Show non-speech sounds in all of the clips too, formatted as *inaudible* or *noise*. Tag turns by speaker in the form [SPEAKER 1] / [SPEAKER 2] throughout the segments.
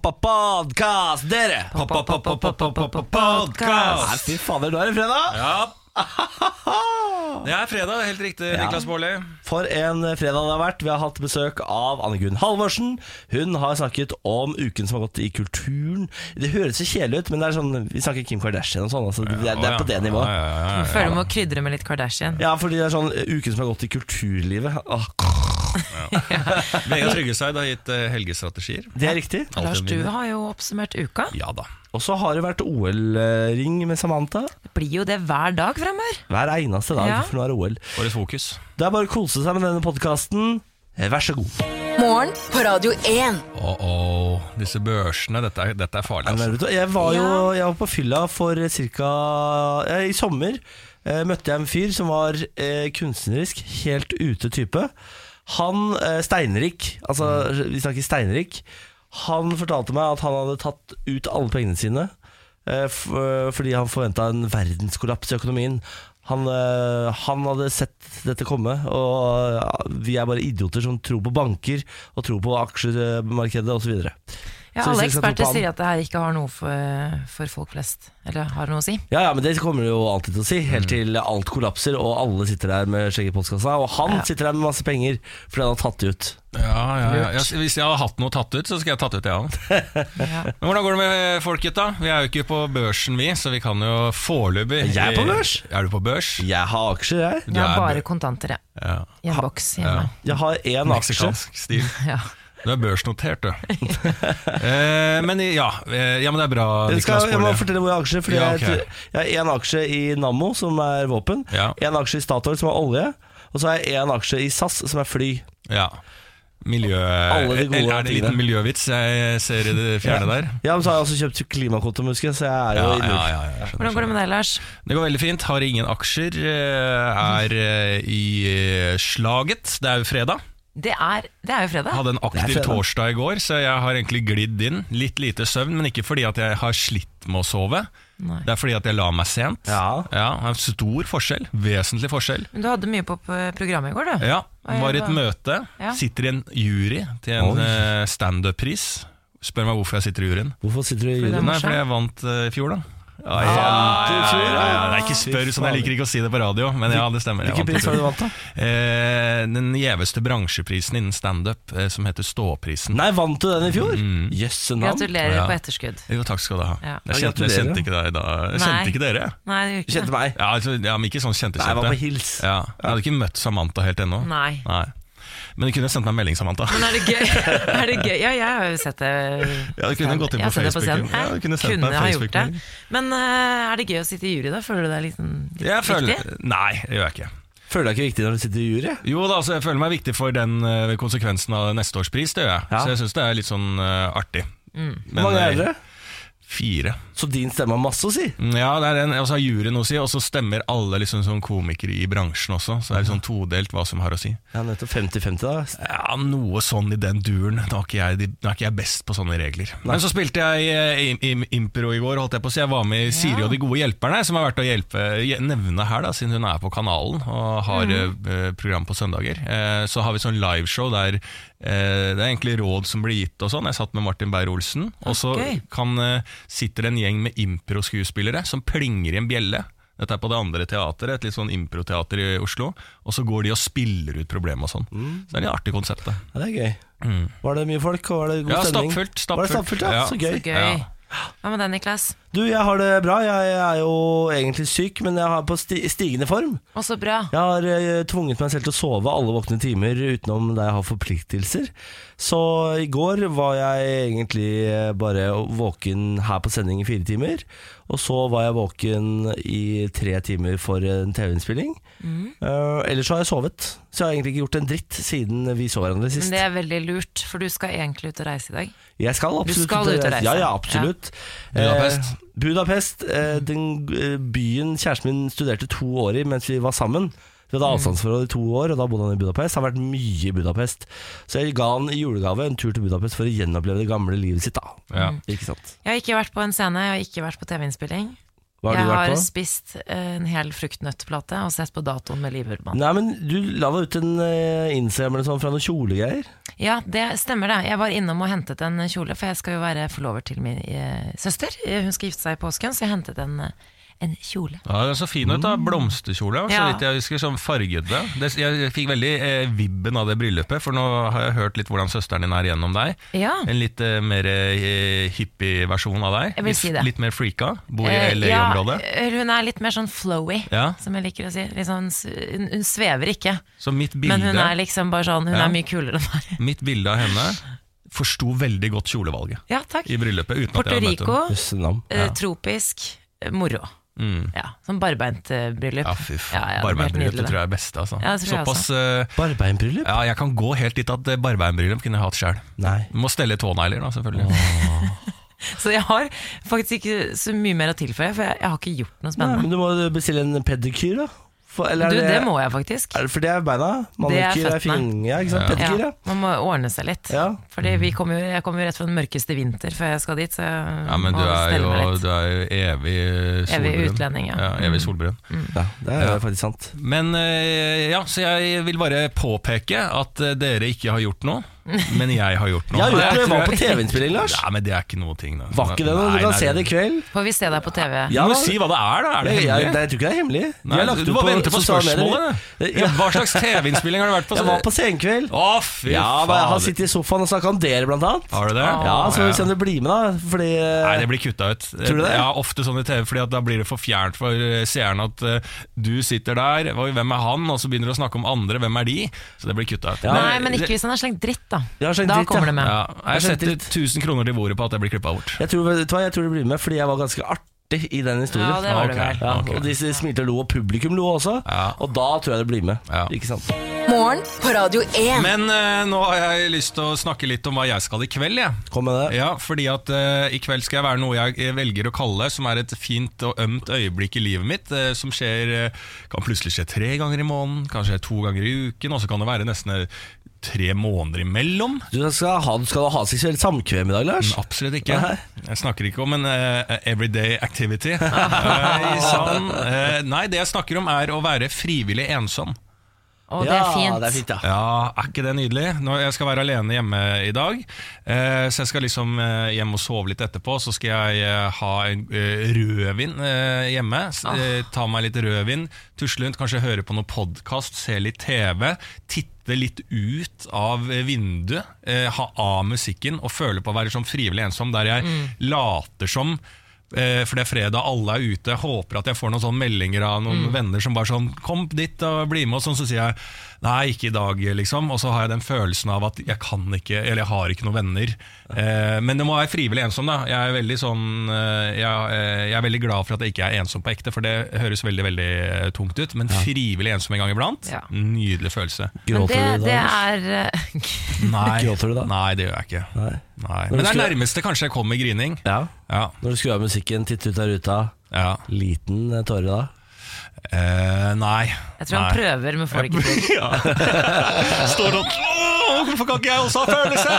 [SPEAKER 1] Podkast, dere! Nei,
[SPEAKER 2] Podkast!
[SPEAKER 1] Fy fader, nå er det fredag!
[SPEAKER 2] Ja. Det er fredag, helt riktig, Niklas Baarli.
[SPEAKER 1] For en fredag det har vært. Vi har hatt besøk av Anne Gunn Halvorsen. Hun har snakket om uken som har gått i kulturen. Det høres så kjedelig ut, men det er sånn, vi snakker Kim Kardashian og sånn. Altså, det, er, det er på det nivået.
[SPEAKER 2] Ja, ja, ja,
[SPEAKER 3] Føler du må krydre med litt Kardashian.
[SPEAKER 1] Ja, fordi det er sånn uken som har gått i kulturlivet. Åh,
[SPEAKER 2] ja. Vegard Tryggeseid har gitt eh, helgestrategier.
[SPEAKER 1] det er riktig.
[SPEAKER 2] Alltid
[SPEAKER 3] Lars,
[SPEAKER 2] en
[SPEAKER 3] du
[SPEAKER 2] vinner.
[SPEAKER 3] har jo oppsummert uka.
[SPEAKER 2] Ja da.
[SPEAKER 1] Og så har det vært OL-ring med Samantha.
[SPEAKER 3] Det blir jo det hver dag fremover.
[SPEAKER 1] Hver eneste dag,
[SPEAKER 3] Ja.
[SPEAKER 1] for nå er det OL.
[SPEAKER 2] Årets fokus.
[SPEAKER 1] Det er bare å kose seg med denne podkasten. Vær så god.
[SPEAKER 4] Morgen på Radio 1.
[SPEAKER 2] Oh, oh, disse børsene. Dette er, dette er farlig,
[SPEAKER 1] Nei, men vet
[SPEAKER 2] altså.
[SPEAKER 1] du, Jeg var jo jeg var på fylla for ca. I sommer eh, møtte jeg en fyr som var eh, kunstnerisk helt ute type. Han eh, Steinrik, altså vi snakker Steinrik, han fortalte meg at han hadde tatt ut alle pengene sine eh, f eh, fordi han forventa en verdenskollaps i økonomien. Han, eh, han hadde sett dette komme, og eh, vi er bare idioter som tror på banker og tror på aksjemarkedet osv.
[SPEAKER 3] Ja,
[SPEAKER 1] Så
[SPEAKER 3] alle
[SPEAKER 1] hvis vi skal tro
[SPEAKER 3] eksperter
[SPEAKER 1] på han-
[SPEAKER 3] sier at det her ikke har noe for, for folk flest. Eller har noe å si.
[SPEAKER 1] Ja, ja, men det kommer du jo alltid til å si,
[SPEAKER 2] Mm.
[SPEAKER 1] helt til alt kollapser og alle sitter der med skjegg i postkassa. Og han sitter der med masse penger fordi han har tatt det ut.
[SPEAKER 2] Ja, ja, ja. Jeg, hvis jeg har hatt noe tatt ut, så skal jeg tatt ut det, ja.
[SPEAKER 1] *laughs*
[SPEAKER 3] Ja.
[SPEAKER 2] Men hvordan går det med eh, folk, gutta? Vi er jo ikke på børsen, vi, så vi kan jo foreløpig
[SPEAKER 1] Jeg er på børs.
[SPEAKER 2] Er du på børs?
[SPEAKER 1] Jeg har aksjer, jeg.
[SPEAKER 3] Jeg har
[SPEAKER 2] er
[SPEAKER 3] bare kontanter, jeg.
[SPEAKER 2] Ja.
[SPEAKER 3] I en boks hjemme.
[SPEAKER 1] Jeg har én aksje.
[SPEAKER 2] Meksikansk
[SPEAKER 1] *laughs*
[SPEAKER 2] stil.
[SPEAKER 3] Ja.
[SPEAKER 2] Du er børsnotert, du. eh, men ja, eh, ja, men det er bra.
[SPEAKER 1] Jeg, skal,
[SPEAKER 2] Niklas
[SPEAKER 1] jeg må
[SPEAKER 2] Baarli.
[SPEAKER 1] fortelle hvor jeg har aksjer. Fordi
[SPEAKER 2] Ja, ok.
[SPEAKER 1] jeg, jeg har én aksje i Nammo, som er våpen.
[SPEAKER 2] Ja.
[SPEAKER 1] Én aksje i Statoil, som er olje. Og så har jeg én aksje i SAS, som er fly.
[SPEAKER 2] Ja. Miljø...
[SPEAKER 1] Alle de gode
[SPEAKER 2] Eller er det en liten
[SPEAKER 1] tingene.
[SPEAKER 2] miljøvits jeg ser i det fjerne der?
[SPEAKER 1] Ja, men så har jeg også kjøpt klimakvote, husker jeg, så jeg er jo i null.
[SPEAKER 2] ja, skjønner,
[SPEAKER 3] Hvordan går det med deg, Lars?
[SPEAKER 2] skjønner. Det går veldig fint. Har ingen aksjer. eh, Er eh, i eh, slaget. Det er jo fredag.
[SPEAKER 3] Det er, det er jo fredag.
[SPEAKER 2] Hadde en aktiv
[SPEAKER 1] Det er fredag.
[SPEAKER 2] torsdag i går, så jeg har egentlig glidd inn. Litt lite søvn, men ikke fordi at jeg har slitt med å sove.
[SPEAKER 3] Nei.
[SPEAKER 2] Det er fordi at jeg la meg sent.
[SPEAKER 1] Ja.
[SPEAKER 2] det er en stor forskjell. Vesentlig forskjell.
[SPEAKER 3] Men du hadde mye på på programmet i går, du.
[SPEAKER 2] Ja, var i et
[SPEAKER 3] Hva-
[SPEAKER 2] møte.
[SPEAKER 3] Ja.
[SPEAKER 2] Sitter i en jury til en
[SPEAKER 1] Oi.
[SPEAKER 2] eh, standup-pris. Spør meg hvorfor jeg sitter i juryen.
[SPEAKER 1] Hvorfor sitter du i
[SPEAKER 3] det
[SPEAKER 1] juryen?
[SPEAKER 3] er
[SPEAKER 2] Nei,
[SPEAKER 3] morsomt.
[SPEAKER 2] fordi jeg vant eh, i fjor, da. Ja, ja,
[SPEAKER 1] Vant i
[SPEAKER 2] ja,
[SPEAKER 1] fjor,
[SPEAKER 2] ja, ja.
[SPEAKER 1] Ah, ja.
[SPEAKER 2] Det er ikke spør sånn, jeg liker ikke å si det på radio, men ja, det stemmer. Jeg
[SPEAKER 1] Hvilken
[SPEAKER 2] vant i
[SPEAKER 1] pris har
[SPEAKER 2] fjor.
[SPEAKER 1] du vant, da?
[SPEAKER 2] Eh, den gjeveste bransjeprisen innen standup, eh, som heter Ståprisen.
[SPEAKER 1] Nei, vant du den i fjor?
[SPEAKER 2] Mm.
[SPEAKER 1] Jøsse navn.
[SPEAKER 3] Gratulerer
[SPEAKER 2] Ja.
[SPEAKER 3] på etterskudd.
[SPEAKER 2] Jo, takk skal du ha.
[SPEAKER 3] Ja.
[SPEAKER 2] Jeg, kjente, jeg
[SPEAKER 1] Gratulerer.
[SPEAKER 2] kjente ikke deg da. Jeg
[SPEAKER 3] Nei.
[SPEAKER 2] kjente ikke dere.
[SPEAKER 3] Nei, det gjør
[SPEAKER 1] Du
[SPEAKER 3] ikke
[SPEAKER 1] kjente
[SPEAKER 3] det.
[SPEAKER 1] meg.
[SPEAKER 2] Ja, altså, ja, men ikke sånn kjente
[SPEAKER 1] Nei, jeg
[SPEAKER 2] kjente.
[SPEAKER 1] var på hils.
[SPEAKER 2] Ja. Jeg hadde ikke møtt Samantha helt ennå.
[SPEAKER 3] Nei.
[SPEAKER 2] Men du kunne sendt meg en melding, Samantha.
[SPEAKER 3] Men er det gøy? *laughs* Er det gøy? Ja, jeg har jo sett det.
[SPEAKER 2] Ja, du kunne gått inn
[SPEAKER 3] Jeg har
[SPEAKER 2] på
[SPEAKER 3] sett det
[SPEAKER 2] Facebook.
[SPEAKER 3] scenen.
[SPEAKER 2] Ja, du kunne
[SPEAKER 3] Jeg
[SPEAKER 2] sendt
[SPEAKER 3] kunne
[SPEAKER 2] meg en
[SPEAKER 3] ha gjort det.
[SPEAKER 2] Facebook-melding.
[SPEAKER 3] Men eh, er det gøy å sitte i jury, da? Føler du deg liksom litt
[SPEAKER 2] Jeg
[SPEAKER 3] viktig?
[SPEAKER 2] føler Nei, det gjør jeg ikke.
[SPEAKER 1] Føler deg ikke viktig når du sitter i jury?
[SPEAKER 2] Jo da, altså, jeg føler meg viktig for den eh, konsekvensen av neste års pris, det gjør jeg.
[SPEAKER 1] Ja.
[SPEAKER 2] Så jeg syns det er litt sånn eh, artig.
[SPEAKER 1] Hvor mange
[SPEAKER 2] eh,
[SPEAKER 1] er dere?
[SPEAKER 2] Fire.
[SPEAKER 1] Så din stemme har masse å si?
[SPEAKER 2] Mm, Ja, det er en, og så har juryen noe å si, og så stemmer alle liksom som komikere i bransjen også. Så det er litt sånn todelt hva som har å si.
[SPEAKER 1] Ja, nettopp 50-50 da.
[SPEAKER 2] Ja, Noe sånn i den duren. Da er ikke jeg, de- da er ikke jeg best på sånne regler. Men så spilte jeg eh, im, im, impro i går, holdt jeg på å si. Jeg var med i Siri og de gode hjelperne, som har vært å hjelpe, je- nevne her, da, siden hun er på kanalen og har eh, program på søndager. Eh, Så har vi sånn liveshow der eh, det er egentlig råd som blir gitt og sånn. Jeg satt med Martin Beyer-Olsen, og så
[SPEAKER 3] Ok.
[SPEAKER 2] kan, eh, sitter en gjeng med impro-skuespillere som plinger i en bjelle. Dette er på det andre teateret, et litt sånn improteater i Oslo. Og så går de og spiller ut problemet og sånn. Så det er litt artig konsept. det.
[SPEAKER 1] Ja, det er gøy. Var det mye folk, og var det god
[SPEAKER 2] Mm. Ja,
[SPEAKER 1] stemning?
[SPEAKER 2] stappfullt,
[SPEAKER 1] Var det
[SPEAKER 2] stappfullt.
[SPEAKER 1] stappfullt, ja?
[SPEAKER 2] Ja.
[SPEAKER 1] Så gøy.
[SPEAKER 3] Så gøy.
[SPEAKER 2] Ja.
[SPEAKER 3] Hva med deg, Niklas?
[SPEAKER 1] Du, jeg har det bra. Jeg er jo egentlig syk, men jeg er på sti stigende form.
[SPEAKER 3] Også bra.
[SPEAKER 1] Jeg har eh, tvunget meg selv til å sove alle våkne timer utenom der jeg har forpliktelser. Så i går var jeg egentlig eh, bare våken her på sending i fire timer. Og så var jeg våken i tre timer for en TV-innspilling.
[SPEAKER 3] Mm.
[SPEAKER 1] Eh, ellers så har jeg sovet. Så jeg har egentlig ikke gjort en dritt siden vi så hverandre sist.
[SPEAKER 3] Men det er veldig lurt, for du skal egentlig ut og reise i dag.
[SPEAKER 1] Jeg skal absolutt
[SPEAKER 3] skal ut og reise.
[SPEAKER 1] Ja, ja, absolutt.
[SPEAKER 2] Budapest.
[SPEAKER 1] Eh, Budapest, eh, den eh, byen kjæresten min studerte to år i mens vi var sammen. Vi
[SPEAKER 3] Mm.
[SPEAKER 1] hadde avstandsforhold i to år, og da bodde han i Budapest. Han har vært mye i Budapest. Så jeg ga han i julegave en tur til Budapest for å gjenoppleve det gamle livet sitt, da.
[SPEAKER 2] Ja.
[SPEAKER 3] Mm.
[SPEAKER 1] Ikke sant.
[SPEAKER 3] Jeg har ikke vært på en scene, jeg har ikke vært på TV-innspilling.
[SPEAKER 1] Hva
[SPEAKER 3] Jeg
[SPEAKER 1] har du
[SPEAKER 3] har
[SPEAKER 1] vært på?
[SPEAKER 3] spist eh, en hel fruktnøttplate og sett på datoen med Liv Ullmann.
[SPEAKER 1] Nei, men du la da ut en eh, Instagram eller sånn fra noen kjolegreier.
[SPEAKER 3] Ja, det stemmer det. Jeg var innom og hentet en kjole, for jeg skal jo være forlover til min eh, søster. Eh, Hun skal gifte seg i påsken, så jeg hentet en, eh, en kjole.
[SPEAKER 2] Ja, den så fin ut, da. Blomsterkjole, så
[SPEAKER 3] Ja.
[SPEAKER 2] vidt jeg husker. Sånn fargede. Det, jeg fikk veldig eh, vibben av det bryllupet, for nå har jeg hørt litt hvordan søsteren din er gjennom deg.
[SPEAKER 3] Ja.
[SPEAKER 2] En litt eh, mer eh, hippie versjon av deg.
[SPEAKER 3] Jeg vil si det.
[SPEAKER 2] Litt, litt mer freaka. Bor i
[SPEAKER 3] Eh,
[SPEAKER 2] LA-området.
[SPEAKER 3] Ja, eller hun er litt mer sånn flowy,
[SPEAKER 2] Ja.
[SPEAKER 3] som jeg liker å si. Litt sånn, s- hun, hun svever ikke,
[SPEAKER 2] Så mitt bilde,
[SPEAKER 3] men hun er liksom bare sånn Hun
[SPEAKER 2] Ja.
[SPEAKER 3] er mye kulere enn meg. *laughs*
[SPEAKER 2] mitt bilde av henne forsto veldig godt kjolevalget
[SPEAKER 3] Ja, takk.
[SPEAKER 2] i bryllupet. Uten at
[SPEAKER 3] Puerto
[SPEAKER 2] jeg hadde møtt
[SPEAKER 3] Rico,
[SPEAKER 2] henne.
[SPEAKER 1] Jøsse navn.
[SPEAKER 3] eh, tropisk, eh, moro.
[SPEAKER 2] Mm.
[SPEAKER 3] Ja, sånn barbeint eh, bryllup.
[SPEAKER 2] Ja, fy faen.
[SPEAKER 3] Ja, ja, det blir helt
[SPEAKER 2] Barbeinbryllup det
[SPEAKER 3] nydelig,
[SPEAKER 2] tror jeg er beste. Altså.
[SPEAKER 3] Ja, det tror jeg
[SPEAKER 2] Såpass eh,
[SPEAKER 1] Barbeinbryllup?
[SPEAKER 2] Ja, jeg kan gå helt dit at eh, barbeinbryllup kunne jeg hatt sjøl.
[SPEAKER 1] Nei.
[SPEAKER 2] Må stelle tånegler, da, selvfølgelig.
[SPEAKER 3] Så jeg har faktisk ikke så mye mer å tilføye, for jeg, jeg har ikke gjort noe
[SPEAKER 1] Nei,
[SPEAKER 3] spennende.
[SPEAKER 1] men du må bestille en pedikyr, da. For, eller
[SPEAKER 3] Du,
[SPEAKER 1] er
[SPEAKER 3] det må jeg faktisk.
[SPEAKER 1] er det, For det er beina. Manikyr er
[SPEAKER 3] føttene.
[SPEAKER 1] fingre. Ja, ikke sant? Pedikyr,
[SPEAKER 3] Ja,
[SPEAKER 1] ja.
[SPEAKER 3] man må ordne seg litt.
[SPEAKER 1] Ja. Mm.
[SPEAKER 3] Fordi vi kom jo, jeg kommer jo rett fra den mørkeste vinter før jeg skal dit, så jeg
[SPEAKER 2] Ja, men
[SPEAKER 3] må
[SPEAKER 2] du er
[SPEAKER 3] stelle
[SPEAKER 2] jo,
[SPEAKER 3] meg
[SPEAKER 2] du
[SPEAKER 3] litt.
[SPEAKER 2] er jo evig eh, solbrun.
[SPEAKER 3] Evig utlending, ja. Mm.
[SPEAKER 2] ja evig solbrun.
[SPEAKER 1] ja. Det er faktisk sant.
[SPEAKER 2] Men eh, ja, så jeg vil bare påpeke at eh, dere ikke har gjort
[SPEAKER 3] *laughs*
[SPEAKER 2] noe, men jeg har gjort noe.
[SPEAKER 1] Jeg har
[SPEAKER 2] Og
[SPEAKER 1] gjort det.
[SPEAKER 2] tror
[SPEAKER 1] Var på TV-innspilling, Lars.
[SPEAKER 2] Ja, men det er ikke noe ting, da.
[SPEAKER 1] Var ikke det noe?
[SPEAKER 2] Nei,
[SPEAKER 1] Du kan
[SPEAKER 2] nei,
[SPEAKER 1] se det i kveld.
[SPEAKER 3] Får vi se deg på TV?
[SPEAKER 2] Du
[SPEAKER 1] Ja,
[SPEAKER 2] må
[SPEAKER 1] da.
[SPEAKER 2] si hva det er, da. Er det
[SPEAKER 1] Jeg, jeg,
[SPEAKER 2] hemmelig?
[SPEAKER 1] jeg tror ikke det er hemmelig.
[SPEAKER 2] Nei,
[SPEAKER 1] Jeg har lagt
[SPEAKER 2] du
[SPEAKER 1] ut
[SPEAKER 2] bare venter på
[SPEAKER 1] sosiale medier.
[SPEAKER 2] spørsmålet. Ja, hva slags TV-innspilling har du vært på?
[SPEAKER 1] Jeg var på senkveld.
[SPEAKER 2] Å, fy
[SPEAKER 1] Ja, men jeg har
[SPEAKER 2] fader.
[SPEAKER 1] sittet i sofaen og snakka om dere, blant annet.
[SPEAKER 2] Har du det?
[SPEAKER 1] Ja, Så får vi se om det blir med, da. Fordi
[SPEAKER 2] Nei, det blir kutta ut.
[SPEAKER 1] Tror du det?
[SPEAKER 2] Ja, ofte sånn i TV, fordi at da blir det for fjernt for eh, seeren at eh, du sitter der, oi, hvem er han, og så begynner du å snakke om andre, hvem er de? Så det blir kutta ut.
[SPEAKER 3] Nei, men ikke hvis han har slengt dritt, da.
[SPEAKER 1] Jeg har slengt
[SPEAKER 3] da
[SPEAKER 1] dritt, ja.
[SPEAKER 3] kommer det med.
[SPEAKER 2] Ja,
[SPEAKER 1] Jeg
[SPEAKER 2] jeg setter
[SPEAKER 1] skjønte litt.
[SPEAKER 2] 1000 kroner til bordet på at jeg blir klippa bort.
[SPEAKER 1] eh, jeg tror, vet du hva, jeg tror det blir med fordi jeg var ganske artig i den historien.
[SPEAKER 3] Ja, det var det
[SPEAKER 2] Ok.
[SPEAKER 3] vel.
[SPEAKER 1] Ja,
[SPEAKER 2] Ok.
[SPEAKER 1] Og de smilte og lo, og publikum lo også.
[SPEAKER 2] Ja.
[SPEAKER 1] Og da tror jeg det blir med.
[SPEAKER 2] Ja.
[SPEAKER 1] Ikke sant?
[SPEAKER 4] Morgen på Radio 1.
[SPEAKER 2] Men eh, nå har jeg lyst til å snakke litt om hva jeg skal i kveld, jeg.
[SPEAKER 1] Kom med det.
[SPEAKER 2] Ja, fordi at eh, i kveld skal jeg være noe jeg eh, velger å kalle, som er et fint og ømt øyeblikk i livet mitt, eh, som skjer, eh, kan plutselig skje tre ganger i måneden, kanskje to ganger i uken, og så kan det være nesten eh, tre måneder imellom.
[SPEAKER 1] Du skal ha, du skal ha seksuelt samkvem i dag, Lars.
[SPEAKER 2] Absolutt ikke.
[SPEAKER 1] Nei.
[SPEAKER 2] Jeg snakker ikke om en eh, everyday activity. Eh, sånn, eh, nei, det jeg snakker om er å være frivillig ensom.
[SPEAKER 3] Og det
[SPEAKER 1] Ja, det
[SPEAKER 3] er
[SPEAKER 1] er
[SPEAKER 3] fint.
[SPEAKER 1] fint, ja.
[SPEAKER 2] Ja, er ikke det nydelig? Nå, jeg skal være alene hjemme i dag, eh, så jeg skal liksom eh, hjem og sove litt etterpå. Så skal jeg eh, ha en eh, rødvin eh, hjemme. s- eh, ta meg litt rødvin, tusle rundt, kanskje høre på noe podkast, se litt TV. Titte litt ut av eh, vinduet, eh, ha av musikken og føle på å være sånn frivillig ensom, der jeg later som Eh, For det er fredag, alle er ute. Jeg håper at jeg får noen sånne meldinger av noen venner som bare sånn 'Kom dit og bli med', og sånn. Så sier jeg 'Nei, ikke i dag', liksom. Og så har jeg den følelsen av at jeg kan ikke, eller jeg har ikke noen venner. Eh, men det må være frivillig ensom, da. Jeg er veldig sånn eh, jeg, eh, jeg er veldig glad for at jeg ikke er ensom på ekte, for det høres veldig veldig eh, tungt ut. Men frivillig ensom en gang iblant,
[SPEAKER 3] Ja.
[SPEAKER 2] nydelig følelse.
[SPEAKER 3] Men det,
[SPEAKER 1] Gråter du da?
[SPEAKER 3] det
[SPEAKER 1] Lars?
[SPEAKER 3] er *laughs* eh,
[SPEAKER 2] Nei,
[SPEAKER 1] Gråter du da?
[SPEAKER 2] Nei, det gjør jeg ikke.
[SPEAKER 1] Nei.
[SPEAKER 2] Nei.
[SPEAKER 1] du
[SPEAKER 2] Men det er
[SPEAKER 1] skulle-
[SPEAKER 2] nærmeste kanskje jeg kommer grining.
[SPEAKER 1] Ja.
[SPEAKER 2] Ja,
[SPEAKER 1] Når du skrur av musikken, titter ut av ruta,
[SPEAKER 2] ja.
[SPEAKER 1] liten eh, tåre da?
[SPEAKER 2] Eh, nei.
[SPEAKER 3] Jeg tror han
[SPEAKER 2] nei.
[SPEAKER 3] prøver, men får det ikke til.
[SPEAKER 2] Ja. *laughs* Står og «Åh, Hvorfor kan ikke jeg også ha følelser?!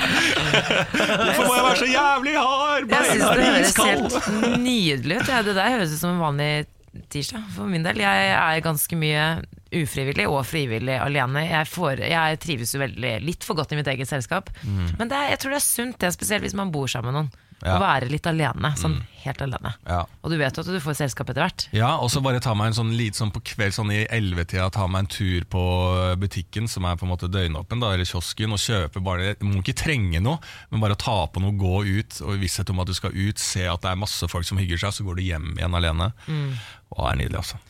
[SPEAKER 2] *laughs* Hvorfor må jeg være så jævlig hard?
[SPEAKER 3] Jeg syns det
[SPEAKER 2] Beina er
[SPEAKER 3] høres
[SPEAKER 2] iskald.
[SPEAKER 3] helt nydelig ut. Ja, det der høres ut som en vanlig tirsdag for min del. Jeg er ganske mye ufrivillig og frivillig alene. Jeg, får, jeg trives jo veldig litt for godt i mitt eget selskap. Men det er, jeg tror det er sunt, det, spesielt hvis man bor sammen med noen.
[SPEAKER 2] Mm. Ja. Mm.
[SPEAKER 3] Å være litt alene. Sånn helt alene.
[SPEAKER 2] Ja.
[SPEAKER 3] Og du vet jo at du får selskap etter hvert.
[SPEAKER 2] Ja, og så bare ta meg en sånn litt sånn på kveld, sånn i 11-tida, ta meg en tur på eh, butikken, som er på en måte døgnåpen, da, eller kiosken, og kjøpe bare Du må ikke trenge noe, men bare ta på noe, gå ut, og i visshet om at du skal ut, se at det er masse folk som hygger seg, så går du hjem igjen alene.
[SPEAKER 3] Mm.
[SPEAKER 2] Og det er nydelig, altså.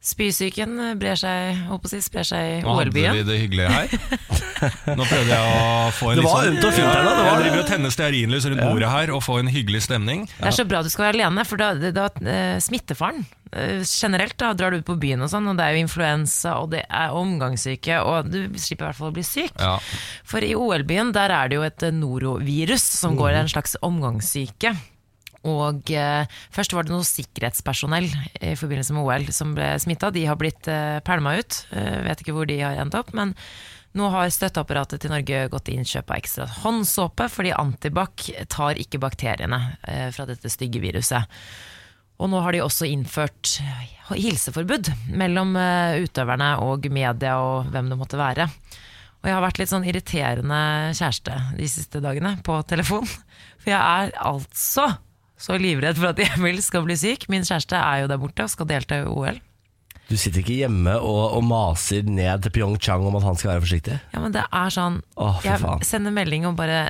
[SPEAKER 3] Spysyken brer seg, holdt på å si, sprer seg i
[SPEAKER 2] Nå hadde
[SPEAKER 3] OL-byen.
[SPEAKER 2] vi det hyggelige her. *laughs* Nå prøvde jeg å få en
[SPEAKER 1] Det
[SPEAKER 2] litt
[SPEAKER 1] var
[SPEAKER 2] sånn-
[SPEAKER 1] ømt og fint her nå, det var-
[SPEAKER 2] Jeg driver og tenner stearinlys rundt bordet her og få en hyggelig stemning.
[SPEAKER 3] Det er så bra du skal være alene, for da, da eh, smittefaren eh, generelt da drar du ut på byen og sånn, og det er jo influensa, og det er omgangssyke, og du slipper i hvert fall å bli syk.
[SPEAKER 2] Ja.
[SPEAKER 3] For i OL-byen der er det jo et eh, norovirus som går i en slags omgangssyke. Og eh, først var det noe sikkerhetspersonell i forbindelse med OL som ble smitta. De har blitt eh, pælma ut. Eh, vet ikke hvor de har endt opp. Men nå har støtteapparatet til Norge gått til innkjøp av ekstra håndsåpe, fordi Antibac tar ikke bakteriene eh, fra dette stygge viruset. Og nå har de også innført hilseforbud mellom eh, utøverne og media og hvem det måtte være. Og jeg har vært litt sånn irriterende kjæreste de siste dagene på telefon. For jeg er altså så livredd for at Emil skal bli syk. Min kjæreste er jo der borte og skal delta i OL.
[SPEAKER 1] Du sitter ikke hjemme og, og maser ned til Pyeongchang om at han skal være forsiktig?
[SPEAKER 3] Ja, men det er sånn
[SPEAKER 1] Åh, fy faen.
[SPEAKER 3] Jeg sender melding og bare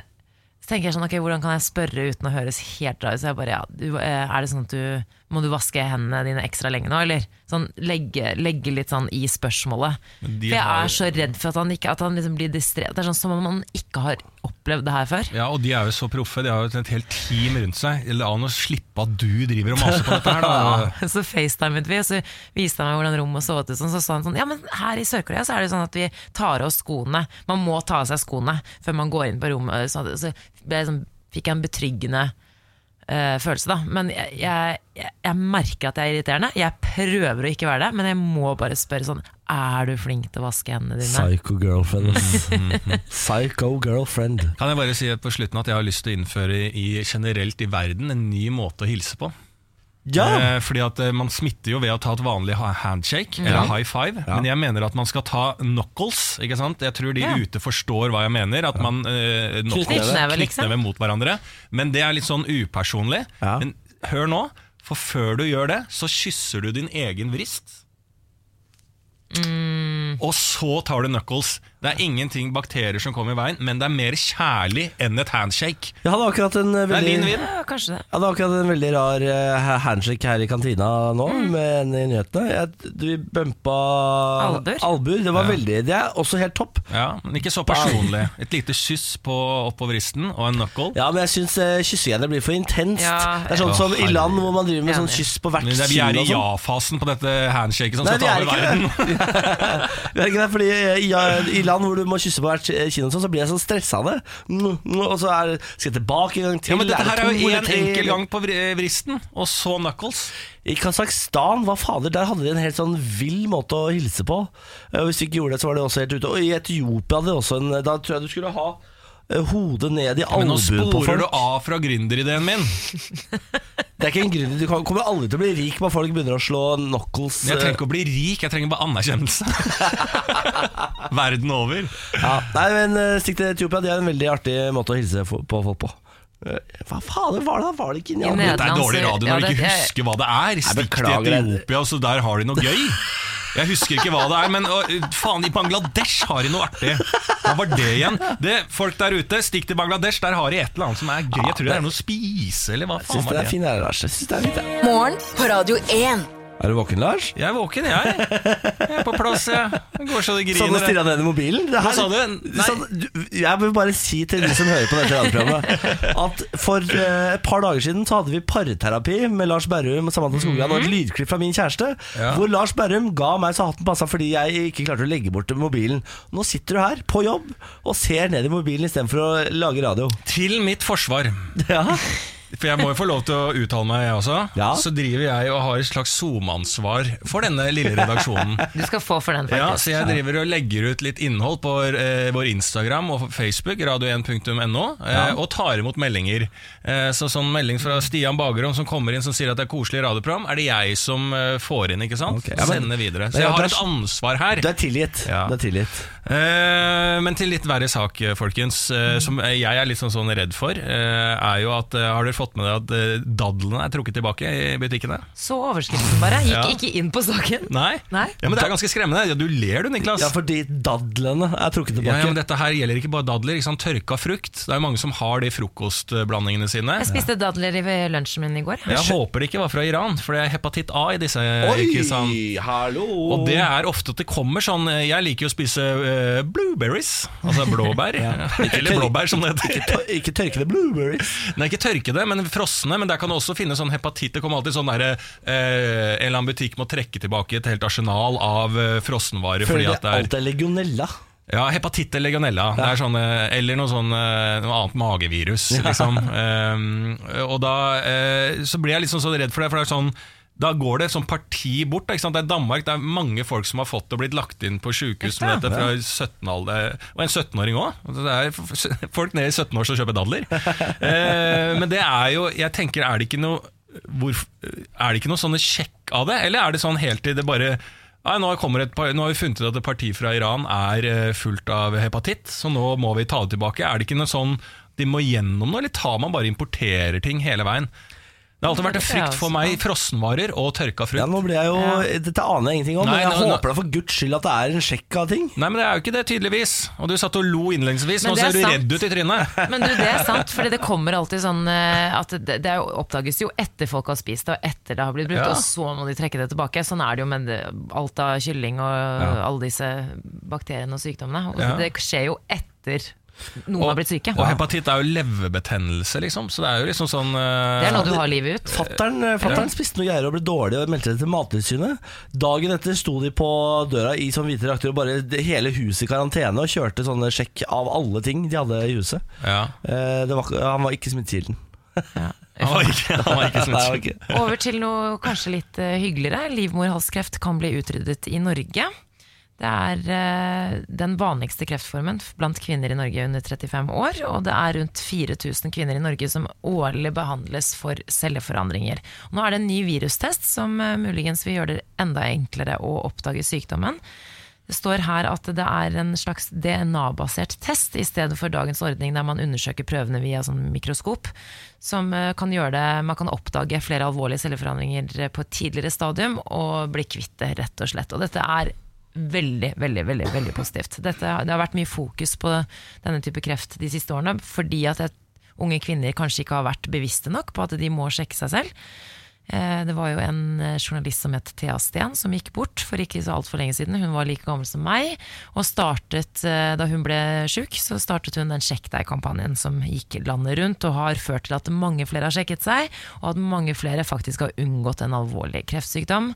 [SPEAKER 3] Så tenker jeg sånn, ok, hvordan kan jeg spørre uten å høres helt rar ut? Så jeg bare, ja, du, eh, er det sånn at du Må du vaske hendene dine ekstra lenge nå, eller? Sånn, legge, legge litt sånn i spørsmålet.
[SPEAKER 2] Men de
[SPEAKER 3] For jeg
[SPEAKER 2] har-
[SPEAKER 3] er så redd for at han, ikke, at han liksom blir distré. Det er sånn som om han ikke har opplevd det her før.
[SPEAKER 2] Ja, og de er jo så proffe, de har jo et helt team rundt seg. La han å slippe at du driver og maser på dette her, da.
[SPEAKER 3] *laughs* Så facetimet vi, og så viste han meg hvordan rommet så ut. og Sånn, så sa han sånn Ja, men her i Sør-Korea så er det sånn at vi tar av oss skoene. Man må ta av seg skoene før man går inn på rommet. Så, så ble jeg sånn, fikk jeg en betryggende eh, følelse, da. Men jeg, jeg, jeg, jeg merker at jeg er irriterende. Jeg prøver å ikke være det, men jeg må bare spørre sånn Er du flink til å vaske hendene dine?
[SPEAKER 1] Psycho girlfriend. ass. Mm. *laughs* Psycho girlfriend.
[SPEAKER 2] *laughs* Kan jeg bare si på slutten at jeg har lyst til å innføre i, generelt i verden en ny måte å hilse på?
[SPEAKER 1] Ja!
[SPEAKER 2] Eh, fordi at eh, Man smitter jo ved å ta et vanlig ha- handshake eller high five, men jeg mener at man skal ta knuckles. ikke sant? Jeg tror de
[SPEAKER 3] Ja.
[SPEAKER 2] ute forstår hva jeg mener. At man eh, knuckles,
[SPEAKER 3] Knyttneve, liksom.
[SPEAKER 2] knyttneve mot hverandre. Men det er litt sånn upersonlig.
[SPEAKER 1] Ja.
[SPEAKER 2] Men hør nå, for før du gjør det, så kysser du din egen vrist. Og så tar du knuckles. Det er ingenting bakterier som kommer i veien, men det er mer kjærlig enn et handshake.
[SPEAKER 1] Jeg hadde akkurat en eh,
[SPEAKER 2] Det er
[SPEAKER 1] veldig
[SPEAKER 2] vinn-vinn.
[SPEAKER 3] Ja, kanskje det.
[SPEAKER 1] Jeg hadde akkurat en veldig rar eh, handshake her i kantina nå,
[SPEAKER 3] Mm.
[SPEAKER 1] med en i nyhetene. Jeg, du bumpa
[SPEAKER 3] Albuer.
[SPEAKER 1] albuer. Det var veldig Det er også helt topp.
[SPEAKER 2] Ja, men ikke så personlig. Et lite kyss på oppover risten og en knuckle.
[SPEAKER 1] Ja, men jeg syns eh, kyssegreiene blir for intenst.
[SPEAKER 3] Ja,
[SPEAKER 1] det er sånn
[SPEAKER 2] ja.
[SPEAKER 1] som i land hvor man driver med
[SPEAKER 3] Enig.
[SPEAKER 1] sånn kyss på hvert
[SPEAKER 2] Men det er, vi
[SPEAKER 1] kinn
[SPEAKER 2] er i
[SPEAKER 1] og sånn.
[SPEAKER 2] ja-fasen på dette handshaket som
[SPEAKER 1] Nei,
[SPEAKER 2] skal ta over
[SPEAKER 1] vi er
[SPEAKER 2] verden.
[SPEAKER 1] *laughs* Det er ikke det, fordi eh, i, ja, I land hvor du må kysse på hvert kinn, og sånn, så blir jeg sånn stressende. Mm, mm, Og så er, skal jeg tilbake en gang til.
[SPEAKER 2] Ja, men
[SPEAKER 1] det
[SPEAKER 2] dette her er
[SPEAKER 1] to
[SPEAKER 2] jo
[SPEAKER 1] eller
[SPEAKER 2] én
[SPEAKER 1] tre,
[SPEAKER 2] enkel
[SPEAKER 1] eller-
[SPEAKER 2] gang på vri- vristen, og så knuckles.
[SPEAKER 1] I Kasakhstan, hva fader, der hadde de en helt sånn vill måte å hilse på. Eh, og Hvis du ikke gjorde det, så var det også helt ute. Og i Etiopia hadde de også en Da tror jeg du skulle ha eh, hodet ned i
[SPEAKER 2] Men nå
[SPEAKER 1] albuen på
[SPEAKER 2] sporer du
[SPEAKER 1] folk.
[SPEAKER 2] av fra gründerideen min.
[SPEAKER 1] Det er ikke en grunn til Du kan- kommer aldri til å bli rik når folk begynner å slå knuckles.
[SPEAKER 2] Men Jeg
[SPEAKER 1] eh,
[SPEAKER 2] trenger ikke å bli rik, jeg trenger
[SPEAKER 1] *laughs*
[SPEAKER 2] bare anerkjennelse. Verden over.
[SPEAKER 1] ja. Nei, men eh, stikk til Etiopia. Det er en veldig artig måte å hilse fo- på folk på. Eh, Hva fader var det? Var det ikke
[SPEAKER 3] I
[SPEAKER 1] Nederland?
[SPEAKER 2] Det er dårlig radio
[SPEAKER 3] Ja,
[SPEAKER 2] når du
[SPEAKER 3] det-
[SPEAKER 2] ikke husker hva det er. Stikk til
[SPEAKER 1] beklager, jeg-
[SPEAKER 2] Etiopia, så der har de noe gøy. Jeg husker ikke hva det er, men å, faen, i Bangladesh har de noe artig. Hva var det igjen? Det, folk der ute, stikk til Bangladesh, der har de et eller annet som er gøy. Jeg tror det er noe å spise, eller hva
[SPEAKER 1] Jeg
[SPEAKER 2] faen
[SPEAKER 1] syns det
[SPEAKER 2] var
[SPEAKER 1] er
[SPEAKER 2] det?
[SPEAKER 1] fin, jeg, Lars. Jeg synes det er fint, jeg.
[SPEAKER 4] Morgen på Radio 1.
[SPEAKER 1] Er du våken, Lars?
[SPEAKER 2] Jeg er våken, jeg. Jeg er på plass, jeg. Det går så det
[SPEAKER 1] Sånn og
[SPEAKER 2] griner.
[SPEAKER 1] stirra ned i mobilen? Det her-
[SPEAKER 2] Hva sa du? Nei.
[SPEAKER 1] Sånn, du- jeg vil bare si til de som hører på dette radioprogrammet, at for eh, et par dager siden så hadde vi parterapi med Lars Berrum og Samantha Skogran og et lydklipp fra min kjæreste,
[SPEAKER 2] Mhm. Ja.
[SPEAKER 1] hvor Lars Berrum ga meg så hatten passa fordi jeg ikke klarte å legge bort mobilen. Nå sitter du her, på jobb, og ser ned i mobilen istedenfor å lage radio.
[SPEAKER 2] Til mitt forsvar.
[SPEAKER 1] Ja.
[SPEAKER 2] For jeg må jo få lov til å uttale meg, jeg også.
[SPEAKER 1] Ja.
[SPEAKER 2] Så driver jeg og har et slags SoMe-ansvar for denne lille redaksjonen.
[SPEAKER 3] Du skal få for den, faktisk.
[SPEAKER 2] Ja, så jeg driver og legger ut litt innhold på eh, vår Instagram og Facebook, radio1.no, eh, og tar imot meldinger. Eh, så sånn melding fra Stian Bagerom som kommer inn som sier at det er koselig radioprogram, er det jeg som eh, får inn, ikke sant?
[SPEAKER 1] Ok, ja, men-
[SPEAKER 2] Sender videre.
[SPEAKER 1] Men
[SPEAKER 2] Så jeg
[SPEAKER 1] ja,
[SPEAKER 2] har
[SPEAKER 1] det
[SPEAKER 2] et
[SPEAKER 1] er-
[SPEAKER 2] ansvar her.
[SPEAKER 1] Du er tilgitt.
[SPEAKER 2] Ja.
[SPEAKER 1] Du er tilgitt.
[SPEAKER 2] Eh, men til litt verre sak, eh, folkens, eh,
[SPEAKER 1] Mm.
[SPEAKER 2] som eh, jeg er litt sånn, sånn redd for, eh, er jo at eh, Har dere fått med dere at eh, dadlene er trukket tilbake i butikkene?
[SPEAKER 3] Så overskriften bare. Gikk
[SPEAKER 2] Ja.
[SPEAKER 3] ikke inn på saken.
[SPEAKER 2] Nei?
[SPEAKER 3] Nei.
[SPEAKER 2] Ja, men Det er ganske skremmende. Ja, Du ler du, Niklas.
[SPEAKER 1] Ja, fordi dadlene er trukket
[SPEAKER 2] Ja, ja,
[SPEAKER 1] tilbake.
[SPEAKER 2] men Dette her gjelder ikke bare dadler. Ikke sant? Tørka frukt. Det er jo mange som har de frokostblandingene sine.
[SPEAKER 3] Jeg spiste dadler i ved lunsjen min i går.
[SPEAKER 2] Jeg håper det ikke var fra Iran, for det er hepatitt A i disse. eh, ikke sant?
[SPEAKER 1] Oi, hallo!
[SPEAKER 2] Og det er ofte at det kommer sånn Jeg liker jo å spise eh, blueberries, altså blåbær. Eller blåbær, som det heter.
[SPEAKER 1] Ikke tørkede blueberries.
[SPEAKER 2] *laughs* Nei, ikke tørke det, men frosne. Men der kan du også finne sånn hepatitt. Det kommer alltid sånn derre eh, En eller annen butikk må trekke tilbake et helt arsenal av eh, frossenvarer fordi
[SPEAKER 1] Føler
[SPEAKER 2] at det er
[SPEAKER 1] alt er legionella.
[SPEAKER 2] Ja, hepatitt eller legionella. Det er sånn, eh, eller noe, sånn, eh, noe annet magevirus, liksom. Ehm, og da eh, så blir jeg liksom så redd for det, for det er sånn da går det et sånt parti bort. da, Ikke sant? Det er Danmark, det er mange folk som har fått det og blitt lagt inn på sjukehus med dette fra 17-alder. Og en 17-åring òg. Det er f- *laughs* folk nede i 17 år som kjøper dadler. Eh, men det er jo Jeg tenker, er det ikke noe hvorf- Er det ikke noe sånne sjekk av det? Eller er det sånn helt til det bare Nei, nå, kommer et, par- nå har vi funnet ut at et parti fra Iran er eh, fullt av hepatitt, så nå må vi ta det tilbake. Er det ikke noe sånn de må gjennom noe, eller tar man bare importerer ting hele veien? Det har alltid vært en frykt for meg,
[SPEAKER 3] altså.
[SPEAKER 2] frossenvarer og tørka frukt.
[SPEAKER 1] Ja, nå blir jeg jo, Dette aner jeg ingenting om,
[SPEAKER 2] Nei,
[SPEAKER 1] men jeg
[SPEAKER 2] nå- nå-
[SPEAKER 1] håper da for guds skyld at det er en sjekk av ting.
[SPEAKER 2] Nei, men det er jo ikke det, tydeligvis. Og du satt og lo innledningsvis,
[SPEAKER 3] Men
[SPEAKER 2] nå
[SPEAKER 3] det er
[SPEAKER 2] ser du
[SPEAKER 3] sant.
[SPEAKER 2] redd ut i trynet.
[SPEAKER 3] Men du, det er sant, for det kommer alltid sånn eh, at det, det er jo- oppdages jo etter folk har spist det, og etter det har blitt brukt,
[SPEAKER 2] Ja.
[SPEAKER 3] og så må de trekke det tilbake. Sånn er det jo med det- alt av kylling og alle disse bakteriene og sykdommene. Og
[SPEAKER 2] Ja.
[SPEAKER 3] Det skjer jo etter *laughs* noen har blitt syke.
[SPEAKER 2] Og hepatitt er jo leverbetennelse, liksom. Så det er jo liksom sånn eh,
[SPEAKER 3] Det er noe du har livet ut.
[SPEAKER 1] Fattern eh, fattern spiste noe greier og ble dårlig og meldte det til Mattilsynet. Dagen etter sto de på døra i sånn hvite drakter og bare det- hele huset i karantene og kjørte sånne sjekk av alle ting de hadde i huset.
[SPEAKER 2] ja.
[SPEAKER 1] Eh, det var, ikke- han var ikke smittekilden.
[SPEAKER 2] Han var *laughs* ikke, han
[SPEAKER 1] *laughs*
[SPEAKER 2] var ikke
[SPEAKER 1] Nei, han var
[SPEAKER 2] smittsom.
[SPEAKER 1] ikke.
[SPEAKER 3] Over til noe kanskje litt eh, hyggeligere. Livmorhalskreft kan bli utryddet i Norge. Det er eh, den vanligste kreftformen f- blant kvinner i Norge under 35 år. Og det er rundt 4000 kvinner i Norge som årlig behandles for celleforandringer. Og nå er det en ny virustest som eh, muligens vil gjøre det enda enklere å oppdage sykdommen. Det står her at det er en slags DNA-basert test i stedet for dagens ordning der man undersøker prøvene via sånn mikroskop. Som eh, kan gjøre det, man kan oppdage flere alvorlige celleforandringer eh, på et tidligere stadium og bli kvitt det, rett og slett. Og dette er veldig, veldig, veldig, veldig positivt. Dette, det har vært mye fokus på denne type kreft de siste årene fordi at jeg, unge kvinner kanskje ikke har vært bevisste nok på at de må sjekke seg selv. Eh, Det var jo en eh, journalist som het Thea Steen, som gikk bort for ikke så altfor lenge siden. Hun var like gammel som meg, og startet, eh, da hun ble sjuk, så startet hun den Sjekk deg-kampanjen som gikk landet rundt, og har ført til at mange flere har sjekket seg, og at mange flere faktisk har unngått en alvorlig kreftsykdom.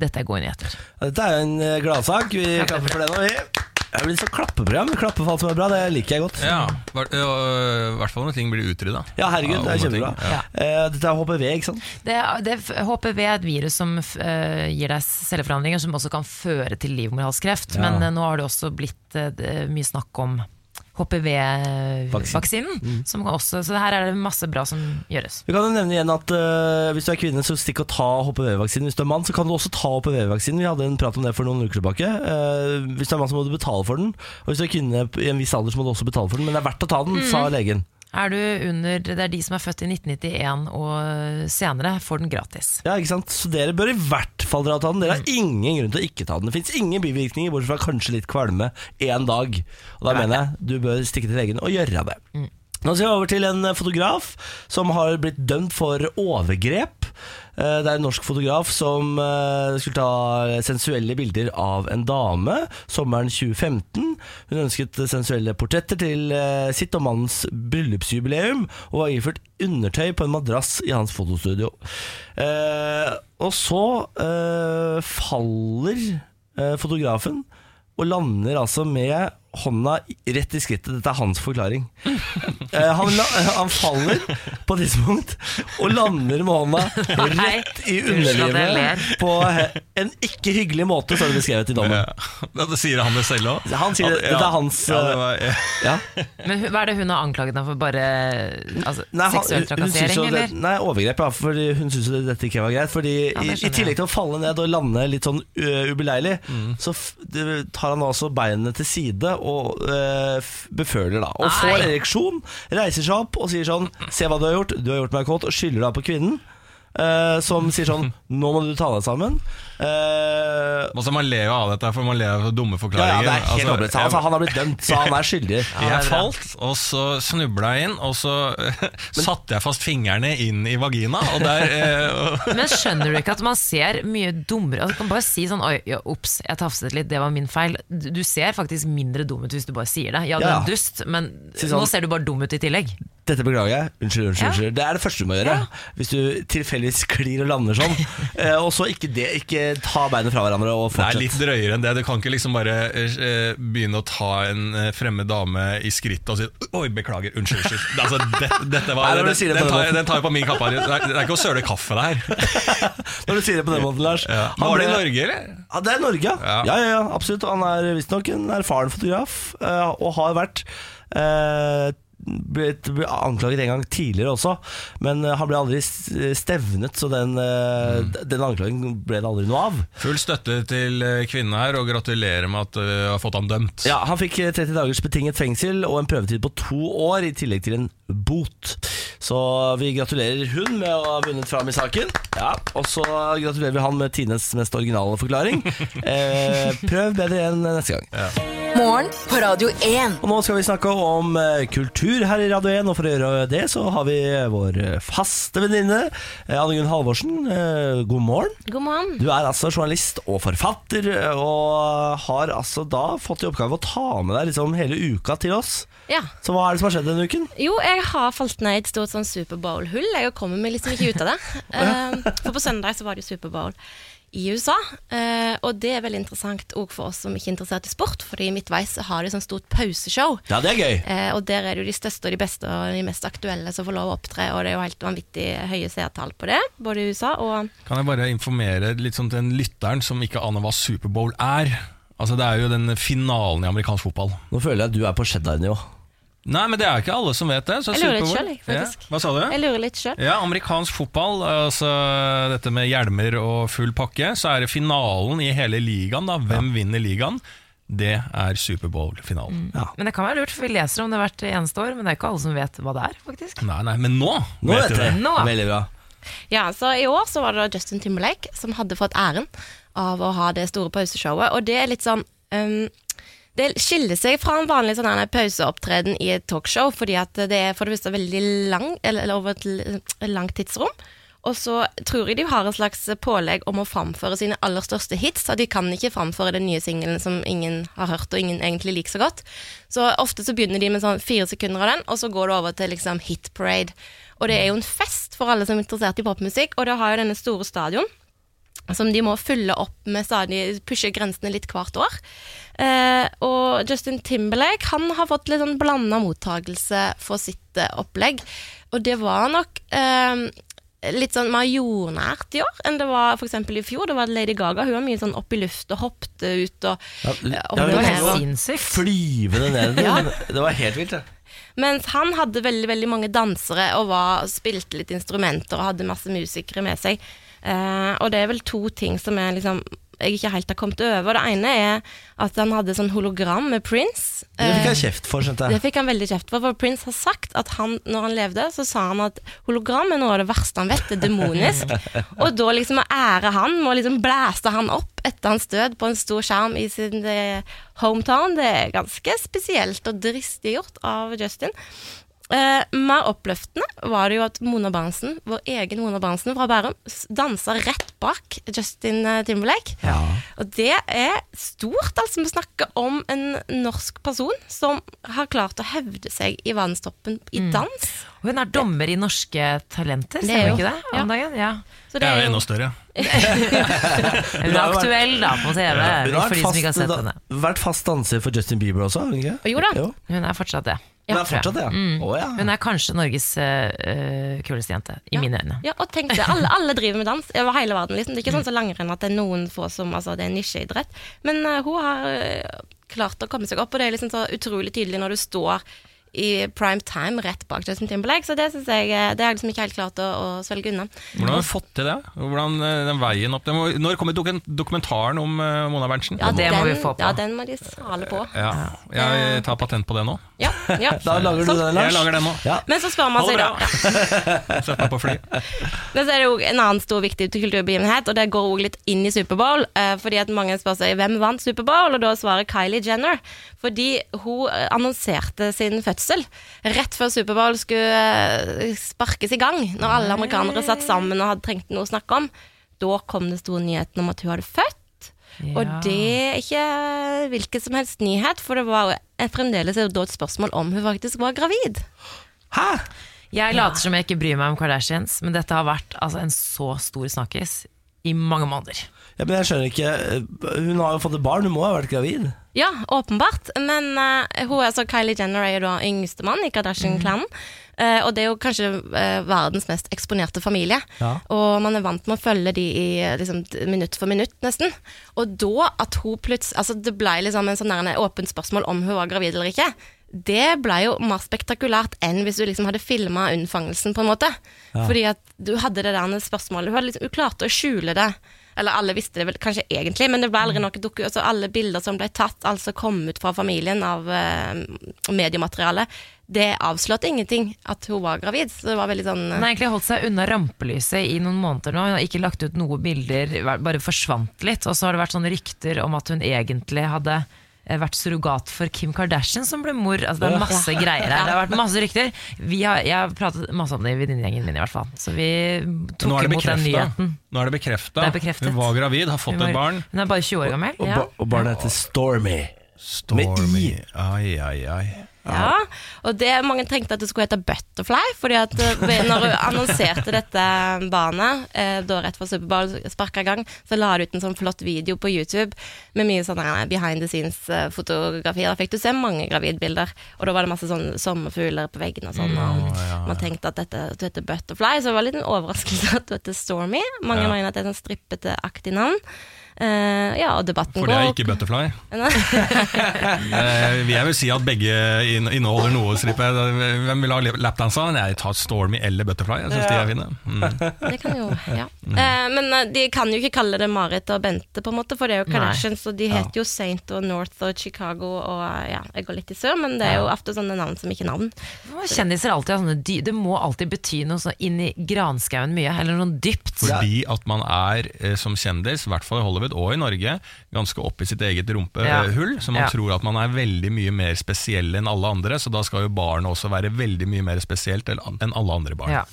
[SPEAKER 3] Dette er gode nyheter.
[SPEAKER 1] Dette er jo en eh, gladsak. Vi klapper for det nå, vi. Det blir sånn klappeprogram. Klappe for alt som er bra. Det liker jeg godt.
[SPEAKER 2] Ja, i hvert fall når ting blir utrydda.
[SPEAKER 1] Ja, herregud, det er
[SPEAKER 2] Ja, om ting.
[SPEAKER 1] kjempebra.
[SPEAKER 2] Ja.
[SPEAKER 1] Eh, dette er HPV, ikke sant?
[SPEAKER 3] Det, det, HPV er et virus som eh, gir deg celleforandringer, som også kan føre til livmorhalskreft. Men eh, nå har det også blitt eh, det- mye snakk om HPV-vaksinen.
[SPEAKER 1] Mm.
[SPEAKER 3] Så her er det masse bra som gjøres.
[SPEAKER 1] Vi kan jo nevne igjen at eh, hvis du er kvinne, så stikk og ta HPV-vaksinen. Hvis du er mann, så kan du også ta HPV-vaksinen. Vi hadde en prat om det for noen uker tilbake. Eh, hvis du er mann, så må du betale for den. Og hvis du er kvinne i en viss alder, så må du også betale for den. Men det er verdt å ta den, sa legen.
[SPEAKER 3] Er du under, det er de som er født i 1991 og senere, får den
[SPEAKER 1] *laughs*
[SPEAKER 3] gratis.
[SPEAKER 1] Ja, ikke sant? Så dere bør i hvert fall dra og ta den. Dere har ingen grunn til å ikke ta den. Det fins ingen bivirkninger, bortsett fra kanskje litt kvalme én dag. Og da mener jeg du bør stikke til legen og gjøre det. Nå skal vi over til en eh, fotograf som har blitt dømt for overgrep. Eh, Det er en norsk fotograf som eh, skulle ta sensuelle bilder av en dame sommeren 2015. Hun ønsket sensuelle portretter til eh, sitt og mannens bryllupsjubileum, og var iført undertøy på en madrass i hans fotostudio. Eh, Og så eh, faller eh, fotografen og lander altså med hånda i- rett i skrittet. Dette er hans
[SPEAKER 3] *laughs*
[SPEAKER 1] forklaring. Eh, han, la, han faller på et tidspunkt og lander med hånda rett i
[SPEAKER 3] unnskyld at jeg ler.
[SPEAKER 1] underlivet på eh, en ikke hyggelig måte, så er det beskrevet i dommen.
[SPEAKER 2] Ja. *laughs* Det sier han det selv òg.
[SPEAKER 1] Han sier det- dette er hans, eh,
[SPEAKER 2] ja, det var,
[SPEAKER 1] Ja.
[SPEAKER 3] Men hu- hva er det hun har anklaget ham for? Bare altså,
[SPEAKER 1] Nei, han-
[SPEAKER 3] seksuell
[SPEAKER 1] hun sånn synes
[SPEAKER 3] trakassering,
[SPEAKER 1] jo det-
[SPEAKER 3] eller?
[SPEAKER 1] Nei, overgrep, ja. Fordi hun syns jo dette ikke var greit. Fordi
[SPEAKER 3] Ja, det
[SPEAKER 1] i, I
[SPEAKER 3] skjønner
[SPEAKER 1] tillegg
[SPEAKER 3] jeg.
[SPEAKER 1] til å falle ned og lande litt sånn ø, ubeleilig,
[SPEAKER 2] Mm.
[SPEAKER 1] så f det- tar han altså beinene til side og ø, f beføler, da. Og får
[SPEAKER 3] Nei.
[SPEAKER 1] ereksjon, reiser seg opp og sier sånn Se hva du har gjort, du har gjort meg kåt, og skylder da på kvinnen. ø, som sier sånn Nå må du ta deg sammen. Eh,
[SPEAKER 2] Altså, man ler jo av dette, for man ler av dumme
[SPEAKER 1] ja, ja,
[SPEAKER 2] forklaringer.
[SPEAKER 1] det er helt
[SPEAKER 2] Altså,
[SPEAKER 1] håpløst. Altså,
[SPEAKER 2] jeg-
[SPEAKER 1] han har blitt dømt,
[SPEAKER 2] *laughs*
[SPEAKER 1] så han er skyldig.
[SPEAKER 2] Jeg falt, og så snubla jeg inn, og så *laughs* satte jeg fast fingrene inn i vagina, og der eh,
[SPEAKER 3] Men skjønner du ikke at man ser mye dummere altså, Du kan bare si sånn Oi, ja, ops, jeg tafset litt, det var min feil. Du du ser faktisk mindre dum ut hvis du bare sier det. Ja, du er
[SPEAKER 1] Ja.
[SPEAKER 3] en dust, men
[SPEAKER 1] Si
[SPEAKER 3] nå
[SPEAKER 1] sånn-
[SPEAKER 3] ser du bare dum ut i tillegg.
[SPEAKER 1] Dette beklager jeg. Unnskyld, unnskyld.
[SPEAKER 3] Ja.
[SPEAKER 1] unnskyld. Det er det første du må gjøre. Hvis du tilfeldigvis sklir og lander sånn. Eh, og så ikke det. Ikke ta beinet fra hverandre og
[SPEAKER 2] Det er litt
[SPEAKER 1] fortsett.
[SPEAKER 2] drøyere enn det. Du kan ikke liksom bare eh, begynne å ta en eh, fremmed dame i skrittet og si Oi, beklager, unnskyld, unnskyld. Det- Altså, det, dette var,
[SPEAKER 1] Nei, når du
[SPEAKER 2] den,
[SPEAKER 1] sier det på den
[SPEAKER 2] den, tar,
[SPEAKER 1] måten.
[SPEAKER 2] jeg- den tar jeg på min kappe. Det er, det er ikke å søle kaffe, det
[SPEAKER 1] *laughs*
[SPEAKER 2] her.
[SPEAKER 1] Når du sier det på den måten, Lars.
[SPEAKER 2] Ja.
[SPEAKER 1] Han
[SPEAKER 2] Var det i
[SPEAKER 1] ble-
[SPEAKER 2] Norge, eller?
[SPEAKER 1] Ja, det er Norge, ja.
[SPEAKER 2] Ja.
[SPEAKER 1] ja, ja, ja absolutt. Han er visstnok en erfaren fotograf, eh, og har vært eh, blitt blitt anklaget en gang tidligere også, men eh, han ble aldri s- stevnet, så den, eh,
[SPEAKER 2] Mm.
[SPEAKER 1] d- den anklagen ble det aldri noe av.
[SPEAKER 2] Full støtte til eh, kvinnen her, og gratulerer med at eh, du har fått han dømt.
[SPEAKER 1] Ja, Han fikk eh, 30 dagers betinget fengsel og en prøvetid på to år, i tillegg til en bot. Så vi gratulerer hun med å ha vunnet fram i saken. Ja, Og så gratulerer vi han med Tines mest originale forklaring. Eh, prøv bedre enn neste gang.
[SPEAKER 4] Morgen på Radio 1.
[SPEAKER 1] Og nå skal vi snakke om eh, kultur her i Radio 1, og for å gjøre det så har vi vår eh, faste venninne eh, Anne Gunn Halvorsen. Eh, god morgen.
[SPEAKER 5] God morgen.
[SPEAKER 1] Du er altså journalist og forfatter, eh, og har altså da fått i oppgave å ta med deg liksom hele uka til oss.
[SPEAKER 5] Ja.
[SPEAKER 1] Så hva er det som har skjedd denne uken?
[SPEAKER 5] Jo, jeg har falt ned i et stort sånn Superbowl-hull. Jeg kommer meg liksom ikke ut av det. Eh, for på søndag så var det jo Superbowl i USA, eh, og det er veldig interessant òg for oss som ikke er interessert i sport, fordi midtveis så har de sånn stort pauseshow.
[SPEAKER 1] Ja, det er gøy.
[SPEAKER 5] Eh, og der er det jo de største og de beste og de mest aktuelle som får lov å opptre, og det er jo helt vanvittig høye seertall på det, både i USA og
[SPEAKER 2] Kan jeg bare informere litt sånn til den lytteren som ikke aner hva Superbowl er? Altså Det er jo den finalen i amerikansk fotball.
[SPEAKER 1] Nå føler jeg at du er på cheddar-nivå.
[SPEAKER 2] Nei, men det er jo ikke alle som vet det. Så
[SPEAKER 5] Jeg lurer litt
[SPEAKER 2] Superbowl-
[SPEAKER 5] selv, jeg, faktisk.
[SPEAKER 2] Ja. Hva sa du?
[SPEAKER 5] Jeg lurer litt sjøl.
[SPEAKER 2] Ja, amerikansk fotball, altså dette med hjelmer og full pakke, så er det finalen i hele ligaen, da. Hvem vinner ligaen? Det er
[SPEAKER 5] Mm.
[SPEAKER 2] Superbowl-finalen.
[SPEAKER 3] Men det kan være lurt, for vi leser om det hvert eneste år, men det er ikke alle som vet hva det er, faktisk.
[SPEAKER 2] Nei, nei, men nå,
[SPEAKER 1] Nå vet
[SPEAKER 2] du
[SPEAKER 1] jeg det.
[SPEAKER 3] Nå.
[SPEAKER 1] Veldig bra.
[SPEAKER 5] Ja, så I år så var det da Justin Timberlake som hadde fått æren av å ha det store pauseshowet. Og det er litt sånn um, Det skiller seg fra en vanlig sånn her pauseopptreden i et talkshow, fordi at det er for det første veldig lang, eller, eller over et l- langt tidsrom. Og så tror jeg de har en slags pålegg om å framføre sine aller største hits. Så de kan ikke framføre den nye singelen som ingen har hørt og ingen egentlig liker så godt. Så ofte så begynner de med sånn fire sekunder av den, og så går det over til liksom hit parade. Og det er jo en fest for alle som er interessert i popmusikk, og det har jo denne store stadion som de må fylle opp med stadig pushe grensene litt hvert år. Eh, og Justin Timberlake han har fått litt sånn blanda mottakelse for sitt eh, opplegg. Og det var nok eh, litt sånn mer jordnært i år enn det var for eksempel i fjor. Det var Lady Gaga. Hun var mye sånn opp i luft og hoppte ut og
[SPEAKER 1] Ja,
[SPEAKER 5] eh,
[SPEAKER 1] ja,
[SPEAKER 5] og
[SPEAKER 3] Det var
[SPEAKER 1] men-
[SPEAKER 5] ned.
[SPEAKER 3] helt sinnssykt.
[SPEAKER 1] Flyvende ned. Det var helt vilt, det.
[SPEAKER 5] Mens han hadde veldig veldig mange dansere og var, spilte litt instrumenter og hadde masse musikere med seg. Eh, og det er vel to ting som er liksom jeg ikke helt har kommet over. Det ene er at han hadde sånn hologram med Prince.
[SPEAKER 1] Det fikk
[SPEAKER 5] Eh,
[SPEAKER 1] jeg kjeft for, skjønte
[SPEAKER 5] det
[SPEAKER 1] jeg.
[SPEAKER 5] fikk han veldig kjeft for, for Prince har sagt at han, når han levde, så sa han at hologram er noe av det verste han vet, det er demonisk. Og da liksom å ære han, må liksom blæste han opp etter hans død på en stor skjerm i sin eh, hometown, det er ganske spesielt og dristig gjort av Justin. Eh, mer oppløftende var det jo at Mona Barnsen, vår egen Mona Barnsen fra Bærum, s- dansa rett bak Justin eh, Timberlake. Og det er stort, altså. Vi snakker om en norsk person som har klart å hevde seg i verdenstoppen i dans.
[SPEAKER 3] Og hun er dommer i Norske Talenter,
[SPEAKER 5] Det er
[SPEAKER 3] stemmer
[SPEAKER 5] jo-
[SPEAKER 3] ikke det?
[SPEAKER 5] ja.
[SPEAKER 3] Om dagen? Ja.
[SPEAKER 5] Så
[SPEAKER 2] Jeg er jo
[SPEAKER 5] jo-
[SPEAKER 2] enda større.
[SPEAKER 3] Hun er aktuell da på TV,
[SPEAKER 1] Hun har
[SPEAKER 3] for de som ikke har sett
[SPEAKER 1] da-
[SPEAKER 3] henne.
[SPEAKER 1] vært fast danser for Justin Bieber også, har hun ikke?
[SPEAKER 5] Jo da.
[SPEAKER 3] Hun er fortsatt det.
[SPEAKER 1] Hun
[SPEAKER 3] Ja, Mm.
[SPEAKER 1] er fortsatt det, ja.
[SPEAKER 5] Mm.
[SPEAKER 1] Å, ja.
[SPEAKER 3] Hun er kanskje Norges eh, kuleste jente, i mine øyne.
[SPEAKER 5] Ja, og tenk det, alle, alle driver med dans over hele verden. Liksom. Det er ikke sånn som langrenn at det er noen få som altså, Det er nisjeidrett. Men eh, hun har eh, klart å komme seg opp, og det er liksom så utrolig tydelig når du står i prime time rett bak Justin Timberlake, så det synes jeg eh, Det har jeg liksom ikke helt klart å, å svelge unna.
[SPEAKER 2] Hvordan har du fått til det? Hvordan eh, den veien opp det må, Når kommer doken- dokumentaren om eh, Mona Berntsen?
[SPEAKER 3] Ja, det må
[SPEAKER 5] den,
[SPEAKER 3] vi få på.
[SPEAKER 5] Ja, den må de sale på.
[SPEAKER 2] Ja, jeg tar patent på det nå.
[SPEAKER 5] Ja, ja.
[SPEAKER 1] Da lager du
[SPEAKER 5] Sånn.
[SPEAKER 1] den, Lars.
[SPEAKER 2] Jeg lager det nå.
[SPEAKER 1] Ja.
[SPEAKER 5] Men så spør man
[SPEAKER 2] Ha det
[SPEAKER 5] seg da
[SPEAKER 2] bra! Sett meg på fly.
[SPEAKER 5] Men så er det jo en annen stor viktig kulturbegivenhet, og det går også litt inn i Superbowl. eh, fordi at mange spør seg hvem vant Superbowl, og da svarer Kylie Jenner. Fordi hun eh, annonserte sin fødsel rett før Superbowl skulle eh, sparkes i gang. Når alle amerikanere satt sammen og hadde trengt noe å snakke om. Da kom den store nyheten om at hun hadde født. Og
[SPEAKER 3] Ja.
[SPEAKER 5] det er ikke hvilken som helst nyhet, for det var jo- eh, fremdeles er det da et spørsmål om hun faktisk var gravid.
[SPEAKER 1] Hæ?
[SPEAKER 3] Jeg later som jeg ikke bryr meg om Kardashians, men dette har vært altså, en så stor snakkis i mange måneder.
[SPEAKER 1] Ja, men jeg skjønner ikke eh, Hun har jo fått et barn, hun må ha vært gravid.
[SPEAKER 5] Ja, åpenbart. Men eh, hun, altså Kylie Jenner er jo da yngstemann i Kardashian-klanen. Eh, og det er jo kanskje eh, verdens mest eksponerte familie.
[SPEAKER 1] Ja.
[SPEAKER 5] Og man er vant med å følge de i eh, liksom, t- minutt for minutt, nesten. Og da at hun plutselig Altså, det ble liksom en sånn der, en åpent spørsmål om hun var gravid eller ikke. det ble jo mer spektakulært enn hvis du liksom hadde filma unnfangelsen, på en måte. Fordi at du hadde det der spørsmålet Hun, hadde liksom, hun klarte å skjule det. Eller alle visste det vel kanskje egentlig, men det ble aldri noe doku... Altså, alle bilder som ble tatt, altså kom ut fra familien av eh, mediemateriale, det avslørte ingenting at hun var gravid. Så det var veldig sånn eh,
[SPEAKER 3] Hun har egentlig holdt seg unna rampelyset i noen måneder nå. Hun har ikke lagt ut noen bilder, bare forsvant litt. Og så har det vært sånne rykter om at hun egentlig hadde eh, vært surrogat for Kim Kardashian som ble mor. Altså, det er masse greier her. Det har vært masse rykter. Vi har, jeg har pratet masse om det i venninnegjengen min i hvert fall. Så vi
[SPEAKER 2] Nå er
[SPEAKER 3] tok
[SPEAKER 2] det
[SPEAKER 3] imot den
[SPEAKER 2] bekreftet.
[SPEAKER 3] nyheten.
[SPEAKER 2] Nå er det bekreftet.
[SPEAKER 3] Det er bekreftet.
[SPEAKER 2] Hun var gravid, har fått
[SPEAKER 3] Hun var-
[SPEAKER 2] et barn.
[SPEAKER 3] Hun er bare 20 år gammel.
[SPEAKER 1] Og,
[SPEAKER 3] Ja.
[SPEAKER 1] ba og barnet heter Stormy.
[SPEAKER 2] Stormy. Ai, ai, ai.
[SPEAKER 5] Ja, og det mange tenkte at det skulle hete Butterfly, fordi at eh, når hun annonserte dette barnet, eh, da rett før Superbowl sparka i gang, så la hun ut en sånn flott video på YouTube med mye sånn eh, behind the scenes-fotografier. Da fikk du se mange gravidbilder, og da var det masse sånn sommerfugler på veggene og sånn. Og man tenkte at dette, du heter Butterfly, så det var litt en overraskelse at du heter Stormy. Mange
[SPEAKER 2] Ja.
[SPEAKER 5] mener at det er sånn strippeteaktig navn. Eh, ja, og debatten
[SPEAKER 2] For det er
[SPEAKER 5] går.
[SPEAKER 2] ikke
[SPEAKER 3] *laughs*
[SPEAKER 2] butterfly.
[SPEAKER 5] Nei.
[SPEAKER 2] Eh, Jeg vil si at begge inn- inneholder noe, slipper jeg. Hvem vil ha lapdansa? Jeg tar Stormy eller Butterfly. Jeg synes de er fine. Mm.
[SPEAKER 5] Det kan jo, ja. Eh, men eh, de kan jo ikke kalle det Marit og Bente, på en måte, for det er jo Kardashians, og de heter jo Saint og North og Chicago og eh, ja, jeg går litt i sør, men det er jo ofte sånne navn som ikke er navn.
[SPEAKER 3] Kjendiser alltid har sånne dy Det må alltid bety noe sånn inn i granskauen mye, eller noe dypt.
[SPEAKER 2] Fordi at man er eh, som kjendis, i hvert fall i Hollywood og i Norge, ganske oppe i sitt eget
[SPEAKER 3] Ja.
[SPEAKER 2] rumpehull. Så man
[SPEAKER 3] Ja.
[SPEAKER 2] tror at man er veldig mye mer spesiell enn alle andre, så da skal jo barnet også være veldig mye mer spesielt enn enn alle andre barn.
[SPEAKER 3] Ja.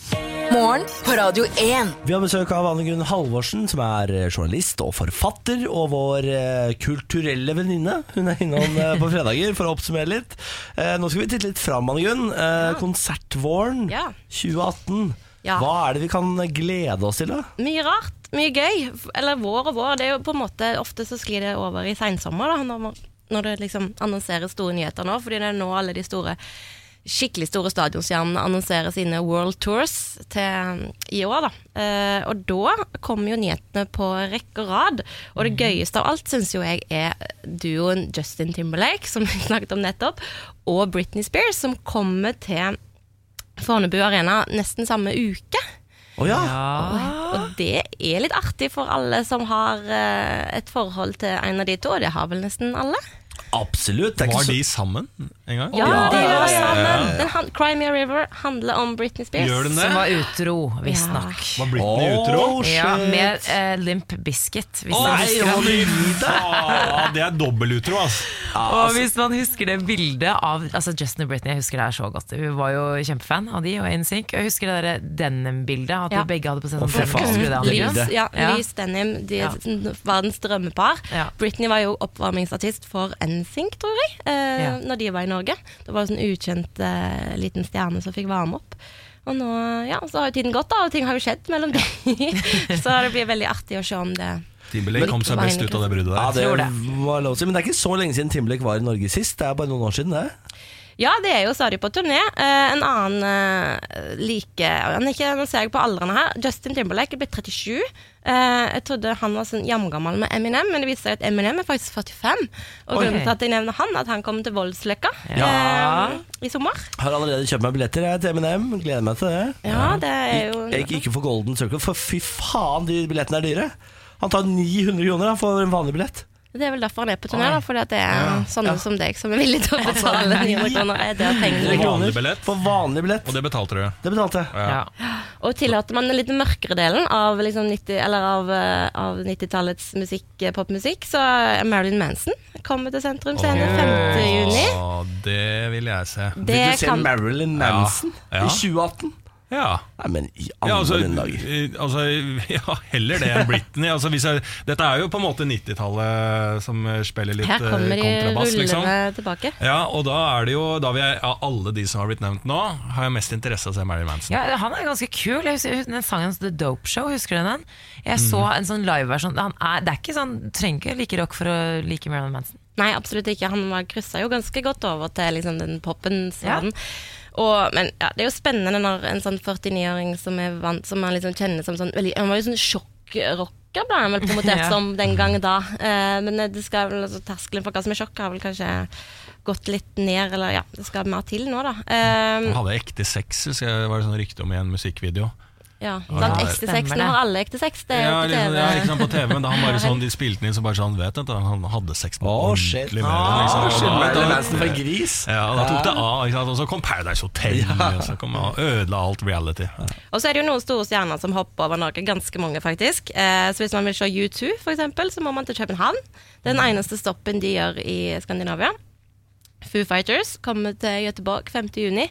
[SPEAKER 4] Morgen på Radio 1.
[SPEAKER 1] Vi har besøk av Anne Gunn Halvorsen, som er eh, journalist og forfatter, og vår eh, kulturelle venninne. Hun er innom eh, på fredager for å oppsummere litt. Eh, nå skal vi titte litt fram, Anne Gunn. Eh, Konsertvåren
[SPEAKER 5] Ja.
[SPEAKER 1] 2018.
[SPEAKER 5] Ja.
[SPEAKER 1] Hva er det vi kan eh, glede oss til, da?
[SPEAKER 5] Mye rart, mye gøy. Eller vår og vår, det er jo på en måte ofte så sklir det over i seinsommer, da, når, man- når det liksom annonseres store nyheter nå, fordi det er nå alle de store skikkelig store stadionstjernene annonserer sine world tours til um, i år. Da. Eh, og da kommer jo nyhetene på rekke og rad. Og det gøyeste av alt syns jo jeg er duoen Justin Timberlake, som vi snakket om nettopp, og Britney Spears, som kommer til Fornebu Arena nesten samme uke.
[SPEAKER 1] Å ja.
[SPEAKER 3] Ah.
[SPEAKER 5] Og det er litt artig for alle som har eh, et forhold til en av de to, og det har vel nesten alle.
[SPEAKER 1] absolutt. Det er
[SPEAKER 2] Var
[SPEAKER 1] ikke
[SPEAKER 2] de
[SPEAKER 1] så...
[SPEAKER 2] sammen en gang?
[SPEAKER 5] Ja, de
[SPEAKER 1] ja,
[SPEAKER 5] var
[SPEAKER 1] ja, ja.
[SPEAKER 5] sammen. Den han, Cry Me a River handler om Britney Spears.
[SPEAKER 2] Gjør den det?
[SPEAKER 3] Som var utro, visstnok.
[SPEAKER 2] Var Britney utro?
[SPEAKER 1] Å, shit.
[SPEAKER 3] Ja, med eh, Limp Biscuit. Hvis
[SPEAKER 2] Å,
[SPEAKER 3] man
[SPEAKER 1] nei,
[SPEAKER 3] husker
[SPEAKER 1] må
[SPEAKER 3] det.
[SPEAKER 1] du gi deg?
[SPEAKER 2] Ah, det er dobbeltutro, altså.
[SPEAKER 3] Og hvis man husker det bildet av altså Justin og Britney, jeg husker det her så godt. Vi var jo kjempefan av de og NSYNC. Og jeg husker det der denim-bildet, at
[SPEAKER 5] Ja.
[SPEAKER 3] de begge hadde på seg
[SPEAKER 1] Å,
[SPEAKER 3] sånn
[SPEAKER 1] fy
[SPEAKER 3] denim.
[SPEAKER 1] faen.
[SPEAKER 3] Husker du det, Anne
[SPEAKER 1] Lys.
[SPEAKER 3] Gunn?
[SPEAKER 5] Mm. Lys, ja,
[SPEAKER 3] Ja.
[SPEAKER 5] Lys Denim, de,
[SPEAKER 3] Ja.
[SPEAKER 5] verdens drømmepar.
[SPEAKER 3] Ja.
[SPEAKER 5] Britney var jo oppvarmingsartist for NSYNC, tror jeg, eh,
[SPEAKER 3] Ja.
[SPEAKER 5] når de var i Norge. Det var jo sånn ukjent eh, liten stjerne som fikk varme opp. Og nå, ja, så har jo tiden gått, da, og ting har jo skjedd mellom dem. *laughs* så det blir veldig artig å se om det
[SPEAKER 2] Timberlake kom seg best ut av det bruddet
[SPEAKER 1] Ja,
[SPEAKER 2] der.
[SPEAKER 1] det
[SPEAKER 3] Tror det.
[SPEAKER 1] var lov å si. Men det er ikke så lenge siden Timberlake var i Norge sist. Det er bare noen år siden, det.
[SPEAKER 5] Ja, det er jo stadig på turné. Eh, en annen eh, like han er ikke, Nå ser jeg på aldrene her. Justin Timberlake er blitt 37. Eh, jeg trodde han var sånn jamgammel med Eminem, men det viser seg at Eminem er faktisk 45. Og
[SPEAKER 3] Oi.
[SPEAKER 5] grunnen til at jeg nevner han, er at han kommer til Voldsløkka
[SPEAKER 3] Ja.
[SPEAKER 5] eh, i sommer.
[SPEAKER 1] Har allerede kjøpt meg billetter jeg, til M&M. Gleder meg til det.
[SPEAKER 5] Ja, det er jo
[SPEAKER 1] Ik ikke for Golden Circle, for fy faen, de billettene er dyre. Han tar 900 kroner da, for en vanlig billett.
[SPEAKER 5] Det er vel derfor han er på turné, da, fordi at det er sånne som deg som er villige til å betale 900 kroner. Er det pengene
[SPEAKER 2] Og
[SPEAKER 5] du
[SPEAKER 2] vanlig
[SPEAKER 1] Kroner
[SPEAKER 2] billett.
[SPEAKER 1] For vanlig billett.
[SPEAKER 2] Og
[SPEAKER 1] Det,
[SPEAKER 2] det betalte du.
[SPEAKER 1] betalte jeg.
[SPEAKER 3] Ja.
[SPEAKER 5] Og tillater man den litt mørkere delen av, liksom 90, eller av, eh, av 90-tallets musikk, eh, popmusikk, så er Marilyn Manson kommer til Sentrum Scene 5. juni.
[SPEAKER 2] Å, det vil jeg se.
[SPEAKER 1] Vil du
[SPEAKER 5] Det
[SPEAKER 1] se
[SPEAKER 5] kan
[SPEAKER 1] Marilyn Manson
[SPEAKER 2] Ja, ja.
[SPEAKER 1] i 2018?
[SPEAKER 2] Ja.
[SPEAKER 1] Nei, men i alle
[SPEAKER 2] Ja, altså,
[SPEAKER 1] mine dager.
[SPEAKER 2] eh, altså, *laughs* ja, heller det enn Britney. Altså, hvis jeg, dette er jo på en måte 90-tallet som eh, spiller litt
[SPEAKER 5] Her
[SPEAKER 2] eh,
[SPEAKER 5] kommer de
[SPEAKER 2] kontrabass, liksom.
[SPEAKER 5] rullende tilbake.
[SPEAKER 2] Ja, og da er det jo Da vil jeg, Av alle de som har blitt nevnt nå, har jeg mest interesse av å se Marilyn Manson.
[SPEAKER 3] Ja, han er ganske kul. Jeg husker den sangen hans, The Dope Show, husker du den? Jeg så
[SPEAKER 1] Mm.
[SPEAKER 3] en sånn liveversjon. Han er, det er ikke sånn, trenger ikke like rock for å like Marilyn Manson.
[SPEAKER 5] Nei, absolutt ikke. Han var- kryssa jo ganske godt over til liksom, den poppens
[SPEAKER 3] Ja.
[SPEAKER 5] verden. Og, men ja, det er jo spennende når en sånn 49-åring som er vant Som man liksom kjenner som sånn veldig, Han var jo sånn sjokkrocker, ble han vel
[SPEAKER 3] *laughs*
[SPEAKER 5] promotert
[SPEAKER 3] Ja.
[SPEAKER 5] som den gang da. Eh, men eh, det skal vel, altså, terskelen for hva som er sjokk, har vel kanskje gått litt ned, eller ja, det skal mer til nå, da. Um,
[SPEAKER 2] Han hadde ekte sex, så var det sånn rykte om i en musikkvideo.
[SPEAKER 5] ja,
[SPEAKER 2] Ja,
[SPEAKER 5] sant, ekte
[SPEAKER 3] stemmer
[SPEAKER 5] sex, nå
[SPEAKER 3] det.
[SPEAKER 5] har alle ekte sex, det er jo
[SPEAKER 2] Ja,
[SPEAKER 5] på
[SPEAKER 2] liksom,
[SPEAKER 5] TV.
[SPEAKER 2] ja, ikke sant, på TV, men da han
[SPEAKER 5] *laughs*
[SPEAKER 2] bare sånn, de spilte den inn så bare sånn, vet du, at han hadde sex med
[SPEAKER 1] Å, shit.
[SPEAKER 2] ordentlig med den, liksom. Og da-
[SPEAKER 1] Skylder
[SPEAKER 2] da-
[SPEAKER 1] meg Manson for en gris.
[SPEAKER 2] Ja, og da tok det av, ikke sant? og så kom Paradise Hotel, og så kom og ødela alt reality.
[SPEAKER 5] Og så er det jo noen store stjerner som hopper over Norge, ganske mange faktisk. Eh, så hvis man vil se U2 for eksempel, så må man til København. Det er den eneste stoppen de gjør i Skandinavia. Foo Fighters kommer til Göteborg 5. juni.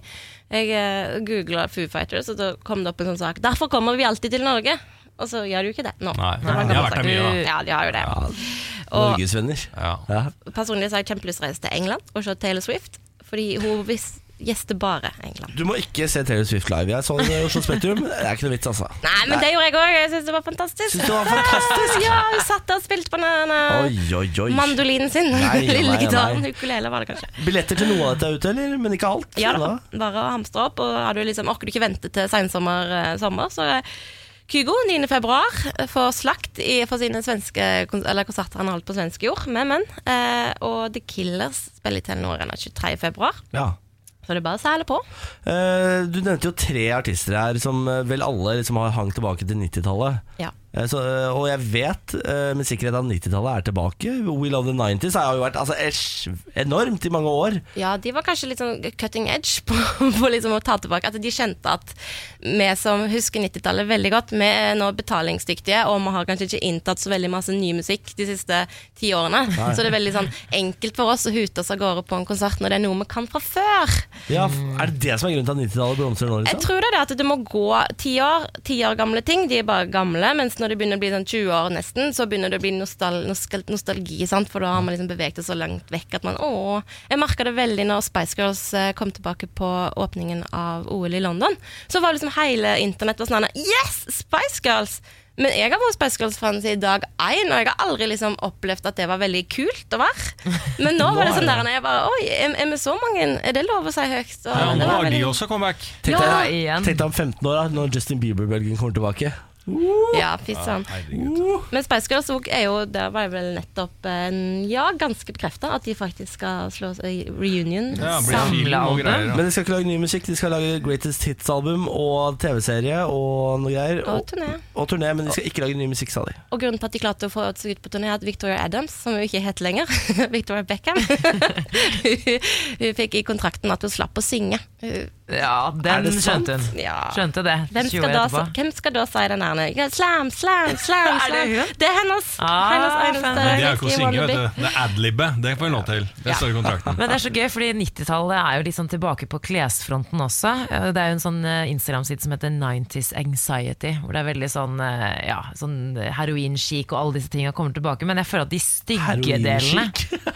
[SPEAKER 5] Jeg eh, googlet Foo Fighters, og da kom det opp en sånn sak. Derfor kommer vi alltid til Norge. Og så gjør de jo ikke det nå.
[SPEAKER 2] Nei,
[SPEAKER 5] Så
[SPEAKER 2] de
[SPEAKER 5] man kan
[SPEAKER 2] har
[SPEAKER 5] bare
[SPEAKER 2] vært der
[SPEAKER 5] sagt,
[SPEAKER 2] mye, da.
[SPEAKER 5] Ja, de har jo det. Og-
[SPEAKER 1] Norgesvenner.
[SPEAKER 2] Ja.
[SPEAKER 1] Ja.
[SPEAKER 5] Personlig så har jeg kjempelyst til å reise til England og se Taylor Swift, fordi hun vis- gjester bare England.
[SPEAKER 1] Du må ikke se Taylor Swift live. Jeg så den i Oslo Spektrum. Det er ikke noe vits, altså.
[SPEAKER 5] Nei, men det gjorde jeg òg. Jeg syns det var fantastisk.
[SPEAKER 1] Syns du det var fantastisk?
[SPEAKER 5] Ja, hun satt der og spilte på den
[SPEAKER 1] Oi,
[SPEAKER 5] eh,
[SPEAKER 1] oi, oi.
[SPEAKER 5] mandolinen sin.
[SPEAKER 1] Nei,
[SPEAKER 5] Den *laughs* lille
[SPEAKER 1] nei,
[SPEAKER 5] gitaren.
[SPEAKER 1] nei.
[SPEAKER 5] Ukulele var det kanskje.
[SPEAKER 1] Billetter til noe av dette er ute, eller? Men ikke alt?
[SPEAKER 5] Ja da,
[SPEAKER 1] da.
[SPEAKER 5] bare å hamstre opp. Og har du liksom, orker du ikke vente til sensommer, eh, sommer, så eh, Kygo 9. februar eh, får slakt i, for sine svenske kon- eller konserter han har holdt på svensk jord, med menn. Eh, og The Killers spiller i Telenor Arena 23. februar,
[SPEAKER 1] Ja.
[SPEAKER 5] så det er bare å seile på.
[SPEAKER 1] Eh, du nevnte jo tre artister her som eh, vel alle liksom har hang tilbake til 90-tallet.
[SPEAKER 5] Ja.
[SPEAKER 1] Eh, så, eh, og jeg vet eh, med sikkerhet at 90-tallet er tilbake. We Love the 90s har jo vært altså, esj- enormt i mange år.
[SPEAKER 5] Ja, de var kanskje litt sånn cutting edge på, *laughs* på liksom å ta tilbake. At de kjente at vi som husker 90-tallet veldig godt, vi er nå betalingsdyktige, og vi har kanskje ikke inntatt så veldig masse ny musikk de siste ti årene. Så det er veldig sånn enkelt for oss å hute oss av gårde på en konsert når det er noe vi kan fra før.
[SPEAKER 1] Ja, f- er det det som er grunnen til at 90-tallet blomstrer nå?
[SPEAKER 5] Jeg
[SPEAKER 1] Liksom?
[SPEAKER 5] tror det er det at du må gå ti år. Ti år gamle ting, de er bare gamle. Mens når det begynner å bli sånn 20 år nesten, så begynner det å bli nostal nostal nostalgi. Sant? For da har man liksom beveget det så langt vekk at man åh. Jeg merka det veldig når Spice Girls eh, kom tilbake på åpningen av OL i London. Så var liksom hele internett var sånn her, Yes! Spice Girls! Men jeg har vært Spice Girls-fan siden dag én, og jeg har aldri liksom opplevd at det var veldig kult å være. *laughs* Men nå var det sånn der når jeg bare Oi, er, er vi så mange? Er det lov å si høyt? Og
[SPEAKER 2] Ja,
[SPEAKER 5] det
[SPEAKER 2] nå
[SPEAKER 5] var
[SPEAKER 2] har de
[SPEAKER 5] veldig-
[SPEAKER 2] også comeback.
[SPEAKER 1] Tenk deg,
[SPEAKER 3] Ja, igjen.
[SPEAKER 1] tenk deg om 15 år, da, når Justin Bieber-bølgen kommer tilbake.
[SPEAKER 5] Ja, fy søren. Men Spice Girls også er jo Det var vel nettopp en, Ja, ganske bekrefta at de faktisk skal slå seg i reunion.
[SPEAKER 2] Ja, det blir
[SPEAKER 5] Sam-
[SPEAKER 2] film og
[SPEAKER 3] Samlealbum.
[SPEAKER 2] greier.
[SPEAKER 1] Men de skal ikke lage ny musikk, de skal lage Greatest Hits-album og TV-serie og noe greier.
[SPEAKER 5] Og turné.
[SPEAKER 1] og turné, men de skal ikke lage ny musikk, sa de.
[SPEAKER 5] Og grunnen til at de klarte å få seg ut på turné, er at Victoria Adams, som hun ikke heter lenger, *laughs* Victoria Beckham *laughs* Hun fikk i kontrakten at hun slapp å synge. Hun-
[SPEAKER 3] Ja, den
[SPEAKER 1] det sant?
[SPEAKER 3] skjønte hun.
[SPEAKER 5] Ja.
[SPEAKER 3] Skjønte det.
[SPEAKER 5] Hvem
[SPEAKER 3] 20
[SPEAKER 5] skal,
[SPEAKER 3] år
[SPEAKER 5] da,
[SPEAKER 3] etterpå.
[SPEAKER 5] hvem skal da si den der
[SPEAKER 3] *laughs*
[SPEAKER 5] Slam, slam, slam,
[SPEAKER 3] Er det
[SPEAKER 5] slam.
[SPEAKER 3] hun?
[SPEAKER 5] Det er hennes.
[SPEAKER 3] Ah,
[SPEAKER 5] hennes
[SPEAKER 3] fan.
[SPEAKER 1] eh,
[SPEAKER 5] eneste
[SPEAKER 2] Men det er jo ikke å
[SPEAKER 5] riktige
[SPEAKER 2] synge,
[SPEAKER 5] wannabe.
[SPEAKER 2] vet du. Det er adlibbe. Det får vi lov til. Det står i kontrakten.
[SPEAKER 3] Men det er så gøy, fordi 90-tallet er jo litt sånn tilbake på klesfronten også. Eh, Det er jo en sånn eh, Instagram-side som heter 90s Anxiety, hvor det er veldig sånn, eh, ja, sånn heroin-chic og alle disse tingene kommer tilbake. Men jeg føler at de stygge delene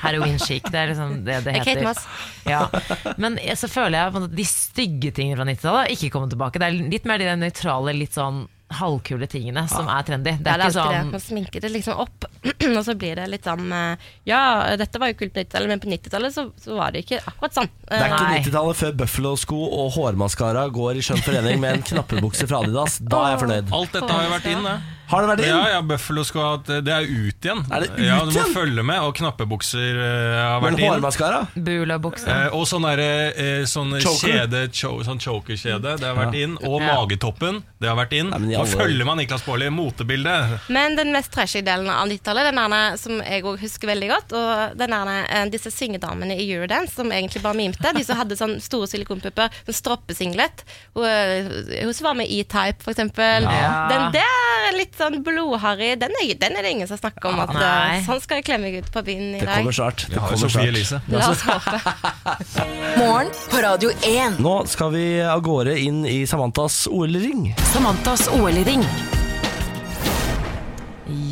[SPEAKER 3] Heroin-chic, det er liksom det det
[SPEAKER 5] Jeg
[SPEAKER 3] heter.
[SPEAKER 5] heter Mads.
[SPEAKER 3] Ja. Men jeg- så føler jeg på en måte at de stygge tingene fra 90-tallet ikke kommer tilbake. Det er litt mer de nøytrale, litt sånn halvkule tingene som er trendy. Det er ikke
[SPEAKER 5] Ja, Ah. det er alltid det.
[SPEAKER 3] sånn
[SPEAKER 5] Man sminker det liksom opp, *clears throat* og så blir det litt sånn eh, Ja, dette var jo kult på 90-tallet, men på 90-tallet så, så var det ikke akkurat sånn.
[SPEAKER 1] Det er
[SPEAKER 5] Eh,
[SPEAKER 1] ikke
[SPEAKER 3] Nei.
[SPEAKER 1] 90-tallet før Buffalo-sko og hårmaskara går i skjønn forening med en knappebukse fra Adidas. Da er jeg fornøyd.
[SPEAKER 2] Alt dette har jo vært inn, det.
[SPEAKER 1] Har det vært
[SPEAKER 2] Ja,
[SPEAKER 1] inn?
[SPEAKER 2] ja, Buffalo skal ha hatt- Det er jo ut igjen.
[SPEAKER 1] Er det ut
[SPEAKER 2] ja, du må
[SPEAKER 1] igjen?
[SPEAKER 2] følge med, og knappebukser eh, har
[SPEAKER 1] Men
[SPEAKER 2] vært inn.
[SPEAKER 1] hårmaskara?
[SPEAKER 3] Bula-bukse.
[SPEAKER 2] Eh, og sånn derre eh, sånn
[SPEAKER 1] Choker.
[SPEAKER 2] kjede, cho, sånn chokerkjede, det har vært
[SPEAKER 1] Ja.
[SPEAKER 2] inn. Og
[SPEAKER 3] Ja.
[SPEAKER 2] magetoppen, det har vært inn.
[SPEAKER 1] Nei, men i
[SPEAKER 2] Nå
[SPEAKER 1] alle-
[SPEAKER 2] følger man Niklas Baarli, motebildet.
[SPEAKER 5] Men den mest trashy delen av 90-tallet, den der som jeg òg husker veldig godt, og den der, eh, disse syngedamene i Eurodance som egentlig bare mimte, de som hadde sånn store silikonpupper, sånn stroppesinglet. Hun, eh, hun som var med i E-Type, for eksempel.
[SPEAKER 3] Ja.
[SPEAKER 5] Den der er litt sånn blodharry, den, er- den er det ingen som snakker om at eh,
[SPEAKER 3] Ah, Nei.
[SPEAKER 5] sånn skal jeg klemme meg ut på byen i
[SPEAKER 1] Det
[SPEAKER 5] dag.
[SPEAKER 1] kommer snart. Det
[SPEAKER 2] Vi har jo
[SPEAKER 1] kommer
[SPEAKER 2] Sophie
[SPEAKER 1] snart.
[SPEAKER 2] Elise.
[SPEAKER 5] La oss håpe.
[SPEAKER 4] Morgen på Radio 1.
[SPEAKER 1] Nå skal vi av gårde inn i Samantas OL-ring.
[SPEAKER 4] Samantas OL-ring.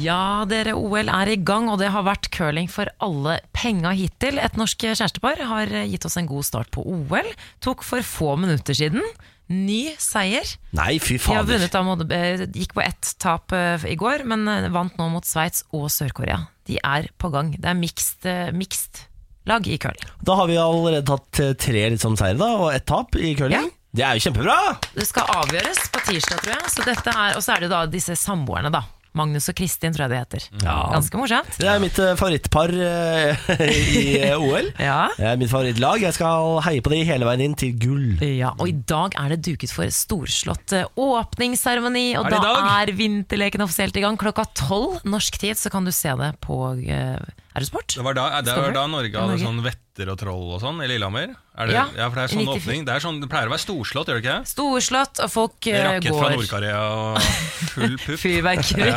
[SPEAKER 3] Ja, dere, OL er i gang, og det har vært curling for alle penga hittil. Et norsk kjærestepar har gitt oss en god start på OL. Tok for få minutter siden. Ny seier.
[SPEAKER 1] Nei, fy
[SPEAKER 3] De har
[SPEAKER 1] fader.
[SPEAKER 3] vunnet av, mot- eh, gikk på ett tap eh, i går, men eh, vant nå mot Sveits og Sør-Korea. De er på gang. Det er mixed, eh, mixed lag i curling.
[SPEAKER 1] Da har vi allerede tatt eh, tre liksom seire da, og ett tap i curling.
[SPEAKER 3] Ja.
[SPEAKER 1] Det er jo kjempebra!
[SPEAKER 3] Det skal avgjøres på tirsdag, tror jeg. Så dette er, og så er det jo da disse samboerne, da. Magnus og Kristin, tror jeg det heter.
[SPEAKER 1] Ja.
[SPEAKER 3] Ganske morsomt.
[SPEAKER 1] Det er mitt eh, favorittpar eh, *laughs* i eh, OL.
[SPEAKER 3] Ja.
[SPEAKER 1] Det er mitt favorittlag. Jeg skal heie på de hele veien inn til gull.
[SPEAKER 3] Ja, og i dag er det duket for storslått eh, åpningsseremoni, og
[SPEAKER 2] Er det i
[SPEAKER 3] da
[SPEAKER 2] dag?
[SPEAKER 3] er vinterleken offisielt i gang. Klokka tolv norsk tid så kan du se det på eh, Er det sport?
[SPEAKER 2] Det var da, det var da Norge hadde
[SPEAKER 3] Norge.
[SPEAKER 2] sånn vetter og troll og sånn i Lillehammer. Er det, ja,
[SPEAKER 3] Ja,
[SPEAKER 2] for det er sånn
[SPEAKER 3] 94.
[SPEAKER 2] åpning. Det, er sånn, det pleier å være storslått, gjør det ikke?
[SPEAKER 3] Storslått, og folk
[SPEAKER 2] det?
[SPEAKER 3] eh,
[SPEAKER 2] Rakett fra
[SPEAKER 3] går
[SPEAKER 2] Nord-Korea og
[SPEAKER 3] *laughs*
[SPEAKER 2] full pupp. *laughs*
[SPEAKER 3] Fyrverkeri.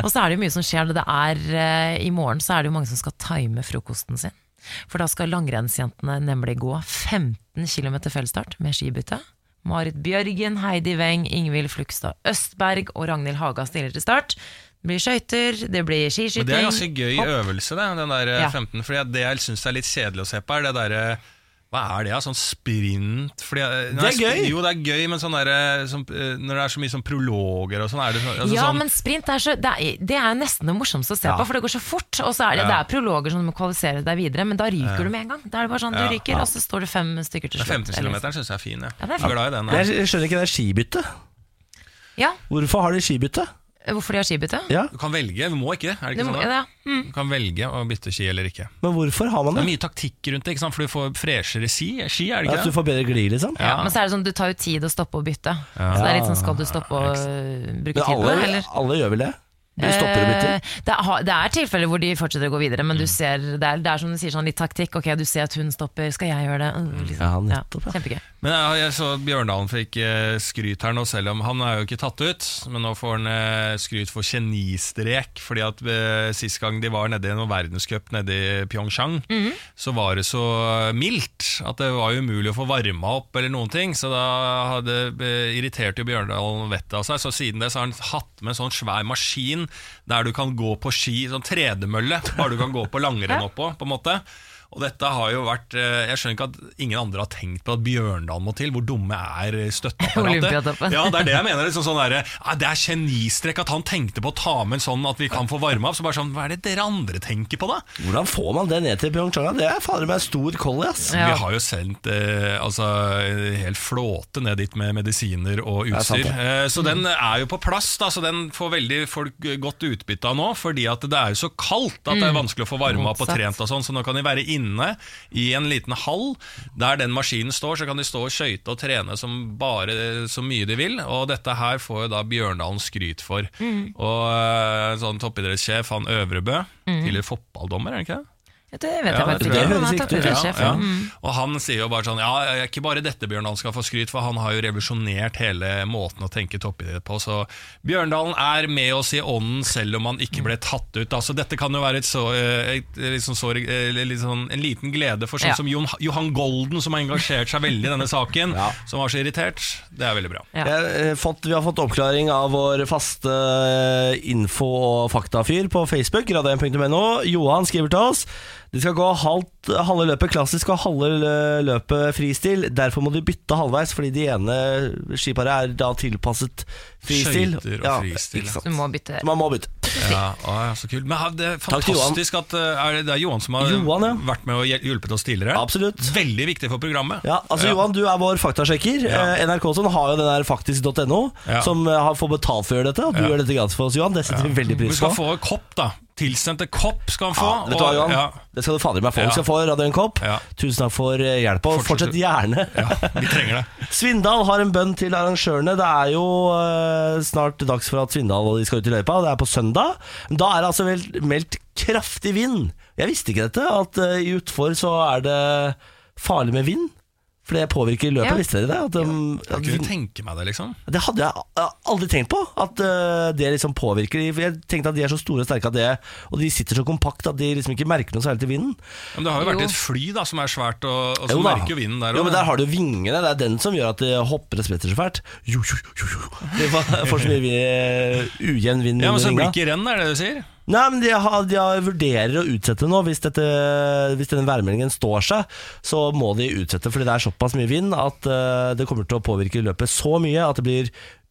[SPEAKER 3] og så er det jo mye som skjer. Det er, eh, I morgen så er det jo mange som skal time frokosten sin. For da skal langrennsjentene nemlig gå 15 km fellesstart med skibytte. Marit Bjørgen, Heidi Weng, Ingvild Flugstad Østberg og Ragnhild Haga stiller til start. Det blir skøyter, det blir skiskyting.
[SPEAKER 2] Men det er ganske gøy
[SPEAKER 3] hopp.
[SPEAKER 2] øvelse, det, den der eh,
[SPEAKER 3] Ja.
[SPEAKER 2] 15. Fordi at det jeg syns er litt kjedelig å se på, er det derre hva er det, da? Sånn sprint fordi, eh, nei,
[SPEAKER 1] Det er
[SPEAKER 2] sp-
[SPEAKER 1] gøy.
[SPEAKER 2] Jo, det er gøy, men sånn der, eh, sånn, eh, når det er så mye sånn prologer og sånn, er det sånn, altså,
[SPEAKER 3] Ja,
[SPEAKER 2] sånn
[SPEAKER 3] men sprint er, så, det er, det er jo nesten det morsomste å se på, for det går så fort. Og så er det, det
[SPEAKER 2] Ja.
[SPEAKER 3] er prologer som må kvalifisere deg videre, men da ryker du med en gang. Da er det bare sånn, du
[SPEAKER 2] Ja,
[SPEAKER 3] ryker, og så står det fem stykker til
[SPEAKER 2] den
[SPEAKER 3] slutt.
[SPEAKER 2] 15
[SPEAKER 3] eller-
[SPEAKER 2] km syns jeg er fin, jeg.
[SPEAKER 3] Ja, det er
[SPEAKER 2] jeg er glad i den.
[SPEAKER 1] Men
[SPEAKER 2] Jeg.
[SPEAKER 1] Jeg skjønner ikke det er skibytte.
[SPEAKER 3] Ja,
[SPEAKER 1] Hvorfor har de skibytte?
[SPEAKER 3] Eh, hvorfor de har skibytte?
[SPEAKER 1] Ja,
[SPEAKER 2] Du kan velge, du må ikke, er det
[SPEAKER 3] Du
[SPEAKER 2] ikke
[SPEAKER 3] må-
[SPEAKER 2] sånn? da?
[SPEAKER 3] ja, mm.
[SPEAKER 2] Du kan velge å bytte ski eller ikke.
[SPEAKER 1] Men hvorfor har man
[SPEAKER 2] Det er
[SPEAKER 1] det?
[SPEAKER 2] mye taktikk rundt det, ikke sant? for du får freshere ski, ski er det
[SPEAKER 1] At du
[SPEAKER 2] ikke det?
[SPEAKER 1] får bedre glid, liksom?
[SPEAKER 3] ja, men så er det sånn, du tar jo tid å stoppe og bytte. Så det er litt sånn, skal du stoppe og øh, bruke
[SPEAKER 1] Men
[SPEAKER 3] tid på det?
[SPEAKER 1] alle,
[SPEAKER 3] Eller?
[SPEAKER 1] alle gjør vel det? Du stopper og bytter. Mm.
[SPEAKER 3] Eh, Det, er ha- det er tilfeller hvor de fortsetter å gå videre, men du ser, det, er, det er som du sier, sånn litt taktikk. Ok, du ser at hun stopper, skal jeg gjøre det? Mm,
[SPEAKER 1] Ja,
[SPEAKER 3] Liksom. Ja,
[SPEAKER 1] nettopp, ja.
[SPEAKER 3] kjempegøy.
[SPEAKER 2] Men jeg, jeg så at Bjørndalen fikk eh, skryt her nå, selv om han er jo ikke tatt ut. Men nå får han eh, skryt for genistrek, fordi at eh, sist gang de var nede i noen verdenscup nede i Pyeongchang, så var det så mildt at det var jo umulig å få varma opp eller noen ting. Så da hadde eh, irritert jo Bjørndalen vettet av seg. Så siden det så har han hatt med en sånn svær maskin der du kan gå på ski, sånn tredemølle, bare du kan gå på langrenn oppå, på en måte. Og dette har jo vært eh, Jeg skjønner ikke at ingen andre har tenkt på at Bjørndalen må til. Hvor dumme er støtteapparatet?
[SPEAKER 3] Olympiatoppen.
[SPEAKER 2] ja, det er det jeg mener. Liksom sånn derre, «Ah, det er genistrek at han tenkte på å ta med en sånn at vi kan få varma opp. Så bare sånn, Hva er det dere andre tenker på, da?
[SPEAKER 1] Hvordan får man det ned til Pyeongchang? Det er fader meg en stor kolli, ass.
[SPEAKER 3] Ja.
[SPEAKER 2] Vi har jo sendt eh, altså, en hel flåte ned dit med medisiner og
[SPEAKER 1] er sant,
[SPEAKER 2] utstyr.
[SPEAKER 1] det.
[SPEAKER 2] Eh, så den
[SPEAKER 3] Mm.
[SPEAKER 2] er jo på plass, da, så den får veldig folk godt utbytte av nå. Fordi at det er jo så kaldt at det er vanskelig å få varma opp og
[SPEAKER 3] Mm. Motsatt.
[SPEAKER 2] trent. og sånn Så nå kan de være inne i en liten hall der den maskinen står. Så kan de stå og skøyte og trene som bare eh, så mye de vil. Og dette her får jo da Bjørndalen skryt for.
[SPEAKER 3] Mm.
[SPEAKER 2] Og eh, sånn toppidrettssjef, han Øvrebø,
[SPEAKER 3] Mm.
[SPEAKER 2] tidligere fotballdommer, er det ikke det?
[SPEAKER 3] Ja, Det vet jeg
[SPEAKER 2] Ja,
[SPEAKER 3] faktisk
[SPEAKER 2] det
[SPEAKER 3] ikke.
[SPEAKER 1] høres
[SPEAKER 3] men
[SPEAKER 1] riktig
[SPEAKER 3] takk
[SPEAKER 1] ut,
[SPEAKER 3] for det,
[SPEAKER 2] ja,
[SPEAKER 3] sjef.
[SPEAKER 2] ja.
[SPEAKER 1] Mm.
[SPEAKER 2] Og han sier jo bare sånn Ja, ja, ikke bare dette Bjørndalen skal få skryt For han har jo revolusjonert hele måten å tenke toppidrett på Så Bjørndalen er med oss i ånden Selv om han ikke ble tatt ut altså, Dette kan jo være et så, eh, et, eh, liksom så, eh, litt sånn, en liten glede For sånn
[SPEAKER 3] Ja.
[SPEAKER 2] som Jon, Johan Golden Som har engasjert seg veldig i denne saken
[SPEAKER 1] *laughs* Ja.
[SPEAKER 2] Som var så irritert Det er veldig bra
[SPEAKER 3] Ja.
[SPEAKER 1] Jeg, eh, fått, vi har fått oppklaring av vår faste eh, info- og faktafyr på Facebook, radio1.no. Johan skriver til oss De skal gå halvt, halve løpet klassisk og halve eh, løpet fristil. Derfor må de bytte halvveis, fordi de ene skiparet er da tilpasset fristil.
[SPEAKER 2] Skøyter og fristil,
[SPEAKER 1] Ikke
[SPEAKER 2] ja.
[SPEAKER 1] sant?
[SPEAKER 3] Du må bytte.
[SPEAKER 1] Så man må bytte.
[SPEAKER 2] Ja, å, ja, så kult Men ha- det er
[SPEAKER 1] Takk til Johan.
[SPEAKER 2] fantastisk at eh, er det, det er Johan som har
[SPEAKER 1] Johan, ja.
[SPEAKER 2] vært med og hjel- hjulpet oss tidligere
[SPEAKER 1] Absolutt.
[SPEAKER 2] Veldig viktig for programmet
[SPEAKER 1] Ja, altså Johan, du er vår faktasjekker.
[SPEAKER 2] Ja.
[SPEAKER 1] Eh, NRK sånn har jo den der faktisk.no,
[SPEAKER 2] Ja.
[SPEAKER 1] som eh, har fått betalt for å gjøre dette. Og du
[SPEAKER 2] Ja.
[SPEAKER 1] gjør dette gratis for oss, Johan. Det setter vi veldig
[SPEAKER 2] Du
[SPEAKER 1] pris på.
[SPEAKER 2] skal få kopp, da. Tilsendte kopp skal han få.
[SPEAKER 1] Ja, vet du hva,
[SPEAKER 2] og-
[SPEAKER 1] Johan?
[SPEAKER 2] ja,
[SPEAKER 1] Det skal du fader meg få.
[SPEAKER 2] Ja.
[SPEAKER 1] Du skal få Radio en kopp.
[SPEAKER 2] Ja.
[SPEAKER 1] Tusen takk for eh, hjelpa, og
[SPEAKER 2] Fortsett
[SPEAKER 1] fortsett gjerne.
[SPEAKER 2] ja, vi trenger det.
[SPEAKER 1] *laughs* Svindal har en bønn til arrangørene. Det er jo eh, snart dags for at Svindal og de skal ut i løypa, og det er på søndag. Men da er det altså vel meldt kraftig vind. Jeg visste ikke dette, at eh, i utfor så er det farlig med vind. For det påvirker løpet,
[SPEAKER 3] Ja.
[SPEAKER 1] visste dere det? At, um,
[SPEAKER 2] Jeg
[SPEAKER 1] at
[SPEAKER 2] kunne
[SPEAKER 1] vind-
[SPEAKER 2] tenke meg det, liksom.
[SPEAKER 1] det hadde jeg a- aldri tenkt på, at eh, det liksom påvirker de. For Jeg tenkte at de er så store og sterke at det Og de sitter så kompakt at de liksom ikke merker noe særlig til vinden.
[SPEAKER 2] Men det har jo vært
[SPEAKER 3] Jo.
[SPEAKER 2] et fly da, som er svært, og, og så
[SPEAKER 1] Jo da.
[SPEAKER 2] merker jo vinden der
[SPEAKER 1] Jo, men
[SPEAKER 2] også.
[SPEAKER 1] der har du vingene. Det er den som gjør at det hopper og spretter så fælt. Jo, jo, jo, jo. Det
[SPEAKER 2] *laughs*
[SPEAKER 1] var- får så mye vi- eh, ujevn vind
[SPEAKER 2] Ja, men
[SPEAKER 1] under
[SPEAKER 2] Så det
[SPEAKER 1] ringa.
[SPEAKER 2] blir ikke renn, er det det du sier?
[SPEAKER 1] Nei, men de, har, de har vurderer å utsette nå. Hvis, dette, hvis denne værmeldingen står seg, så må de utsette, fordi det er såpass mye vind at eh, det kommer til å påvirke løpet så mye at det blir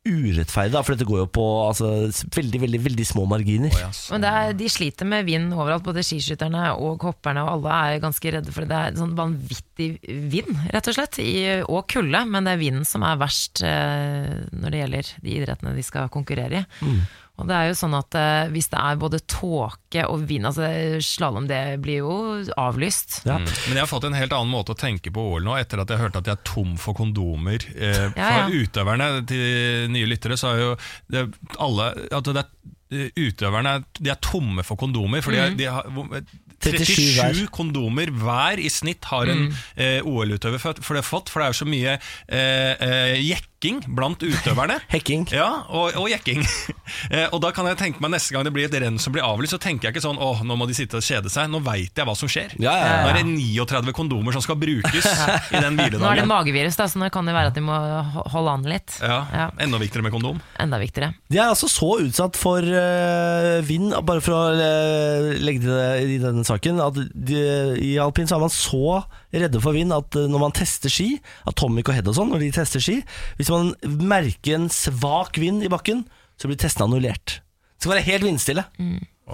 [SPEAKER 1] urettferdig. da, For dette går jo på altså, s- veldig, veldig, veldig små marginer.
[SPEAKER 2] Ja, så-
[SPEAKER 3] Men det er, de sliter med vind overalt, både skiskytterne og hopperne, og alle er ganske redde for det. Det er sånn vanvittig vind, rett og slett, i, og kulde, men det er vinden som er verst eh, når det gjelder de idrettene de skal konkurrere i. Og det er jo sånn at eh, hvis det er både tåke og vind, altså slalåm det blir jo avlyst.
[SPEAKER 1] Ja.
[SPEAKER 2] Men jeg har fått en helt annen måte å tenke på OL nå, etter at jeg hørte at jeg er tom for kondomer. Eh, fra
[SPEAKER 3] Ja, ja.
[SPEAKER 2] utøverne til nye lyttere, så er jo det, alle at det er, eh, Utøverne de er tomme for kondomer, for de,
[SPEAKER 3] Mm.
[SPEAKER 2] har- de har hvor-
[SPEAKER 1] 37
[SPEAKER 2] 37 kondomer hver i snitt har
[SPEAKER 3] Mm.
[SPEAKER 2] en eh, OL-utøver født- for det har fått, for det er jo så mye eh, eh, jekking blant
[SPEAKER 3] *laughs*
[SPEAKER 2] utøverne.
[SPEAKER 1] Hekking.
[SPEAKER 2] Ja, og, og jekking. *laughs* Eh, og da kan jeg tenke meg Neste gang det blir et renn som blir avlyst, så tenker jeg ikke sånn åh, nå må de sitte og kjede seg. Nå veit jeg hva som skjer.
[SPEAKER 1] Ja, ja, ja.
[SPEAKER 2] Nå er det 39 kondomer som
[SPEAKER 1] *laughs*
[SPEAKER 2] skal brukes i den
[SPEAKER 3] Nå er det
[SPEAKER 2] hviledagen.
[SPEAKER 3] magevirus, da, så nå kan det være at de må ho- holde an litt.
[SPEAKER 2] Ja,
[SPEAKER 3] Ja.
[SPEAKER 2] Enda viktigere med kondom.
[SPEAKER 3] Enda viktigere.
[SPEAKER 1] De er altså så utsatt for eh, vind, bare for å eh, legge det i denne saken, at de, i alpin så er man så redde for vind at eh, når man tester ski, Atomic og Head og sånn, når de tester ski, hvis man merker en svak vind i bakken, så blir testen annullert. Det skal være helt vindstille.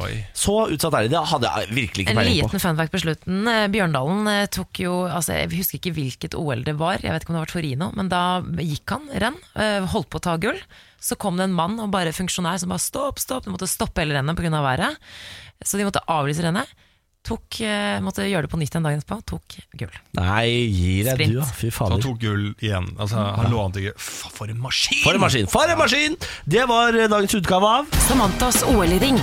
[SPEAKER 2] Oi.
[SPEAKER 1] Så utsatt er de. Det hadde jeg virkelig ikke
[SPEAKER 3] Mm. En
[SPEAKER 1] peiling
[SPEAKER 3] liten
[SPEAKER 1] på.
[SPEAKER 3] fun fact på slutten. Eh, Bjørndalen eh, tok jo altså, Jeg husker ikke hvilket OL det var, jeg vet ikke om det var Torino, men da gikk han renn, eh, holdt på å ta gull. Så kom det en mann og bare funksjonær som bare stopp, stopp, de måtte stoppe hele rennet pga. været. Så de måtte avlyse rennet. Tok, eh, måtte gjøre det på nytt en dag etterpå, tok gull.
[SPEAKER 1] Nei, gi deg
[SPEAKER 3] Sprint.
[SPEAKER 1] du, da. Fy
[SPEAKER 2] Så han
[SPEAKER 1] fader.
[SPEAKER 2] tok gull igjen. Altså, han lå an til gull. Fa- For en maskin!
[SPEAKER 1] For en maskin! For en maskin! Det var eh, dagens utgave av
[SPEAKER 4] Samantas OL-ring.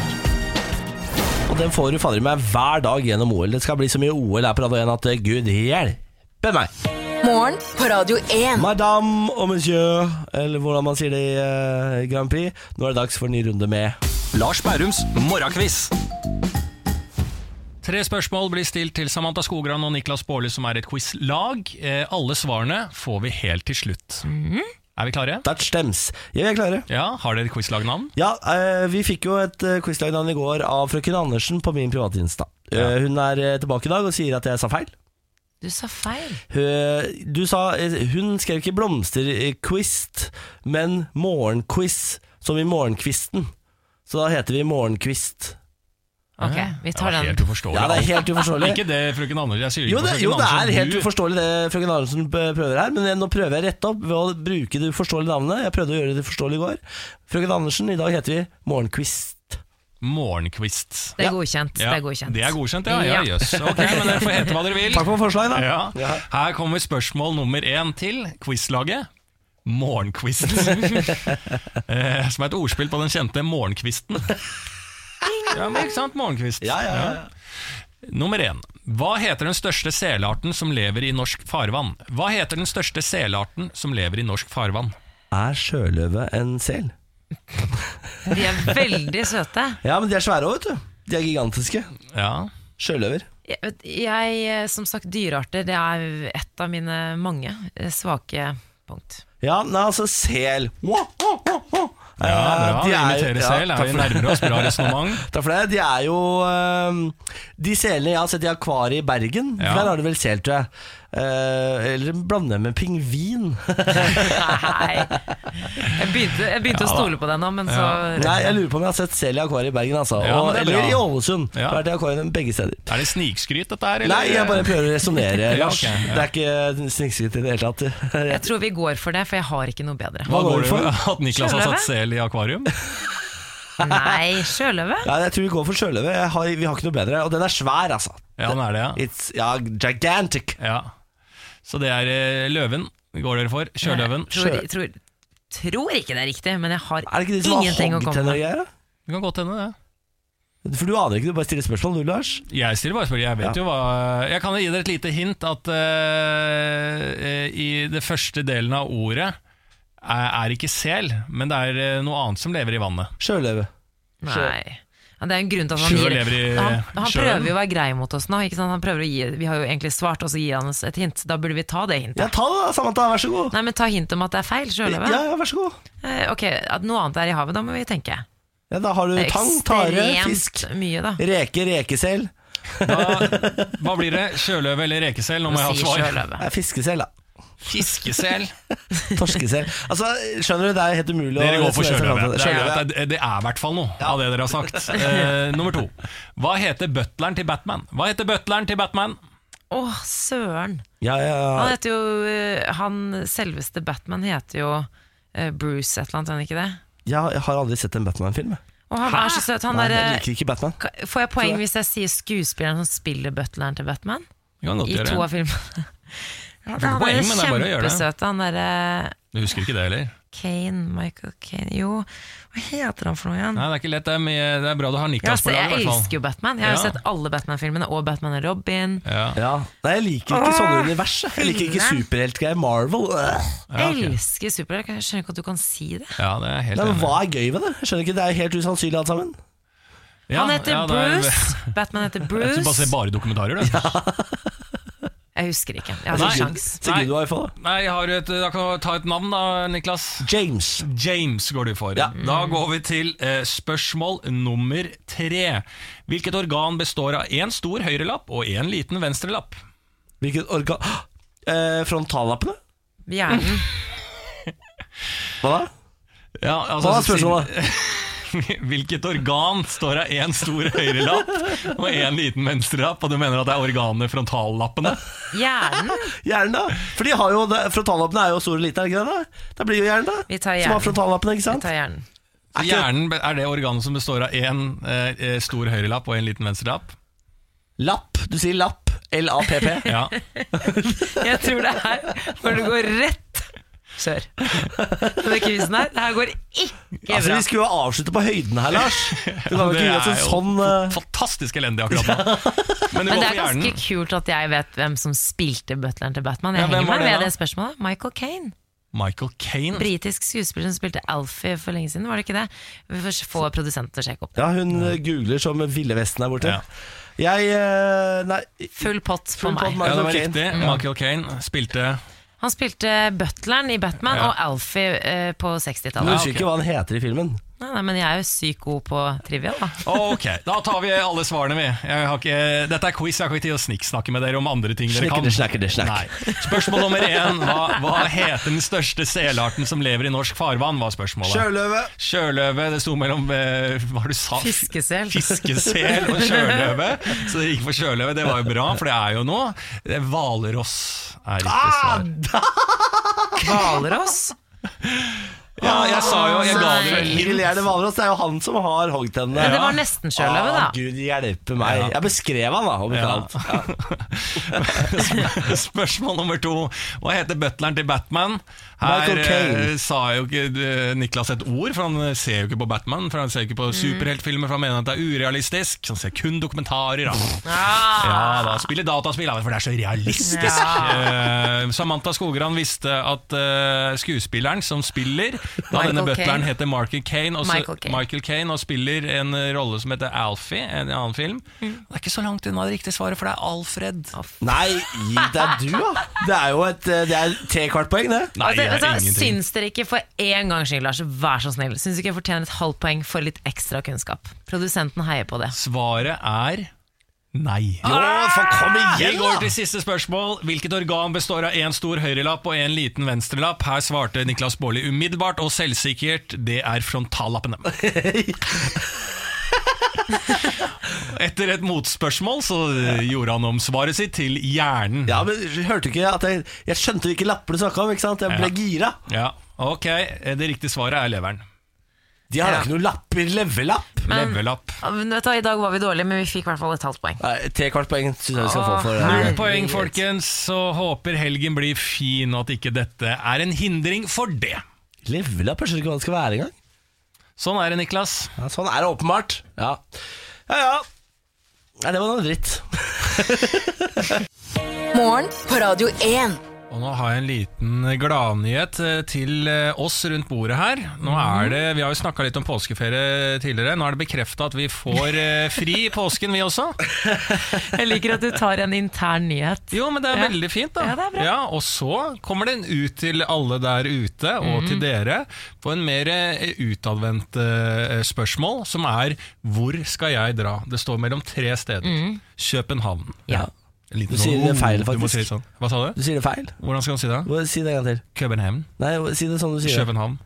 [SPEAKER 1] Og den får du fader meg hver dag gjennom OL. Det skal bli så mye OL her på Radio 1 at eh, gud hjelpe meg.
[SPEAKER 4] Morgen på Radio 1.
[SPEAKER 1] Madame og monsieur, eller hvordan man sier det i eh, Grand Prix. Nå er det dags for en ny runde med
[SPEAKER 6] Lars Bærums morgenkviss.
[SPEAKER 2] Tre spørsmål blir stilt til Samantha Skogran og Niklas Baarli, som er et quizlag. Eh, alle svarene får vi helt til slutt.
[SPEAKER 3] Mhm.
[SPEAKER 2] Er vi klare?
[SPEAKER 1] Dutch Stems. Ja, vi er klare.
[SPEAKER 2] Ja, Har dere quizlagnavn?
[SPEAKER 1] Ja, eh, vi fikk jo et eh, quizlagnavn i går av frøken Andersen på min private Insta. Eh, hun er eh, tilbake i dag og sier at jeg sa feil.
[SPEAKER 3] Du sa feil.
[SPEAKER 1] Hun- du sa eh, Hun skrev ikke blomsterkvist, men morgenquiz, som i morgenkvisten. Så da heter vi Morgenkvist.
[SPEAKER 3] Ok, vi
[SPEAKER 2] det var
[SPEAKER 3] tar den.
[SPEAKER 2] helt uforståelig.
[SPEAKER 1] Ja, det er helt uforståelig.
[SPEAKER 2] Ikke det, frøken Andersen. Jeg sier
[SPEAKER 1] Jo
[SPEAKER 2] ikke
[SPEAKER 1] det,
[SPEAKER 2] frøken
[SPEAKER 1] jo, det er
[SPEAKER 2] Andersen,
[SPEAKER 1] helt
[SPEAKER 2] du-
[SPEAKER 1] uforståelig det frøken Andersen p- prøver her, men nå prøver jeg å rette opp ved å bruke det uforståelige navnet. Jeg prøvde å gjøre det uforståelig i går. Frøken Andersen, i dag heter vi Morgenkvist.
[SPEAKER 2] Morgenkvist.
[SPEAKER 3] Det er godkjent.
[SPEAKER 2] Ja,
[SPEAKER 3] det er godkjent.
[SPEAKER 2] Det er godkjent, ja. ja.
[SPEAKER 3] Ja.
[SPEAKER 2] Jøss. Ok, men dere får hete hva dere vil.
[SPEAKER 1] Takk for forslaget, da.
[SPEAKER 2] Ja. Her kommer spørsmål nummer én til quizlaget.
[SPEAKER 1] *laughs*
[SPEAKER 2] Morgenkvisten. eh, som er et ordspill på den kjente morgenkvisten. Ja, men ikke sant? Morgenkvist.
[SPEAKER 1] Ja, ja, ja.
[SPEAKER 2] Nummer én. Hva heter den største selarten som lever i norsk farvann? Hva heter den største selarten som lever i norsk farvann?
[SPEAKER 1] Er sjøløve en sel?
[SPEAKER 3] De er veldig søte.
[SPEAKER 1] Ja, men de er svære òg, vet du. De er gigantiske.
[SPEAKER 2] Ja,
[SPEAKER 1] Sjøløver.
[SPEAKER 3] Jeg, vet- jeg, eh, som sagt, dyrearter det er et av mine mange eh, svake punkt. *laughs*
[SPEAKER 1] Ja, nei, altså sel. Wow, wow, wow, wow.
[SPEAKER 2] ja bra.
[SPEAKER 1] Eh, de
[SPEAKER 2] Vi
[SPEAKER 1] er-
[SPEAKER 2] inviterer
[SPEAKER 1] ja,
[SPEAKER 2] sel. Er
[SPEAKER 1] takk
[SPEAKER 2] vi
[SPEAKER 1] for det.
[SPEAKER 2] nærmere oss? Bra resonnement. *laughs*
[SPEAKER 1] Takk for det. De er jo øhm, De selene jeg har sett i akvariet i Bergen,
[SPEAKER 2] Ja.
[SPEAKER 1] der har de vel sel, tror jeg. Eh, eller blander jeg med pingvin.
[SPEAKER 3] Nei. Jeg begynte, jeg begynte å stole på deg nå, men så
[SPEAKER 1] Nei, jeg lurer på om jeg har sett sel i akvariet i Bergen, altså.
[SPEAKER 2] Ja, men
[SPEAKER 1] og,
[SPEAKER 2] det er
[SPEAKER 1] eller
[SPEAKER 2] bra.
[SPEAKER 1] i Ålesund.
[SPEAKER 2] Ja.
[SPEAKER 1] Jeg har vært i akvariet begge steder.
[SPEAKER 2] Er det snikskryt, dette her? eller?
[SPEAKER 1] Nei, jeg bare prøver å resonnere,
[SPEAKER 2] *laughs* Ja,
[SPEAKER 1] Lars.
[SPEAKER 2] ok, ja.
[SPEAKER 1] Det er ikke snikskritt i det hele tatt. *laughs*
[SPEAKER 3] Jeg tror vi går for det, for jeg har ikke noe bedre.
[SPEAKER 2] Hva går det for?
[SPEAKER 1] for?
[SPEAKER 2] *laughs* At Niklas har
[SPEAKER 3] Sjøløve?
[SPEAKER 2] satt sel i akvarium?
[SPEAKER 3] Nei, sjøløve?
[SPEAKER 1] Ja, jeg tror vi går for sjøløve. Jeg har- Vi har ikke noe bedre. Og den er svær, altså.
[SPEAKER 2] Ja, han er det, *laughs* ja.
[SPEAKER 1] It's ja, gigantic.
[SPEAKER 2] ja. Så det er eh, løven går dere for. Sjøløven.
[SPEAKER 3] Tror, tror, tror ikke det er riktig, men jeg har
[SPEAKER 1] Er det ikke de som
[SPEAKER 3] ingenting
[SPEAKER 1] har
[SPEAKER 3] å komme
[SPEAKER 1] hoggtenner og
[SPEAKER 3] med.
[SPEAKER 1] greier? da?
[SPEAKER 2] Det kan godt hende, det.
[SPEAKER 1] For du aner ikke, du bare stiller spørsmål, du, Lars.
[SPEAKER 2] Jeg stiller bare spørsmål. Jeg vet jo hva Jeg kan gi dere et lite hint at eh, eh, i det første delen av ordet er, er ikke sel, men det er eh, noe annet som lever i vannet.
[SPEAKER 1] Sjøløve.
[SPEAKER 3] Nei. Ja, det er en grunn til at han
[SPEAKER 2] Sjø
[SPEAKER 3] gir
[SPEAKER 2] lever i
[SPEAKER 3] han, han
[SPEAKER 2] sjøen.
[SPEAKER 3] prøver jo å være grei mot oss nå. Ikke sant? Han prøver å gi, vi har jo egentlig svart, og så gir han oss et hint. Da burde vi ta det hintet.
[SPEAKER 1] Ja, ta det da, Samantha. Vær så god.
[SPEAKER 3] Nei, men Ta hint om at det er feil. Sjøløve.
[SPEAKER 1] Ja, ja, vær så god.
[SPEAKER 3] Eh, ok, at Noe annet er i havet, da må vi tenke.
[SPEAKER 1] Ja, da har du
[SPEAKER 3] Det er
[SPEAKER 1] tang, tare,
[SPEAKER 3] ekstremt
[SPEAKER 1] fisk,
[SPEAKER 3] mye, da.
[SPEAKER 1] reke, rekesel.
[SPEAKER 3] *laughs*
[SPEAKER 2] Da, hva blir det? Sjøløve eller rekesel? Nå må jeg
[SPEAKER 3] Sier
[SPEAKER 2] ha svar.
[SPEAKER 3] sjøløve.
[SPEAKER 1] Nei, fiskesel, da.
[SPEAKER 2] *laughs* Fiskesel.
[SPEAKER 1] Torskesel. Altså, skjønner du, det er helt umulig
[SPEAKER 2] Dere går for
[SPEAKER 1] resonere seg fram til det.
[SPEAKER 2] sjøløve. Det
[SPEAKER 1] Sjøløve,
[SPEAKER 2] er- det er- det er i hvert fall noe av det dere har *laughs* sagt. Eh, nummer to. Hva heter butleren til Batman? Hva heter butleren til Batman?
[SPEAKER 3] Å, søren!
[SPEAKER 1] Ja, ja,
[SPEAKER 3] Han
[SPEAKER 1] ja.
[SPEAKER 3] heter jo eh, Han selveste Batman heter jo eh, Bruce et eller annet, er han ikke det?
[SPEAKER 1] Jeg har aldri sett en Batman-film. jeg.
[SPEAKER 3] Og han er eh, så søt. Han
[SPEAKER 1] Nei,
[SPEAKER 3] der,
[SPEAKER 1] jeg liker ikke Batman.
[SPEAKER 3] Ka- Får jeg poeng hvis jeg sier skuespilleren som spiller butleren til Batman?
[SPEAKER 2] Det kan godt
[SPEAKER 3] I
[SPEAKER 2] gjøre.
[SPEAKER 3] to av filmene. *laughs* Ja,
[SPEAKER 2] får ikke
[SPEAKER 3] han er
[SPEAKER 2] poeng, men det er bare å gjøre det.
[SPEAKER 3] kjempesøt. Han derre
[SPEAKER 2] Du husker ikke det heller?
[SPEAKER 3] Kane, Michael Kane Jo, hva heter han for noe igjen?
[SPEAKER 2] Nei, det er ikke lett. Det er, mye, det er bra du har
[SPEAKER 3] Ja,
[SPEAKER 2] Niklas
[SPEAKER 3] altså,
[SPEAKER 2] på laget, i
[SPEAKER 3] jeg
[SPEAKER 2] hvert
[SPEAKER 3] elsker
[SPEAKER 2] fall.
[SPEAKER 3] jo Batman. Jeg har jo
[SPEAKER 2] Ja.
[SPEAKER 3] sett alle Batman-filmene, og Batman og Robin.
[SPEAKER 2] Ja.
[SPEAKER 1] Ja. Nei, jeg liker ikke sånne univers. jeg. Jeg liker ikke
[SPEAKER 3] Nei.
[SPEAKER 1] superheltgreier. Marvel. øh.
[SPEAKER 2] Ja, ok.
[SPEAKER 3] Elsker superhelter. Jeg skjønner ikke at du kan si det.
[SPEAKER 2] ja, det er jeg helt
[SPEAKER 1] Nei, men
[SPEAKER 2] enig.
[SPEAKER 1] Hva er gøy ved det? Jeg skjønner ikke, Det er jo helt usannsynlig alt sammen.
[SPEAKER 2] Ja,
[SPEAKER 3] han heter
[SPEAKER 2] ja, det er- *laughs*
[SPEAKER 3] Bruce. Batman heter
[SPEAKER 2] Du bare ser
[SPEAKER 3] Bruce.
[SPEAKER 2] bare dokumentarer, *laughs* du.
[SPEAKER 3] Jeg husker ikke. Jeg hadde
[SPEAKER 2] Nei.
[SPEAKER 3] ikke sjans.
[SPEAKER 1] Så
[SPEAKER 2] Nei.
[SPEAKER 1] gud du har i fall, da.
[SPEAKER 2] Nei, jeg har et, da kan du ta et navn da, Niklas.
[SPEAKER 1] James.
[SPEAKER 2] James går du for.
[SPEAKER 1] Ja.
[SPEAKER 2] Da går vi til eh, spørsmål nummer tre. Hvilket organ består av én stor høyrelapp og én liten venstrelapp?
[SPEAKER 1] Hvilket organ eh, Frontallappene?
[SPEAKER 3] Hjernen.
[SPEAKER 1] Hva da?
[SPEAKER 2] Ja, altså,
[SPEAKER 1] Hva er spørsmålet?
[SPEAKER 2] *laughs* Hvilket organ står av én stor høyrelapp og én liten venstrelapp? Og du mener at det er organet frontallappene?
[SPEAKER 3] Hjernen.
[SPEAKER 1] Hjernen, da? For de har jo, det- frontallappene er jo store og lite, er det ikke det? da? Da blir jo hjernen, da.
[SPEAKER 3] Vi tar
[SPEAKER 1] Som har
[SPEAKER 3] hjernen.
[SPEAKER 1] frontallappene, ikke
[SPEAKER 3] Jeg
[SPEAKER 1] sant?
[SPEAKER 3] tar hjernen.
[SPEAKER 1] Er ikke-
[SPEAKER 2] Hjernen be- er det organet som består av én eh, eh, stor høyrelapp og én liten venstrelapp?
[SPEAKER 1] Lapp. Du sier lapp.
[SPEAKER 3] *laughs*
[SPEAKER 1] L-A-P-P.
[SPEAKER 2] Ja.
[SPEAKER 3] Jeg tror det er når du går rett Kjør. Denne quizen her, det her går ikke
[SPEAKER 1] Altså,
[SPEAKER 3] bra.
[SPEAKER 1] vi skulle jo avslutte på høyden her, Lars.
[SPEAKER 2] *laughs*
[SPEAKER 1] Du kan jo ikke
[SPEAKER 2] det
[SPEAKER 1] gi oss
[SPEAKER 2] er
[SPEAKER 1] en
[SPEAKER 2] jo
[SPEAKER 1] sånn eh,
[SPEAKER 2] Fantastisk
[SPEAKER 1] *laughs*
[SPEAKER 2] elendig akkurat nå. Men du
[SPEAKER 3] Men
[SPEAKER 2] går
[SPEAKER 3] det er
[SPEAKER 2] for
[SPEAKER 3] ganske
[SPEAKER 2] hjernen.
[SPEAKER 3] kult at jeg vet hvem som spilte butleren til Batman. Jeg
[SPEAKER 2] Ja, hvem
[SPEAKER 3] henger
[SPEAKER 2] var
[SPEAKER 3] meg
[SPEAKER 2] det
[SPEAKER 3] ved
[SPEAKER 2] da?
[SPEAKER 3] det spørsmålet. Michael Kane.
[SPEAKER 2] Michael Kane.
[SPEAKER 3] Britisk skuespiller som spilte Alfie for lenge siden, var det ikke det? Vi får få produsenten til å sjekke opp.
[SPEAKER 1] Ja, hun eh, googler som Ville Vesten der borte.
[SPEAKER 2] Ja.
[SPEAKER 1] Jeg eh, Nei.
[SPEAKER 3] Full pott
[SPEAKER 1] Full
[SPEAKER 3] for
[SPEAKER 1] pott,
[SPEAKER 3] meg.
[SPEAKER 1] Michael
[SPEAKER 2] Ja, det var
[SPEAKER 1] Caine.
[SPEAKER 2] riktig. Michael Kane spilte
[SPEAKER 3] Han spilte butleren i Batman
[SPEAKER 2] Ja.
[SPEAKER 3] og Alfie eh, på
[SPEAKER 1] Du
[SPEAKER 3] 60-tallet.
[SPEAKER 1] husker ikke hva han heter i filmen?
[SPEAKER 3] Nei, nei, men jeg er jo sykt god på trivia, da.
[SPEAKER 2] Ok, da tar vi alle svarene, vi. Jeg har ikke, dette er quiz, jeg har ikke tid å snikksnakke med dere om andre ting dere kan.
[SPEAKER 1] Snakker det, snakker det, snakk.
[SPEAKER 2] Nei. Spørsmål nummer én. Hva, hva heter den største selarten som lever i norsk farvann? var spørsmålet.
[SPEAKER 1] Sjøløve.
[SPEAKER 2] Sjøløve. Det sto mellom eh, hva var det du sa?
[SPEAKER 3] Fiskesel.
[SPEAKER 2] Fiskesel og sjøløve. Så dere gikk for sjøløve. Det var jo bra, for det er jo noe. Det er Hvalross er riktig svar.
[SPEAKER 3] Hvalross.
[SPEAKER 2] Ja, jeg sa jo Jeg ga dere
[SPEAKER 3] Nei.
[SPEAKER 2] hint.
[SPEAKER 1] Miguel Gjerne Valros, det er jo han som har hoggtennene.
[SPEAKER 3] Men det var nesten sjøløve, da.
[SPEAKER 1] Ah, Gud hjelpe meg.
[SPEAKER 2] Ja.
[SPEAKER 1] Jeg beskrev han, da. Om ikke
[SPEAKER 2] Ja.
[SPEAKER 1] annet.
[SPEAKER 2] *laughs* Spørsmål nummer to. Hva heter butleren til Batman? Her
[SPEAKER 1] Michael Caine.
[SPEAKER 2] eh, sa jo ikke eh, Niklas et ord, for han eh, ser jo ikke på Batman. For Han ser ikke på
[SPEAKER 3] Mm.
[SPEAKER 2] superheltfilmer, for han mener at det er urealistisk. Så Han ser kun dokumentarer. Da.
[SPEAKER 3] Ah.
[SPEAKER 2] Ja, da spiller dataspill, da, for det er så realistisk. Eh, Samantha Skogran visste at eh, skuespilleren som spiller Da
[SPEAKER 3] Michael
[SPEAKER 2] denne butleren
[SPEAKER 3] Caine.
[SPEAKER 2] heter Michael Kane, og, så-
[SPEAKER 3] Michael Caine.
[SPEAKER 2] Michael Caine og spiller en eh, rolle som heter Alfie, en annen film.
[SPEAKER 3] Mm.
[SPEAKER 2] Det er ikke så langt unna det riktige svaret, for det er Alfred.
[SPEAKER 1] Nei, gi deg du, da. Det er jo et eh, Det er trekvartpoeng, det.
[SPEAKER 2] Nei,
[SPEAKER 3] Altså,
[SPEAKER 2] det er
[SPEAKER 3] altså,
[SPEAKER 2] ingenting.
[SPEAKER 3] Syns dere ikke for én gangs skyld, Lars, vær så snill, syns du ikke jeg fortjener et halvt poeng for litt ekstra kunnskap? Produsenten heier på det.
[SPEAKER 2] Svaret er nei.
[SPEAKER 3] Ah,
[SPEAKER 1] Jo, for kom
[SPEAKER 2] Vi
[SPEAKER 1] igjen,
[SPEAKER 2] går til
[SPEAKER 1] da!
[SPEAKER 2] siste spørsmål. Hvilket organ består av én stor høyrelapp og én liten venstrelapp? Her svarte Niklas Baarli umiddelbart og selvsikkert det er
[SPEAKER 3] *laughs*
[SPEAKER 2] frontallappene. Etter et motspørsmål så eh, gjorde han om svaret sitt til hjernen.
[SPEAKER 1] Ja, men hørte du ikke at jeg, jeg skjønte hvilke lapper du snakka om, ikke sant? Jeg ble gira.
[SPEAKER 2] Ja, Ok, det riktige svaret er leveren.
[SPEAKER 1] De har da
[SPEAKER 3] Ja.
[SPEAKER 1] ikke noen lapper. Levelapp.
[SPEAKER 2] Levelapp.
[SPEAKER 3] Ja, men Vet du, hva, I dag var vi dårlige, men vi fikk i hvert fall et halvt poeng.
[SPEAKER 1] Nei, Trekvartpoeng syns jeg vi skal få for det.
[SPEAKER 2] Null
[SPEAKER 3] Herregud.
[SPEAKER 2] poeng, folkens, og håper helgen blir fin, og at ikke dette er en hindring for det.
[SPEAKER 1] Levelapp, jeg skjønner ikke hva det skal være engang.
[SPEAKER 2] Sånn er det, Niklas.
[SPEAKER 1] Ja, sånn er det åpenbart. Ja ja. ja. Nei, det var noe dritt.
[SPEAKER 4] Morgen på Radio 1.
[SPEAKER 2] Og nå har jeg en liten gladnyhet eh, til eh, oss rundt bordet her. Nå er det, Vi har jo snakka litt om påskeferie tidligere. Nå er det bekrefta at vi får eh, fri i påsken, vi også.
[SPEAKER 3] Jeg liker at du tar en intern nyhet.
[SPEAKER 2] Jo, men det er veldig fint, da.
[SPEAKER 3] Ja, det er bra.
[SPEAKER 2] og så kommer den ut til alle der ute, og
[SPEAKER 1] Mhm.
[SPEAKER 2] til dere, på en mer eh, utadvendt eh, spørsmål, som er 'Hvor skal jeg dra?' Det står mellom tre steder. København.
[SPEAKER 1] Mhm. Ja.
[SPEAKER 2] En liten
[SPEAKER 1] Du sier
[SPEAKER 2] sånn,
[SPEAKER 1] det feil,
[SPEAKER 2] «Oh», du må
[SPEAKER 1] faktisk.
[SPEAKER 2] si det sånn. Hva sa du?
[SPEAKER 1] Du sier det feil.
[SPEAKER 2] Hvordan skal man si det?
[SPEAKER 1] Må- Si det en gang til.
[SPEAKER 2] København.
[SPEAKER 1] Nei, si det sånn du sier det.
[SPEAKER 2] København.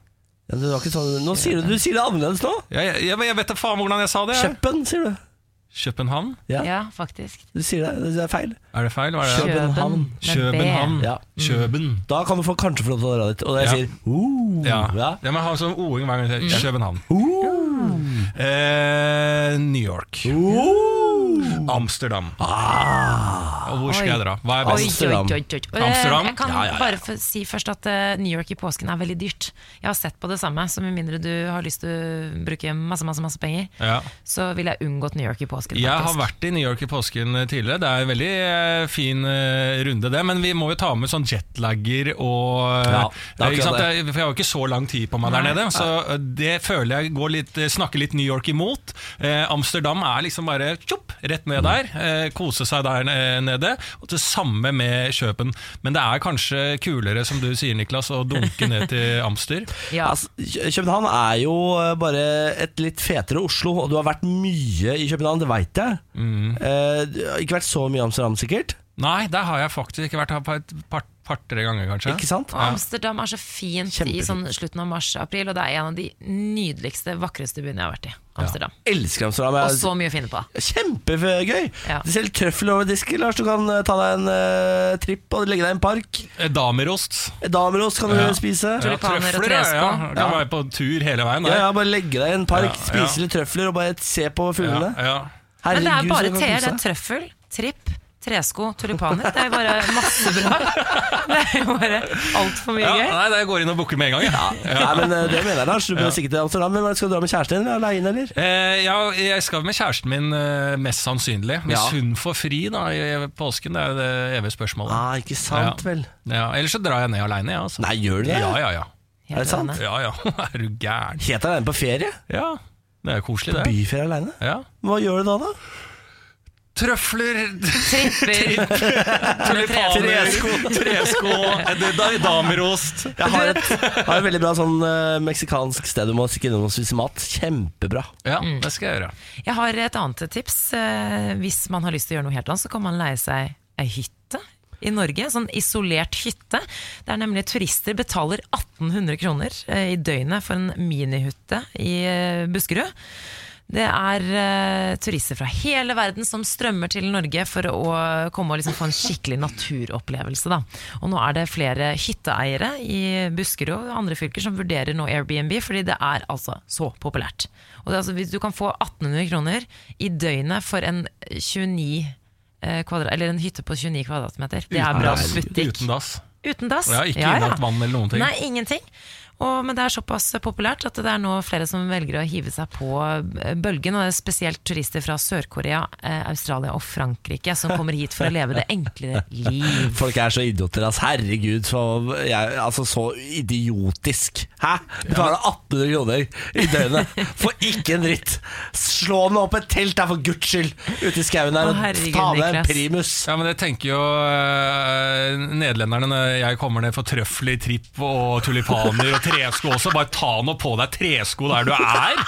[SPEAKER 1] Ja, du, har ikke sånn, nå sier du, du sier det annerledes nå.
[SPEAKER 2] Ja, jeg, jeg, jeg vet da faen hvordan jeg sa det. jeg.
[SPEAKER 1] Kjøppen, sier du.
[SPEAKER 2] København?
[SPEAKER 3] Ja, faktisk.
[SPEAKER 1] Du sier det, det er feil.
[SPEAKER 2] Er det feil? Hva er det?
[SPEAKER 1] København.
[SPEAKER 3] Kjøben med
[SPEAKER 2] København.
[SPEAKER 1] Ja. Mm.
[SPEAKER 2] Kjøben.
[SPEAKER 1] Da kan du få kanskje få lov til å dra dit. Og jeg
[SPEAKER 2] Ja.
[SPEAKER 1] sier uh,
[SPEAKER 2] Ja.
[SPEAKER 1] ja. Mm.
[SPEAKER 3] Mm,
[SPEAKER 2] Jeg må ha sånn o-ing hver gang jeg sier København. Eh, New York. Amsterdam. Og hvor skal
[SPEAKER 3] Oi.
[SPEAKER 2] jeg dra? Hva er best?
[SPEAKER 3] Oi, oi, oi,
[SPEAKER 1] Amsterdam.
[SPEAKER 3] oi, oi. Eh,
[SPEAKER 2] Amsterdam?
[SPEAKER 3] Jeg kan
[SPEAKER 2] Ja, ja, ja.
[SPEAKER 3] bare få si først at eh, New York i påsken er veldig dyrt. Jeg har sett på det samme, så med mindre du har lyst til å bruke masse, masse, masse penger,
[SPEAKER 2] Ja.
[SPEAKER 3] så ville jeg unngått New York i påsken.
[SPEAKER 2] Jeg har
[SPEAKER 3] faktisk.
[SPEAKER 2] vært i New York i påsken tidligere. Det er en veldig eh, fin eh, runde, det. Men vi må jo ta med sånn jetlagger og eh,
[SPEAKER 1] Ja, det er akkurat
[SPEAKER 2] ikke sant?
[SPEAKER 1] det.
[SPEAKER 2] Jeg- For jeg har jo ikke så lang tid på meg der nede. Så eh, det føler jeg går litt, eh, snakker litt New York imot. Eh, Amsterdam er liksom bare tjopp, rett
[SPEAKER 1] Mm.
[SPEAKER 2] ned der. eh, Kose seg der eh, nede. Og det samme med Kjøpen. Men det er kanskje kulere, som du sier, Niklas, å dunke
[SPEAKER 1] *laughs*
[SPEAKER 2] ned til Amster.
[SPEAKER 3] ja.
[SPEAKER 1] Altså, Kø- København er jo eh, bare et litt fetere Oslo, og du har vært mye i København, det veit jeg.
[SPEAKER 2] Mm.
[SPEAKER 1] Eh, du har ikke vært så mye i Amsterdam, sikkert.
[SPEAKER 2] Nei, der har jeg faktisk ikke vært her på et par- par-tre ganger, kanskje.
[SPEAKER 1] Ikke sant?
[SPEAKER 3] Og Amsterdam er så fint i
[SPEAKER 1] Kjempefint.
[SPEAKER 3] sånn slutten av mars-april, og det er en av de nydeligste, vakreste byene jeg har vært i. Amsterdam.
[SPEAKER 1] Elsker Amsterdam.
[SPEAKER 3] Og
[SPEAKER 1] Jeg-
[SPEAKER 3] så mye å finne på.
[SPEAKER 1] Kjempegøy!
[SPEAKER 3] Ja.
[SPEAKER 1] Det selger trøffel over disken, Lars. Du kan eh, ta deg en eh, tripp og legge deg i en park.
[SPEAKER 2] Eh, Damerost.
[SPEAKER 1] Damerost kan du
[SPEAKER 2] Ja.
[SPEAKER 1] spise.
[SPEAKER 2] Ja,
[SPEAKER 3] Tulipaner og
[SPEAKER 2] trøfler, ja, ja.
[SPEAKER 3] tresko.
[SPEAKER 2] Kan være på tur hele veien.
[SPEAKER 1] Ja,
[SPEAKER 2] der.
[SPEAKER 1] ja, bare legge deg i en park,
[SPEAKER 2] Ja,
[SPEAKER 1] spise
[SPEAKER 2] ja.
[SPEAKER 1] litt trøfler og bare se på fuglene.
[SPEAKER 2] Ja, ja.
[SPEAKER 3] Men det er
[SPEAKER 1] Herregud, så
[SPEAKER 3] bare
[SPEAKER 1] du kan
[SPEAKER 3] teer. Det
[SPEAKER 1] kose
[SPEAKER 3] er
[SPEAKER 1] deg.
[SPEAKER 3] trøffel, tripp, tresko, tulipaner. Det er bare masse
[SPEAKER 1] *laughs*
[SPEAKER 3] bra. Det er jo bare altfor mye
[SPEAKER 2] Ja,
[SPEAKER 3] gøy.
[SPEAKER 2] nei, det går inn og booker med en gang. Ja.
[SPEAKER 1] Nei, men eh, det mener jeg, Lars. Du bør sikkert til Amsterdam. Men hva, Skal du dra med kjæresten din eller aleine, eller?
[SPEAKER 2] Eh, ja, jeg skal med kjæresten min, eh, mest sannsynlig. Hvis
[SPEAKER 1] Ja.
[SPEAKER 2] hun får fri da i påsken, det er jo det evige spørsmålet.
[SPEAKER 1] Ah, ikke sant,
[SPEAKER 2] Ja.
[SPEAKER 1] vel.
[SPEAKER 2] Ja, Ellers så drar jeg ned aleine, jeg. Altså.
[SPEAKER 1] Nei, gjør du det?
[SPEAKER 2] Ja, ja, ja.
[SPEAKER 1] Er det sant?
[SPEAKER 2] ja, *laughs* ja. er du gæren?
[SPEAKER 1] Helt aleine på ferie?
[SPEAKER 2] Ja, det er jo koselig, det.
[SPEAKER 1] Byferie aleine?
[SPEAKER 2] Ja.
[SPEAKER 1] Hva gjør du da, da?
[SPEAKER 2] Trøfler,
[SPEAKER 3] *laughs* Tripper.
[SPEAKER 2] tulipaner,
[SPEAKER 1] Tresko.
[SPEAKER 2] Ah, *laughs* tresko, eh, damerost.
[SPEAKER 1] Jeg har et, har et veldig bra sånn eh, meksikansk sted du må stikke innom og spise mat. Kjempebra.
[SPEAKER 2] Ja, det skal jeg gjøre.
[SPEAKER 3] Jeg har et annet tips. Eh, Hvis man har lyst til å gjøre noe helt annet, så kan man leie seg ei hytte i Norge. En sånn isolert hytte. Der nemlig turister betaler 1800 kroner eh, i døgnet for en minihytte i eh, Buskerud. Det er eh, turister fra hele verden som strømmer til Norge for å komme og liksom få en skikkelig naturopplevelse. Da. Og nå er det flere hytteeiere i Buskerud og andre fylker som vurderer nå Airbnb, fordi det er altså så populært. Og det, er altså, hvis du kan få 1800 kroner i døgnet for en 29 eh, kvadrat, eller en hytte på 29 kvadratmeter. Det er bra
[SPEAKER 2] dass.
[SPEAKER 3] butikk.
[SPEAKER 2] Uten dass.
[SPEAKER 3] Uten dass.
[SPEAKER 2] Ja, ikke innlagt vann eller noen ting.
[SPEAKER 3] Nei, ingenting. Og, men det er såpass populært at det er nå flere som velger å hive seg på eh, bølgen. Og det er spesielt turister fra Sør-Korea, eh, Australia og Frankrike som kommer hit for å leve det enklere liv.
[SPEAKER 1] Folk er så idioter, ass. Herregud, så, jeg, altså, så idiotisk. Hæ? Betaler 1800 kroner i døgnet for ikke en dritt. Slå den opp et telt der, for guds skyld, ute i skauen der,
[SPEAKER 3] Å,
[SPEAKER 1] og
[SPEAKER 3] herregud,
[SPEAKER 1] ta med en
[SPEAKER 3] Niklas.
[SPEAKER 1] primus.
[SPEAKER 2] Ja, men det tenker jo eh, nederlenderne når jeg kommer ned for trøffel i tripp og tulipaner og tresko også. Bare ta nå på deg tresko der du er,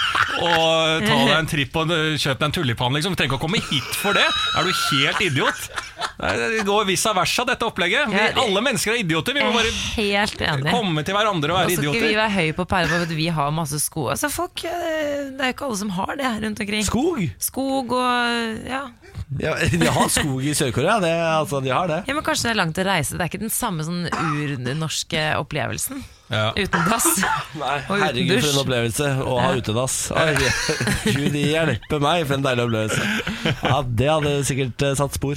[SPEAKER 2] og ta deg en tripp og eh, kjøp deg en tulipan, liksom. Du trenger ikke å komme hit for det. Er du helt idiot? Nei, Det går vice versa, dette opplegget. Vi,
[SPEAKER 3] Ja, det-
[SPEAKER 2] alle mennesker er idioter. Vi må
[SPEAKER 3] Jeg er
[SPEAKER 2] bare
[SPEAKER 3] helt enig.
[SPEAKER 2] komme til hverandre og
[SPEAKER 3] Og
[SPEAKER 2] være
[SPEAKER 3] så skal vi
[SPEAKER 2] idioter.
[SPEAKER 3] være høye på pæra for at vi har masse sko. Altså folk, eh, Det er jo ikke alle som har det rundt omkring.
[SPEAKER 1] Skog?
[SPEAKER 3] Skog og ja.
[SPEAKER 1] Ja, de har skog i Sør-Korea, det, altså, de har det.
[SPEAKER 3] ja, men kanskje det er langt å reise. Det er ikke den samme sånn urnorske opplevelsen
[SPEAKER 2] Ja.
[SPEAKER 3] uten dass. Og uten
[SPEAKER 1] Herregud, for en
[SPEAKER 3] dusj.
[SPEAKER 1] opplevelse å ha utedass. Oi, Gud hjelpe meg, for en deilig opplevelse. Ja, Det hadde sikkert eh, satt spor.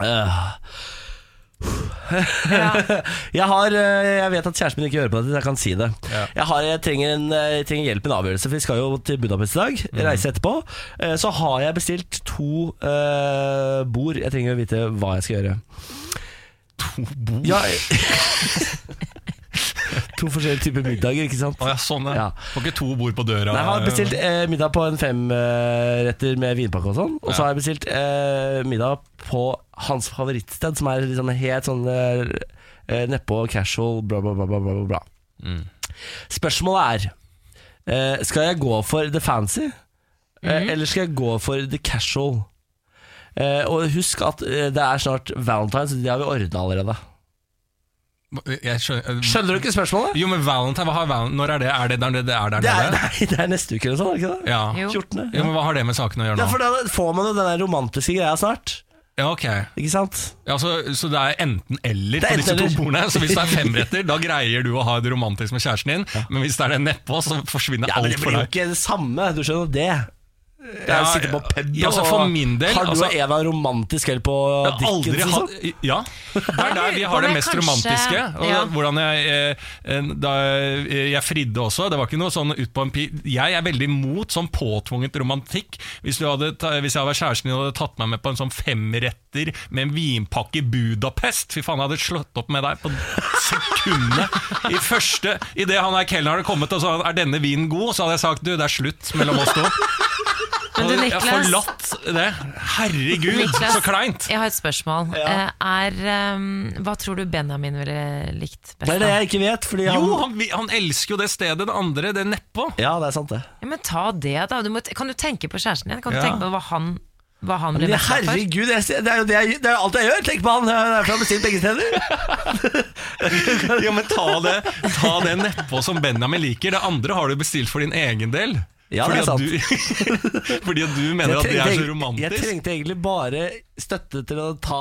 [SPEAKER 1] Eh,
[SPEAKER 3] Ja.
[SPEAKER 1] *laughs* Jeg, har, eh, jeg vet at kjæresten min ikke hører på dette, så jeg kan si det.
[SPEAKER 2] Ja.
[SPEAKER 1] Jeg, har, jeg, trenger en, eh, jeg trenger hjelp med en avgjørelse, for vi skal jo til Budapest i dag. Reise etterpå. Eh, Så har jeg bestilt to eh, bord. Jeg trenger å vite hva jeg skal gjøre. To bord? Ja, *laughs* to forskjellige typer middager, ikke sant?
[SPEAKER 2] Å ja, sånn, ja.
[SPEAKER 1] Ja.
[SPEAKER 2] Får ikke to bord på døra.
[SPEAKER 1] Nei, jeg har bestilt eh, middag på en femretter med vinpakke og sånn. Og så har jeg bestilt eh, middag på hans favorittsted, som er liksom helt sånn eh, nedpå casual, bla, bla, bla. bla, bla, bla. Mm. Spørsmålet er eh, Skal jeg gå for the fancy, eh, eller skal jeg gå for the casual? Eh, og husk at eh, det er snart valentines, det har vi ordna allerede.
[SPEAKER 2] Jeg skjønner,
[SPEAKER 1] Skjønner du ikke spørsmålet?
[SPEAKER 2] Jo, men Valentine, hva har Valentine Når er det? Er det der det er der
[SPEAKER 1] Det er, *laughs*
[SPEAKER 2] nede?
[SPEAKER 1] nei, det er neste uke eller sånn, er det ikke det?
[SPEAKER 2] Ja.
[SPEAKER 3] Jo.
[SPEAKER 1] 14.
[SPEAKER 2] Jo, men Hva har det med saken å gjøre
[SPEAKER 1] Ja,
[SPEAKER 2] nå?
[SPEAKER 1] for da får man jo den der romantiske greia snart.
[SPEAKER 2] Ja, ok ja,
[SPEAKER 1] Ikke sant?
[SPEAKER 2] så, så det er enten eller
[SPEAKER 1] Det er
[SPEAKER 2] på disse to
[SPEAKER 1] enten-eller.
[SPEAKER 2] bordene. Så hvis det er
[SPEAKER 1] *laughs*
[SPEAKER 2] femretter, da greier du å ha det romantisk med kjæresten din. Men hvis det er det nedpå, så forsvinner
[SPEAKER 1] Ja, men
[SPEAKER 2] alt
[SPEAKER 1] det
[SPEAKER 2] for
[SPEAKER 1] blir jo
[SPEAKER 2] deg.
[SPEAKER 1] ikke det samme, du skjønner det. Jeg
[SPEAKER 2] Ja,
[SPEAKER 1] sitter på pub
[SPEAKER 2] ja, altså, for min del,
[SPEAKER 1] Har du
[SPEAKER 2] altså-
[SPEAKER 1] og Eva en romantisk kveld på
[SPEAKER 2] Jeg har aldri
[SPEAKER 1] Dickens?
[SPEAKER 2] hatt-
[SPEAKER 1] Liksom?
[SPEAKER 2] Ja, det er der vi har det
[SPEAKER 3] Men
[SPEAKER 2] mest
[SPEAKER 3] kanskje-
[SPEAKER 2] romantiske. Og
[SPEAKER 3] ja.
[SPEAKER 2] hvordan jeg, eh, en- da jeg jeg fridde også, det var ikke noe sånn ut på en pi... Jeg er veldig imot sånn påtvunget romantikk. Hvis, du hadde, ta- hvis jeg var kjæresten din og hadde tatt meg med på en sånn femretter med en vinpakke i Budapest, fy faen, jeg hadde slått opp med deg på sekundet. I første, i det han her kelneren hadde kommet og sa er denne vinen god, så hadde jeg sagt du, det er slutt mellom oss to.
[SPEAKER 3] Men du,
[SPEAKER 2] jeg
[SPEAKER 3] Niklas-
[SPEAKER 2] forlatt det. Herregud,
[SPEAKER 3] Niklas,
[SPEAKER 2] så kleint.
[SPEAKER 3] Jeg har et spørsmål. Eh, Er, um, hva tror du Benjamin ville likt best?
[SPEAKER 1] Det er det
[SPEAKER 3] da?
[SPEAKER 1] jeg ikke vet, fordi han
[SPEAKER 2] Jo, han, vi- han elsker jo det stedet, det andre, det nedpå.
[SPEAKER 1] Ja, det er sant, det.
[SPEAKER 3] Ja, men ta det, da. Du må, kan du tenke på kjæresten din? Kan du
[SPEAKER 2] Ja.
[SPEAKER 3] tenke på hva han, hva han ble
[SPEAKER 1] Men
[SPEAKER 3] mest glad for?
[SPEAKER 1] herregud, jeg, det, er jo det, jeg, det er jo alt jeg gjør! Tenk på han! Det er derfor jeg har bestilt begge steder.
[SPEAKER 2] *laughs* Ja, men ta det, ta det nedpå som Benjamin liker. Det andre har du bestilt for din egen del.
[SPEAKER 1] Ja, det er sant.
[SPEAKER 2] Fordi at du, *laughs* fordi at du mener at det er så
[SPEAKER 1] egentlig- jeg
[SPEAKER 2] romantisk.
[SPEAKER 1] trengte egentlig bare støtte til å ta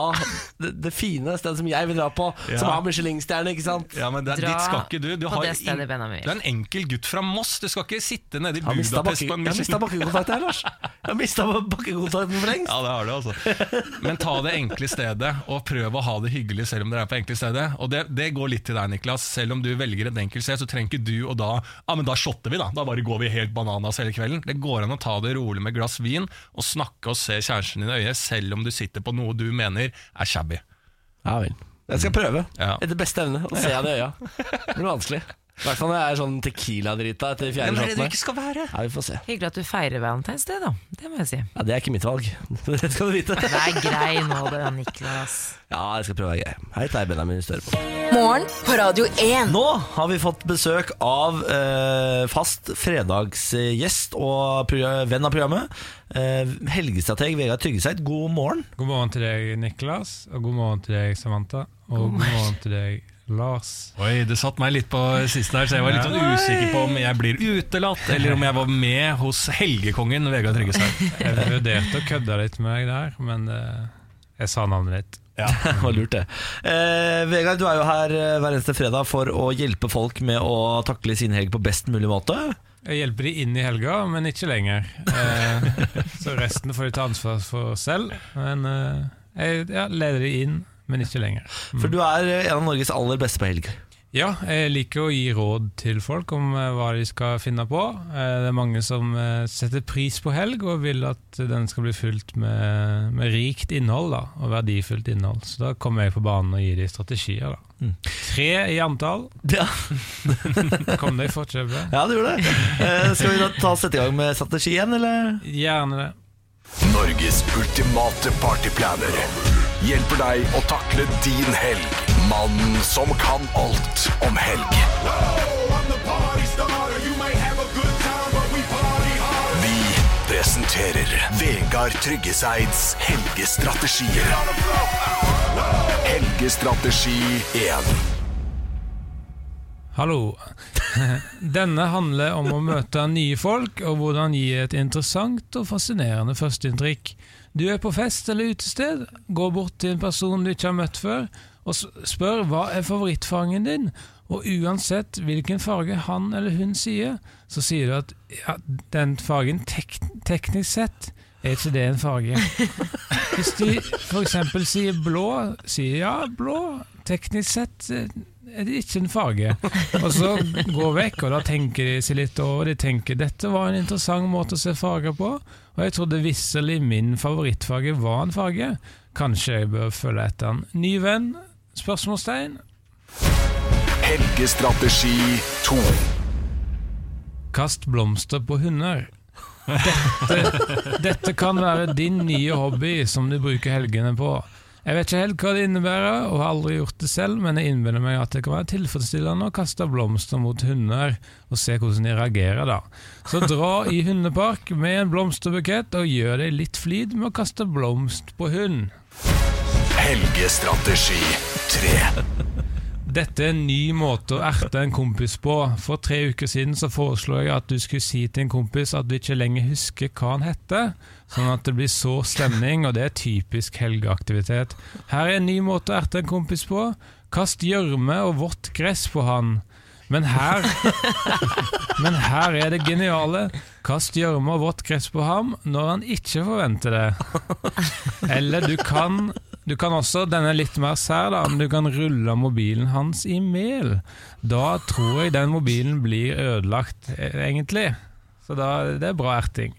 [SPEAKER 1] det, det fine stedet som jeg vil dra på,
[SPEAKER 2] Ja.
[SPEAKER 1] som har Michelin-stjerne, ikke sant?
[SPEAKER 2] Ja, men det, er-
[SPEAKER 3] Dra
[SPEAKER 2] dit skal ikke du. Du,
[SPEAKER 3] på det stedet Benjamin vil.
[SPEAKER 2] du er en enkel gutt fra Moss. Du skal ikke sitte nede i
[SPEAKER 1] Jeg har mista
[SPEAKER 2] Budapest på en Michelin.
[SPEAKER 1] bakkekontakten her, Lars. Jeg har mista bakkekontakten for lengst.
[SPEAKER 2] Ja, det har du altså. Men ta det enkle stedet, og prøv å ha det hyggelig selv om dere er på enkle stedet. Og det, det går litt til deg, Niklas. Selv om du velger et enkelt sted, så trenger ikke du og da Ja, men da shotter vi, da. Da bare går vi helt bananas hele kvelden. Det går an å ta det rolig med et glass vin, og snakke og se kjæresten din i øyet, selv om du sitter på noe du mener er shabby.
[SPEAKER 1] Ja vel. Jeg skal prøve
[SPEAKER 2] Ja.
[SPEAKER 1] etter beste evne å se han i øya. Det blir vanskelig. I hvert fall når jeg er sånn Tequila-drita etter
[SPEAKER 2] Men
[SPEAKER 1] fjerde
[SPEAKER 2] det er det
[SPEAKER 1] shoten.
[SPEAKER 2] du
[SPEAKER 1] her.
[SPEAKER 2] ikke skal være.
[SPEAKER 1] Ja, vi får se.
[SPEAKER 3] Hyggelig at du feirer Valentine's Day, da. Det må jeg
[SPEAKER 2] *laughs*
[SPEAKER 3] si.
[SPEAKER 1] Ja, Det er ikke mitt valg. *laughs* Det skal du vite.
[SPEAKER 3] Det er grei nå, det, Niklas.
[SPEAKER 1] Ja, jeg skal prøve å være grei. Hei til deg, Benjamin Størvold.
[SPEAKER 4] Morgen på Radio 1.
[SPEAKER 1] Nå har vi fått besøk av eh, fast fredagsgjest og pro- venn av programmet. Eh, helgestrateg Vegard Tryggeseid, god morgen.
[SPEAKER 7] God morgen til deg, Niklas, og god morgen til deg, Samantha. Og god morgen til deg, Lars.
[SPEAKER 2] Oi, det satt meg litt på sisten her, så jeg var litt sånn usikker på om jeg blir utelatt, eller om jeg var med hos helgekongen Vegard Tryggeseid.
[SPEAKER 7] Jeg vurderte å kødde litt med deg der, men eh, jeg sa navnet ditt.
[SPEAKER 1] *laughs* Det var lurt, det. Eh, Vegard, du er jo her eh, hver eneste fredag for å hjelpe folk med å takle sin helg på best mulig måte.
[SPEAKER 7] Jeg hjelper de inn i helga, men ikke lenger. Eh, så resten får de ta ansvar for selv. Men eh, jeg ja, leder de inn, men ikke lenger.
[SPEAKER 1] For du er eh, en av Norges aller beste på helg.
[SPEAKER 7] Ja, jeg liker å gi råd til folk om eh, hva de skal finne på. Eh, Det er mange som eh, setter pris på helg og vil at den skal bli fylt med, med rikt innhold da, og verdifullt innhold. Så da kommer jeg på banen og gir de strategier. Da. Tre i antall.
[SPEAKER 1] Ja,
[SPEAKER 7] Kom deg i forkjøpet.
[SPEAKER 1] ja du gjorde det. Eh, skal vi da ta sette i gang med strategien, eller?
[SPEAKER 7] Gjerne det.
[SPEAKER 8] Norges ultimate partyplaner hjelper deg å takle din helg. Mannen som kan alt om helg. Vi presenterer Vegard Tryggeseids helgestrategier. Helgestrategi 1.
[SPEAKER 7] Hallo. *laughs* Denne handler om å møte nye folk og hvordan gi et interessant og fascinerende førsteinntrykk. Du er på fest eller utested, går bort til en person du ikke har møtt før, og s- spør hva er favorittfargen din, og uansett hvilken farge han eller hun sier, så sier du at ja, den fargen tek teknisk sett er ikke det en farge. Hvis de f.eks. sier blå, sier ja, blå. Teknisk sett eh, er det ikke en farge. Og så går vekk, og da tenker de seg litt over. De tenker dette var en interessant måte å se farger på, og jeg trodde visselig min favorittfarge var en farge. Kanskje jeg bør følge etter en ny venn? Spørsmålstegn.
[SPEAKER 8] Helgestrategi 2.
[SPEAKER 7] Kast blomster på hunder. Dette, dette kan være din nye hobby som du bruker helgene på. Jeg vet ikke helt hva det innebærer, og har aldri gjort det selv, men jeg innbiller meg at det kan være tilfredsstillende å kaste blomster mot hunder, og se hvordan de reagerer da. Så dra i hundepark med en blomsterbukett, og gjør deg litt flid med å kaste blomst på hund.
[SPEAKER 8] Helgestrategi 3.
[SPEAKER 7] Dette er en ny måte å erte en kompis på. For tre uker siden så foreslo jeg at du skulle si til en kompis at du ikke lenger husker hva han heter, sånn at det blir så stemning, og det er typisk helgeaktivitet. Her er en ny måte å erte en kompis på. Kast gjørme og vått gress på han. Men her *laughs* Men her er det geniale. Kast gjørme og vått gress på ham når han ikke forventer det. Eller du kan Du kan også, denne er litt mer sær da Men du kan rulle mobilen hans i mel Da tror jeg den mobilen blir ødelagt eh, Egentlig Så da, det er bra erting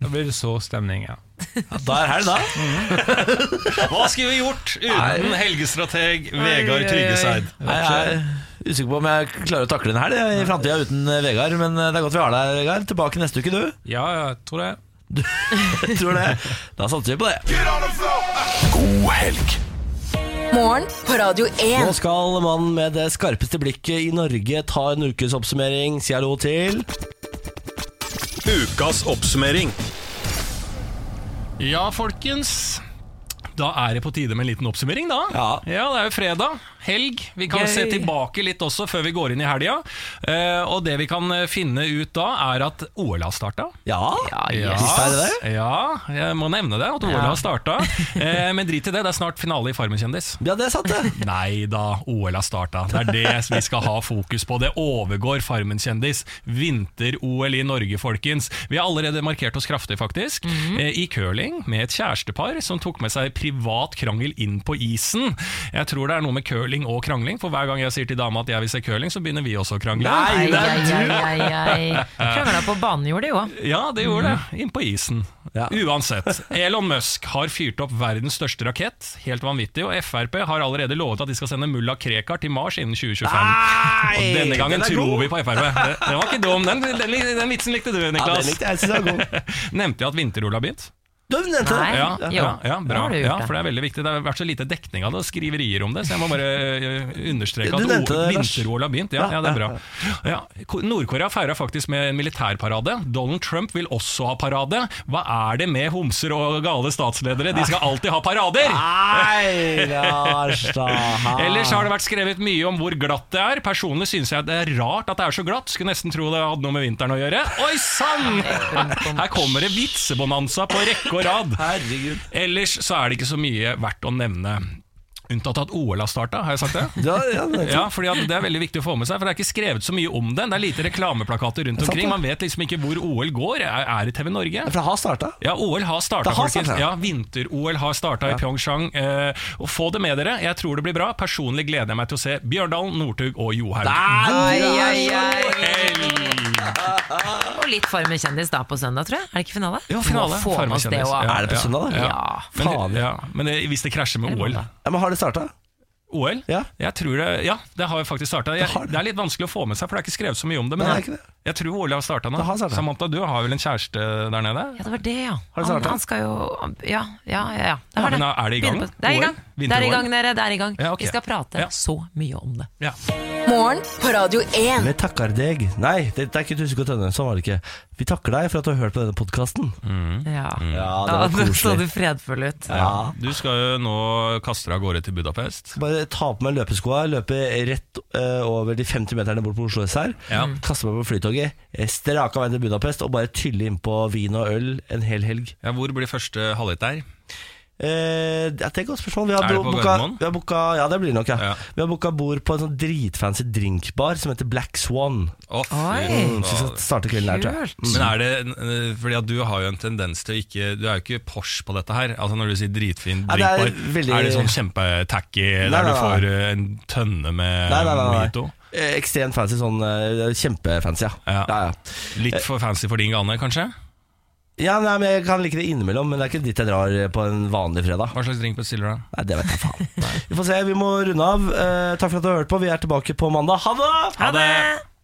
[SPEAKER 7] Da blir det så stemning, ja
[SPEAKER 1] Da er helg, da.
[SPEAKER 2] Hva skulle vi gjort uten helgestrateg Vegard Tryggeseid?
[SPEAKER 1] Jeg er usikker på om jeg klarer å takle den her det, i framtida uten eh, Vegard, men eh, det er godt vi har deg, Vegard. Tilbake neste uke, du.
[SPEAKER 7] Ja, jeg tror det
[SPEAKER 1] Jeg tror det. Da satser vi på det.
[SPEAKER 8] God helg.
[SPEAKER 4] Morgen på Radio
[SPEAKER 1] Nå
[SPEAKER 4] 1.
[SPEAKER 1] skal mannen med det skarpeste blikket i Norge ta en ukesoppsummering. Si hallo til
[SPEAKER 6] Ukas oppsummering.
[SPEAKER 2] Ja, folkens. Da er det på tide med en liten oppsummering, da.
[SPEAKER 1] Ja.
[SPEAKER 2] det er jo fredag. Helg. Vi kan
[SPEAKER 3] Gøy.
[SPEAKER 2] se tilbake litt også før vi går inn i helga. Eh, og det vi kan eh, finne ut da, er at OL har starta.
[SPEAKER 1] Ja.
[SPEAKER 2] Ja,
[SPEAKER 1] Visst er det
[SPEAKER 2] ja, jeg må nevne det. At OL har starta. Eh, men drit i det, det er snart finale i Farmen kjendis.
[SPEAKER 1] Ja, det er sant, det.
[SPEAKER 2] Nei da, OL har starta. Det er det vi skal ha fokus på. Det overgår Farmen kjendis. Vinter-OL i Norge, folkens. Vi har allerede markert oss kraftig, faktisk.
[SPEAKER 1] Mhm.
[SPEAKER 2] eh, I curling med et kjærestepar som tok med seg privat krangel inn på isen. Jeg tror det er noe med curling og krangling, for hver gang jeg sier til dama at jeg vil se curling, så begynner vi også å krangle.
[SPEAKER 3] Ai,
[SPEAKER 1] det
[SPEAKER 3] ai, ai, ai, ai. Krangla på banen gjorde de jo.
[SPEAKER 2] Ja, det gjorde det. Inn på isen.
[SPEAKER 1] Mhm. Ja.
[SPEAKER 2] Uansett. Elon Musk har fyrt opp verdens største rakett. Helt vanvittig. Og Frp har allerede lovet at de skal sende mulla Krekar til Mars innen 2025.
[SPEAKER 1] *laughs* Nei,
[SPEAKER 2] og denne gangen
[SPEAKER 1] den er
[SPEAKER 2] tror
[SPEAKER 1] god.
[SPEAKER 2] vi på Frp. Den, den var ikke dum. Den, den, den vitsen likte du,
[SPEAKER 1] Ja,
[SPEAKER 2] Niklas.
[SPEAKER 1] den likte jeg. Jeg synes det var god.
[SPEAKER 2] Nevnte jeg at vinter-OL har begynt?
[SPEAKER 1] Du nevnte det.
[SPEAKER 3] Nei.
[SPEAKER 2] Ja,
[SPEAKER 3] jo.
[SPEAKER 2] ja, ja,
[SPEAKER 3] Da
[SPEAKER 2] bra.
[SPEAKER 3] har du gjort
[SPEAKER 2] Ja,
[SPEAKER 3] det.
[SPEAKER 2] for det er veldig viktig. Det har vært så lite dekning av det, og skriverier om det, så jeg må bare eh, understreke
[SPEAKER 1] Du nevnte
[SPEAKER 2] at
[SPEAKER 1] det,
[SPEAKER 2] O-
[SPEAKER 1] Lars.
[SPEAKER 2] vinter-OL har begynt. Ja,
[SPEAKER 1] Ja,
[SPEAKER 2] ja, det er
[SPEAKER 1] ja,
[SPEAKER 2] bra. Ja, Ko- Nord-Korea feira faktisk med en militærparade. Donald Trump vil også ha parade. Hva er det med homser og gale statsledere? De skal alltid ha parader!
[SPEAKER 1] Nei, Lars, da.
[SPEAKER 2] Ellers
[SPEAKER 1] Ah.
[SPEAKER 2] har det vært skrevet mye om hvor glatt det er. Personlig syns jeg det er rart at det er så glatt. Skulle nesten tro det hadde noe med vinteren å gjøre. Oi
[SPEAKER 1] *laughs*
[SPEAKER 2] sann! Her kommer det vitsebonanza på rekke og rad.
[SPEAKER 1] Herregud.
[SPEAKER 2] Ellers så er det ikke så mye verdt å nevne. Unntatt at OL har starta, har jeg sagt det?
[SPEAKER 1] Ja, ja, det er
[SPEAKER 2] Ja, fordi at Det er veldig viktig å få med seg, for det er ikke skrevet så mye om det. Det er lite reklameplakater rundt
[SPEAKER 1] sant,
[SPEAKER 2] omkring.
[SPEAKER 1] det.
[SPEAKER 2] Man vet liksom ikke hvor OL går. Er er det TV Norge?
[SPEAKER 1] For det har starta.
[SPEAKER 2] Ja, OL har starta,
[SPEAKER 1] Det har
[SPEAKER 2] folkens.
[SPEAKER 1] startet.
[SPEAKER 2] Ja, Vinter-OL har starta i Pyeongchang. Eh, og få det med dere. Jeg tror det blir bra. Personlig gleder jeg meg til å se Bjørdalen, Northug og Johaug.
[SPEAKER 3] Ai, ai,
[SPEAKER 2] God
[SPEAKER 3] ai.
[SPEAKER 2] helg!
[SPEAKER 3] Og litt Farmen kjendis da på søndag, tror jeg. Er det ikke finale?
[SPEAKER 2] Ja, finale.
[SPEAKER 3] Må få med oss det
[SPEAKER 2] Farmen-kjendis.
[SPEAKER 3] også.
[SPEAKER 2] Ja,
[SPEAKER 1] Er det på
[SPEAKER 2] ja,
[SPEAKER 1] søndag, da?
[SPEAKER 3] Ja.
[SPEAKER 1] Faen,
[SPEAKER 2] Men,
[SPEAKER 1] ja.
[SPEAKER 2] ja, men eh, hvis det krasjer med OL, da?
[SPEAKER 1] Men har det starta?
[SPEAKER 2] OL?
[SPEAKER 1] Ja.
[SPEAKER 2] Jeg tror det, ja, det har jo faktisk starta.
[SPEAKER 1] Det har det.
[SPEAKER 2] Det er litt vanskelig å få med seg, for det er ikke skrevet så mye om det. Men
[SPEAKER 1] Nei, det er
[SPEAKER 2] jeg,
[SPEAKER 1] ikke det.
[SPEAKER 2] jeg tror OL har starta nå.
[SPEAKER 1] Det har startet.
[SPEAKER 2] Samantha, du har vel en kjæreste der nede?
[SPEAKER 3] Ja, det var det, ja.
[SPEAKER 1] Har du
[SPEAKER 3] han,
[SPEAKER 1] startet?
[SPEAKER 3] han skal jo Ja, ja, ja. ja. Det
[SPEAKER 2] Ja,
[SPEAKER 3] har
[SPEAKER 2] men er det i gang?
[SPEAKER 3] Begynner på- Det er i
[SPEAKER 2] OL?
[SPEAKER 3] gang. Det er i
[SPEAKER 2] Vinter-OL?
[SPEAKER 3] gang, dere. Det er i gang.
[SPEAKER 2] Ja, ok.
[SPEAKER 3] Vi skal prate
[SPEAKER 2] Ja.
[SPEAKER 3] så mye om det.
[SPEAKER 2] Ja.
[SPEAKER 4] Morgen på Radio 1.
[SPEAKER 1] Vi takker deg. Nei, det, det er ikke Tusvik og Tønne. Sånn var det ikke. Vi takker deg for at du har hørt på denne podkasten.
[SPEAKER 2] Mm.
[SPEAKER 3] Ja.
[SPEAKER 1] Ja, det
[SPEAKER 3] *laughs* Da
[SPEAKER 1] var
[SPEAKER 3] da så du
[SPEAKER 1] koselig.
[SPEAKER 3] fredfull ut.
[SPEAKER 1] Ja.
[SPEAKER 2] Du skal jo nå kaste deg av gårde til Budapest.
[SPEAKER 1] Bare ta på meg løpeskoa, løpe rett eh, over de 50 meterne bort på Oslo S her.
[SPEAKER 2] Ja.
[SPEAKER 1] Kaste meg på flytoget, eh, strake av veien til Budapest og bare tylle innpå vin og øl en hel helg.
[SPEAKER 2] Ja, hvor blir første halvliter?
[SPEAKER 1] Eh, det er et godt spørsmål. Vi har
[SPEAKER 2] Er det
[SPEAKER 1] bo-
[SPEAKER 2] på
[SPEAKER 1] booka-
[SPEAKER 2] Gardermoen?
[SPEAKER 1] Vi har booka, ja, det blir det nok, ja.
[SPEAKER 2] Ja.
[SPEAKER 1] Vi har booka bord på en sånn dritfancy drinkbar som heter Black Swan.
[SPEAKER 2] Å, fy
[SPEAKER 3] Oi.
[SPEAKER 1] Mm, så vi skal
[SPEAKER 2] faen.
[SPEAKER 1] starte kvelden der, tror jeg. Mm.
[SPEAKER 3] Kult.
[SPEAKER 2] Men er det, eh, fordi at Du har jo en tendens til å ikke Du er jo ikke Porsche på dette her. Altså Når du sier dritfin
[SPEAKER 1] Ja, det er
[SPEAKER 2] drinkbar,
[SPEAKER 1] veldig-
[SPEAKER 2] er det sånn kjempetacky
[SPEAKER 1] Nei,
[SPEAKER 2] der
[SPEAKER 1] nei,
[SPEAKER 2] du
[SPEAKER 1] nei.
[SPEAKER 2] får eh, en tønne med
[SPEAKER 1] Nei, nei, nei, nei.
[SPEAKER 2] mojito?
[SPEAKER 1] Eh, Ekstremt fancy, sånn eh, kjempefancy, ja.
[SPEAKER 2] Ja.
[SPEAKER 1] ja, ja.
[SPEAKER 2] Litt for fancy for din gane, kanskje?
[SPEAKER 1] Ja, nei, men Jeg kan like det innimellom, men det er ikke dit jeg drar på en vanlig fredag.
[SPEAKER 2] Hva slags drink bestiller du? da?
[SPEAKER 1] Nei, Det vet jeg faen. Vi får se, vi må runde av. Eh, takk for at du har hørt på. Vi er tilbake på mandag. Ha det!
[SPEAKER 2] Ha det!